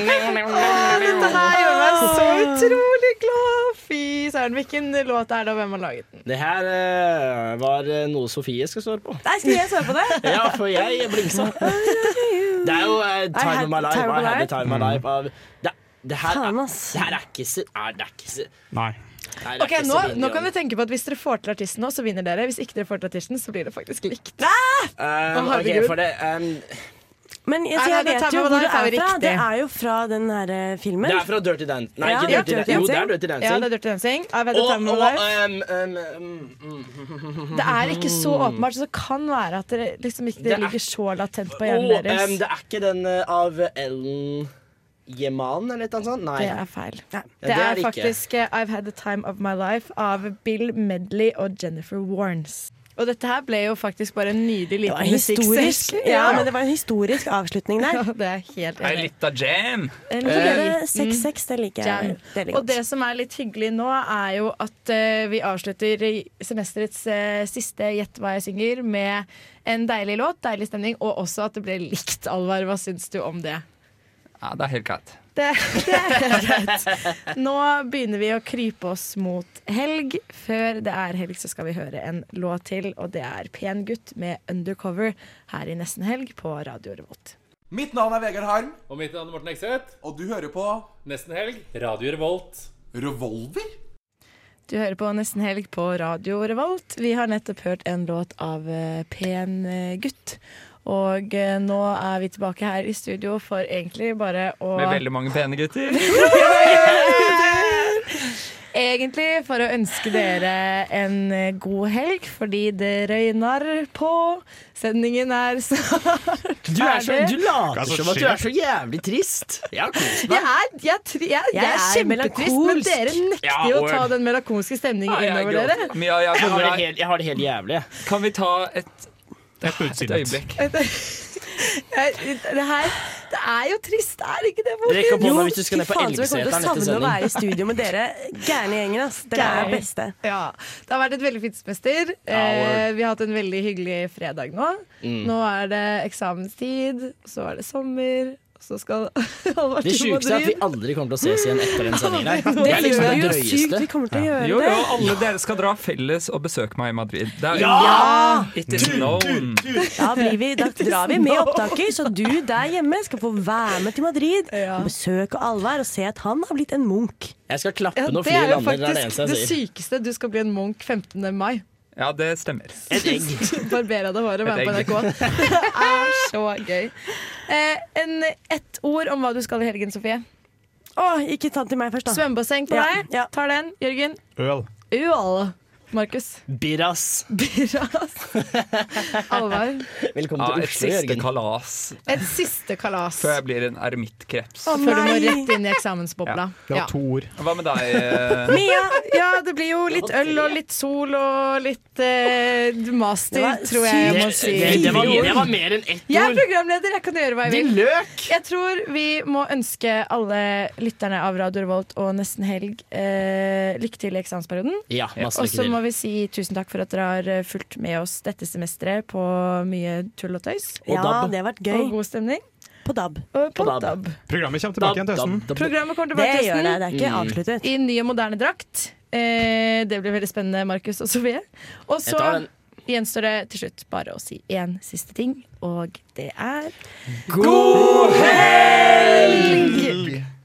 [SPEAKER 2] Dette her gjør meg så utrolig glad! Fy søren, hvilken låt er det, og hvem har laget den?
[SPEAKER 6] Det her eh, var eh, noe Sofie skal svare på.
[SPEAKER 2] Nei, skal jeg svare på det?
[SPEAKER 6] Ja, for jeg blingsa. Det er jo eh, Time of my life. I had the time of my life av det, det, her, er- det her er ikke så er, Det er ikke så
[SPEAKER 4] Nei.
[SPEAKER 6] Nei, det er
[SPEAKER 2] Ok,
[SPEAKER 6] ikke
[SPEAKER 2] nå,
[SPEAKER 6] så veldig
[SPEAKER 2] nå kan
[SPEAKER 6] om-
[SPEAKER 2] vi tenke på at Hvis dere får til artisten nå, så vinner dere. Hvis ikke dere får til artisten, så blir det faktisk likt.
[SPEAKER 6] Um,
[SPEAKER 2] Å, herregud.
[SPEAKER 6] ok, for det um,
[SPEAKER 1] Men jeg, så
[SPEAKER 2] Nei,
[SPEAKER 1] jeg
[SPEAKER 2] nei, det
[SPEAKER 1] vet
[SPEAKER 2] tar
[SPEAKER 1] jo
[SPEAKER 2] vi
[SPEAKER 1] hvor
[SPEAKER 2] med,
[SPEAKER 1] det er
[SPEAKER 2] det er jo
[SPEAKER 1] fra.
[SPEAKER 2] riktig.
[SPEAKER 1] Det er jo fra den her eh, filmen.
[SPEAKER 6] Det er fra Dirty Dancing. Nei,
[SPEAKER 1] Ja,
[SPEAKER 6] ikke
[SPEAKER 1] ja,
[SPEAKER 6] Dirty
[SPEAKER 1] Dirty
[SPEAKER 6] Dancing. Jo, det er Dirty Dancing.
[SPEAKER 1] Dancing.
[SPEAKER 2] Ja, det er Dirty Dancing. I had the
[SPEAKER 6] Og-
[SPEAKER 2] time of
[SPEAKER 6] og,
[SPEAKER 2] my life.
[SPEAKER 6] um, um, um, mm.
[SPEAKER 2] Det er ikke så åpenbart, så det kan være at det liksom ikke det
[SPEAKER 6] Det er-
[SPEAKER 2] ligger så latent på
[SPEAKER 6] Og,
[SPEAKER 2] hjernen
[SPEAKER 6] um,
[SPEAKER 2] deres.
[SPEAKER 6] det er ikke den eh, av Ellen Yeman eller et eller annet sånt? Nei.
[SPEAKER 2] Det er feil.
[SPEAKER 6] Ja,
[SPEAKER 2] Det er
[SPEAKER 6] det ikke.
[SPEAKER 2] faktisk eh, I've Had The Time Of My Life av Bill Medley og Jennifer Warnes. Og dette her ble jo faktisk bare en nydelig
[SPEAKER 1] Det var
[SPEAKER 2] liten
[SPEAKER 1] en historisk,
[SPEAKER 2] musikksekk.
[SPEAKER 1] ja, men det var en historisk avslutning der.
[SPEAKER 2] Ja, det Eh, er helt
[SPEAKER 7] Ei
[SPEAKER 2] enig.
[SPEAKER 7] lita jam.
[SPEAKER 1] Eller så ble det 6-6, det liker jeg.
[SPEAKER 2] mm. Jam.
[SPEAKER 1] Det liker jeg
[SPEAKER 2] Og det som er litt hyggelig nå, er jo at eh, vi avslutter i semesterets eh, siste Gjett hva jeg synger med en deilig låt, deilig stemning, og også at det ble likt, Alvar. Hva syns du om det?
[SPEAKER 7] Ja, det er helt greit.
[SPEAKER 2] Det, det er helt greit. Nå begynner vi å krype oss mot helg. Før det er helg, så skal vi høre en låt til, og det er Pen gutt med Undercover her i Nesten helg på Radio Revolt.
[SPEAKER 17] Mitt navn er Vegard Harm. Og mitt navn er Morten Ekseth. Og du hører på Nesten Helg. Radio Revolt. Revolver?
[SPEAKER 2] Du hører på Nesten helg på Radio Revolt. Vi har nettopp hørt en låt av eh, Pen eh, gutt. Og eh, nå er vi tilbake her i studio for egentlig bare å
[SPEAKER 7] Med veldig mange pene gutter.
[SPEAKER 2] Egentlig for å ønske dere en eh, god helg, fordi det røyner på. Sendingen er snart
[SPEAKER 6] Du, er så, du
[SPEAKER 2] ferdig.
[SPEAKER 6] later
[SPEAKER 2] Hva er det som
[SPEAKER 6] som at du
[SPEAKER 2] skjer?
[SPEAKER 6] er så jævlig trist. Jeg har kost
[SPEAKER 2] Jeg
[SPEAKER 6] meg.
[SPEAKER 2] er, jeg, er tri- jeg, jeg
[SPEAKER 6] Jeg
[SPEAKER 2] er
[SPEAKER 6] er
[SPEAKER 2] kjempetrist, men
[SPEAKER 6] melankolsk.
[SPEAKER 2] dere nekter
[SPEAKER 6] Ja,
[SPEAKER 2] jo å
[SPEAKER 6] og-
[SPEAKER 2] ta den melankolske stemningen
[SPEAKER 6] Ja, jeg
[SPEAKER 2] innover dere.
[SPEAKER 6] gråter.
[SPEAKER 7] Men jeg- jeg-
[SPEAKER 6] Jeg har det helt- jeg har det helt jævlig.
[SPEAKER 7] Kan vi ta et, et øyeblikk?
[SPEAKER 2] Jeg- Det her det er jo trist, er det ikke det? Morten?
[SPEAKER 6] Rekk opp hånda
[SPEAKER 2] Jo,
[SPEAKER 6] hvis du skal ned på
[SPEAKER 2] fy faen, så jeg kommer til å
[SPEAKER 6] Elveseteren etter
[SPEAKER 2] savne å
[SPEAKER 6] sending.
[SPEAKER 2] være i studio.
[SPEAKER 1] studio med dere. Gærne gjengen, ass. Dere er
[SPEAKER 2] Gærne.
[SPEAKER 1] det beste.
[SPEAKER 2] Ja. Det har vært et veldig fint semester. Eh, vi har hatt en veldig hyggelig fredag nå.
[SPEAKER 1] Mm.
[SPEAKER 2] Nå er det eksamenstid, så er det sommer, og Så skal Halvard
[SPEAKER 6] Det
[SPEAKER 2] til
[SPEAKER 6] sjukeste er at vi
[SPEAKER 2] Madrid.
[SPEAKER 6] aldri kommer til å ses igjen etter den sendingen her.
[SPEAKER 2] Ja, det
[SPEAKER 6] er liksom
[SPEAKER 2] gjør
[SPEAKER 6] det
[SPEAKER 2] vi jo
[SPEAKER 6] drøyeste.
[SPEAKER 2] sykt. Vi kommer til å gjøre
[SPEAKER 6] Jo,
[SPEAKER 7] Jo,
[SPEAKER 6] jo,
[SPEAKER 7] og alle dere skal dra felles og besøke meg i Madrid. Det er,
[SPEAKER 1] Ja!
[SPEAKER 7] It is known.
[SPEAKER 1] Da, blir vi, da drar vi med opptaker, så du der hjemme skal få være med til Madrid. og Besøke Alvar og se at han har blitt en munk.
[SPEAKER 6] Jeg skal klappe
[SPEAKER 2] Ja,
[SPEAKER 6] når
[SPEAKER 2] det er
[SPEAKER 6] flyet lander. Det er
[SPEAKER 2] jo
[SPEAKER 6] det
[SPEAKER 2] faktisk
[SPEAKER 6] eneste
[SPEAKER 2] det
[SPEAKER 6] jeg sier.
[SPEAKER 2] sykeste. Du skal bli en Munch 15. mai.
[SPEAKER 7] Ja, det stemmer.
[SPEAKER 6] Et egg.
[SPEAKER 2] Barbera deg håret, være
[SPEAKER 7] Et
[SPEAKER 2] på
[SPEAKER 7] egg.
[SPEAKER 2] NRK. Det er så gøy. Eh, en, ett ord om hva du skal i helgen, Sofie.
[SPEAKER 1] Å, ikke ta den til meg først, da.
[SPEAKER 2] Svømmebasseng på
[SPEAKER 1] Ja,
[SPEAKER 2] deg. Tar den. Jørgen.
[SPEAKER 4] Øl.
[SPEAKER 2] Ual. Markus.
[SPEAKER 6] Birras.
[SPEAKER 2] Birras. Alvar.
[SPEAKER 6] Velkommen
[SPEAKER 7] Ja,
[SPEAKER 6] til
[SPEAKER 7] et
[SPEAKER 6] Oslo,
[SPEAKER 7] siste
[SPEAKER 6] Jørgen.
[SPEAKER 7] kalas
[SPEAKER 2] Et siste kalas.
[SPEAKER 7] før jeg blir en eremittkreps.
[SPEAKER 2] Før du må rett inn i eksamensbobla. Ja.
[SPEAKER 7] ord. Hva med deg? eh?
[SPEAKER 2] Mia! Ja, det blir jo litt øl og litt sol og litt eh, master, tror jeg jeg må
[SPEAKER 6] Det-
[SPEAKER 2] si.
[SPEAKER 6] det- det var- det var mer enn ett
[SPEAKER 2] Jeg er
[SPEAKER 6] ord.
[SPEAKER 2] programleder, jeg kan gjøre hva jeg vil.
[SPEAKER 6] Din løk!
[SPEAKER 2] Jeg tror vi må ønske alle lytterne av Radio Revolt og Nesten Helg eh, lykke til i eksamensperioden.
[SPEAKER 6] Ja, masse
[SPEAKER 2] og
[SPEAKER 6] lykke
[SPEAKER 2] så
[SPEAKER 6] til.
[SPEAKER 2] må vi si tusen takk for at dere har eh, fulgt med oss dette semesteret på mye tull og tøys.
[SPEAKER 1] Og Ja, DAB. det har vært gøy.
[SPEAKER 2] Og god stemning.
[SPEAKER 1] På DAB.
[SPEAKER 2] Og på,
[SPEAKER 1] På
[SPEAKER 2] DAB.
[SPEAKER 4] Programmet kommer tilbake igjen til høsten.
[SPEAKER 2] Programmet kommer tilbake
[SPEAKER 1] Det
[SPEAKER 2] til
[SPEAKER 1] gjør det,
[SPEAKER 2] høsten.
[SPEAKER 1] det er ikke Mm. avsluttet.
[SPEAKER 2] I ny og moderne drakt. Eh, det blir veldig spennende, Markus og Sofie. Og
[SPEAKER 1] Jeg
[SPEAKER 2] så
[SPEAKER 1] tar den.
[SPEAKER 2] gjenstår det til slutt bare å si én siste ting, og det er
[SPEAKER 16] God Mm. helg!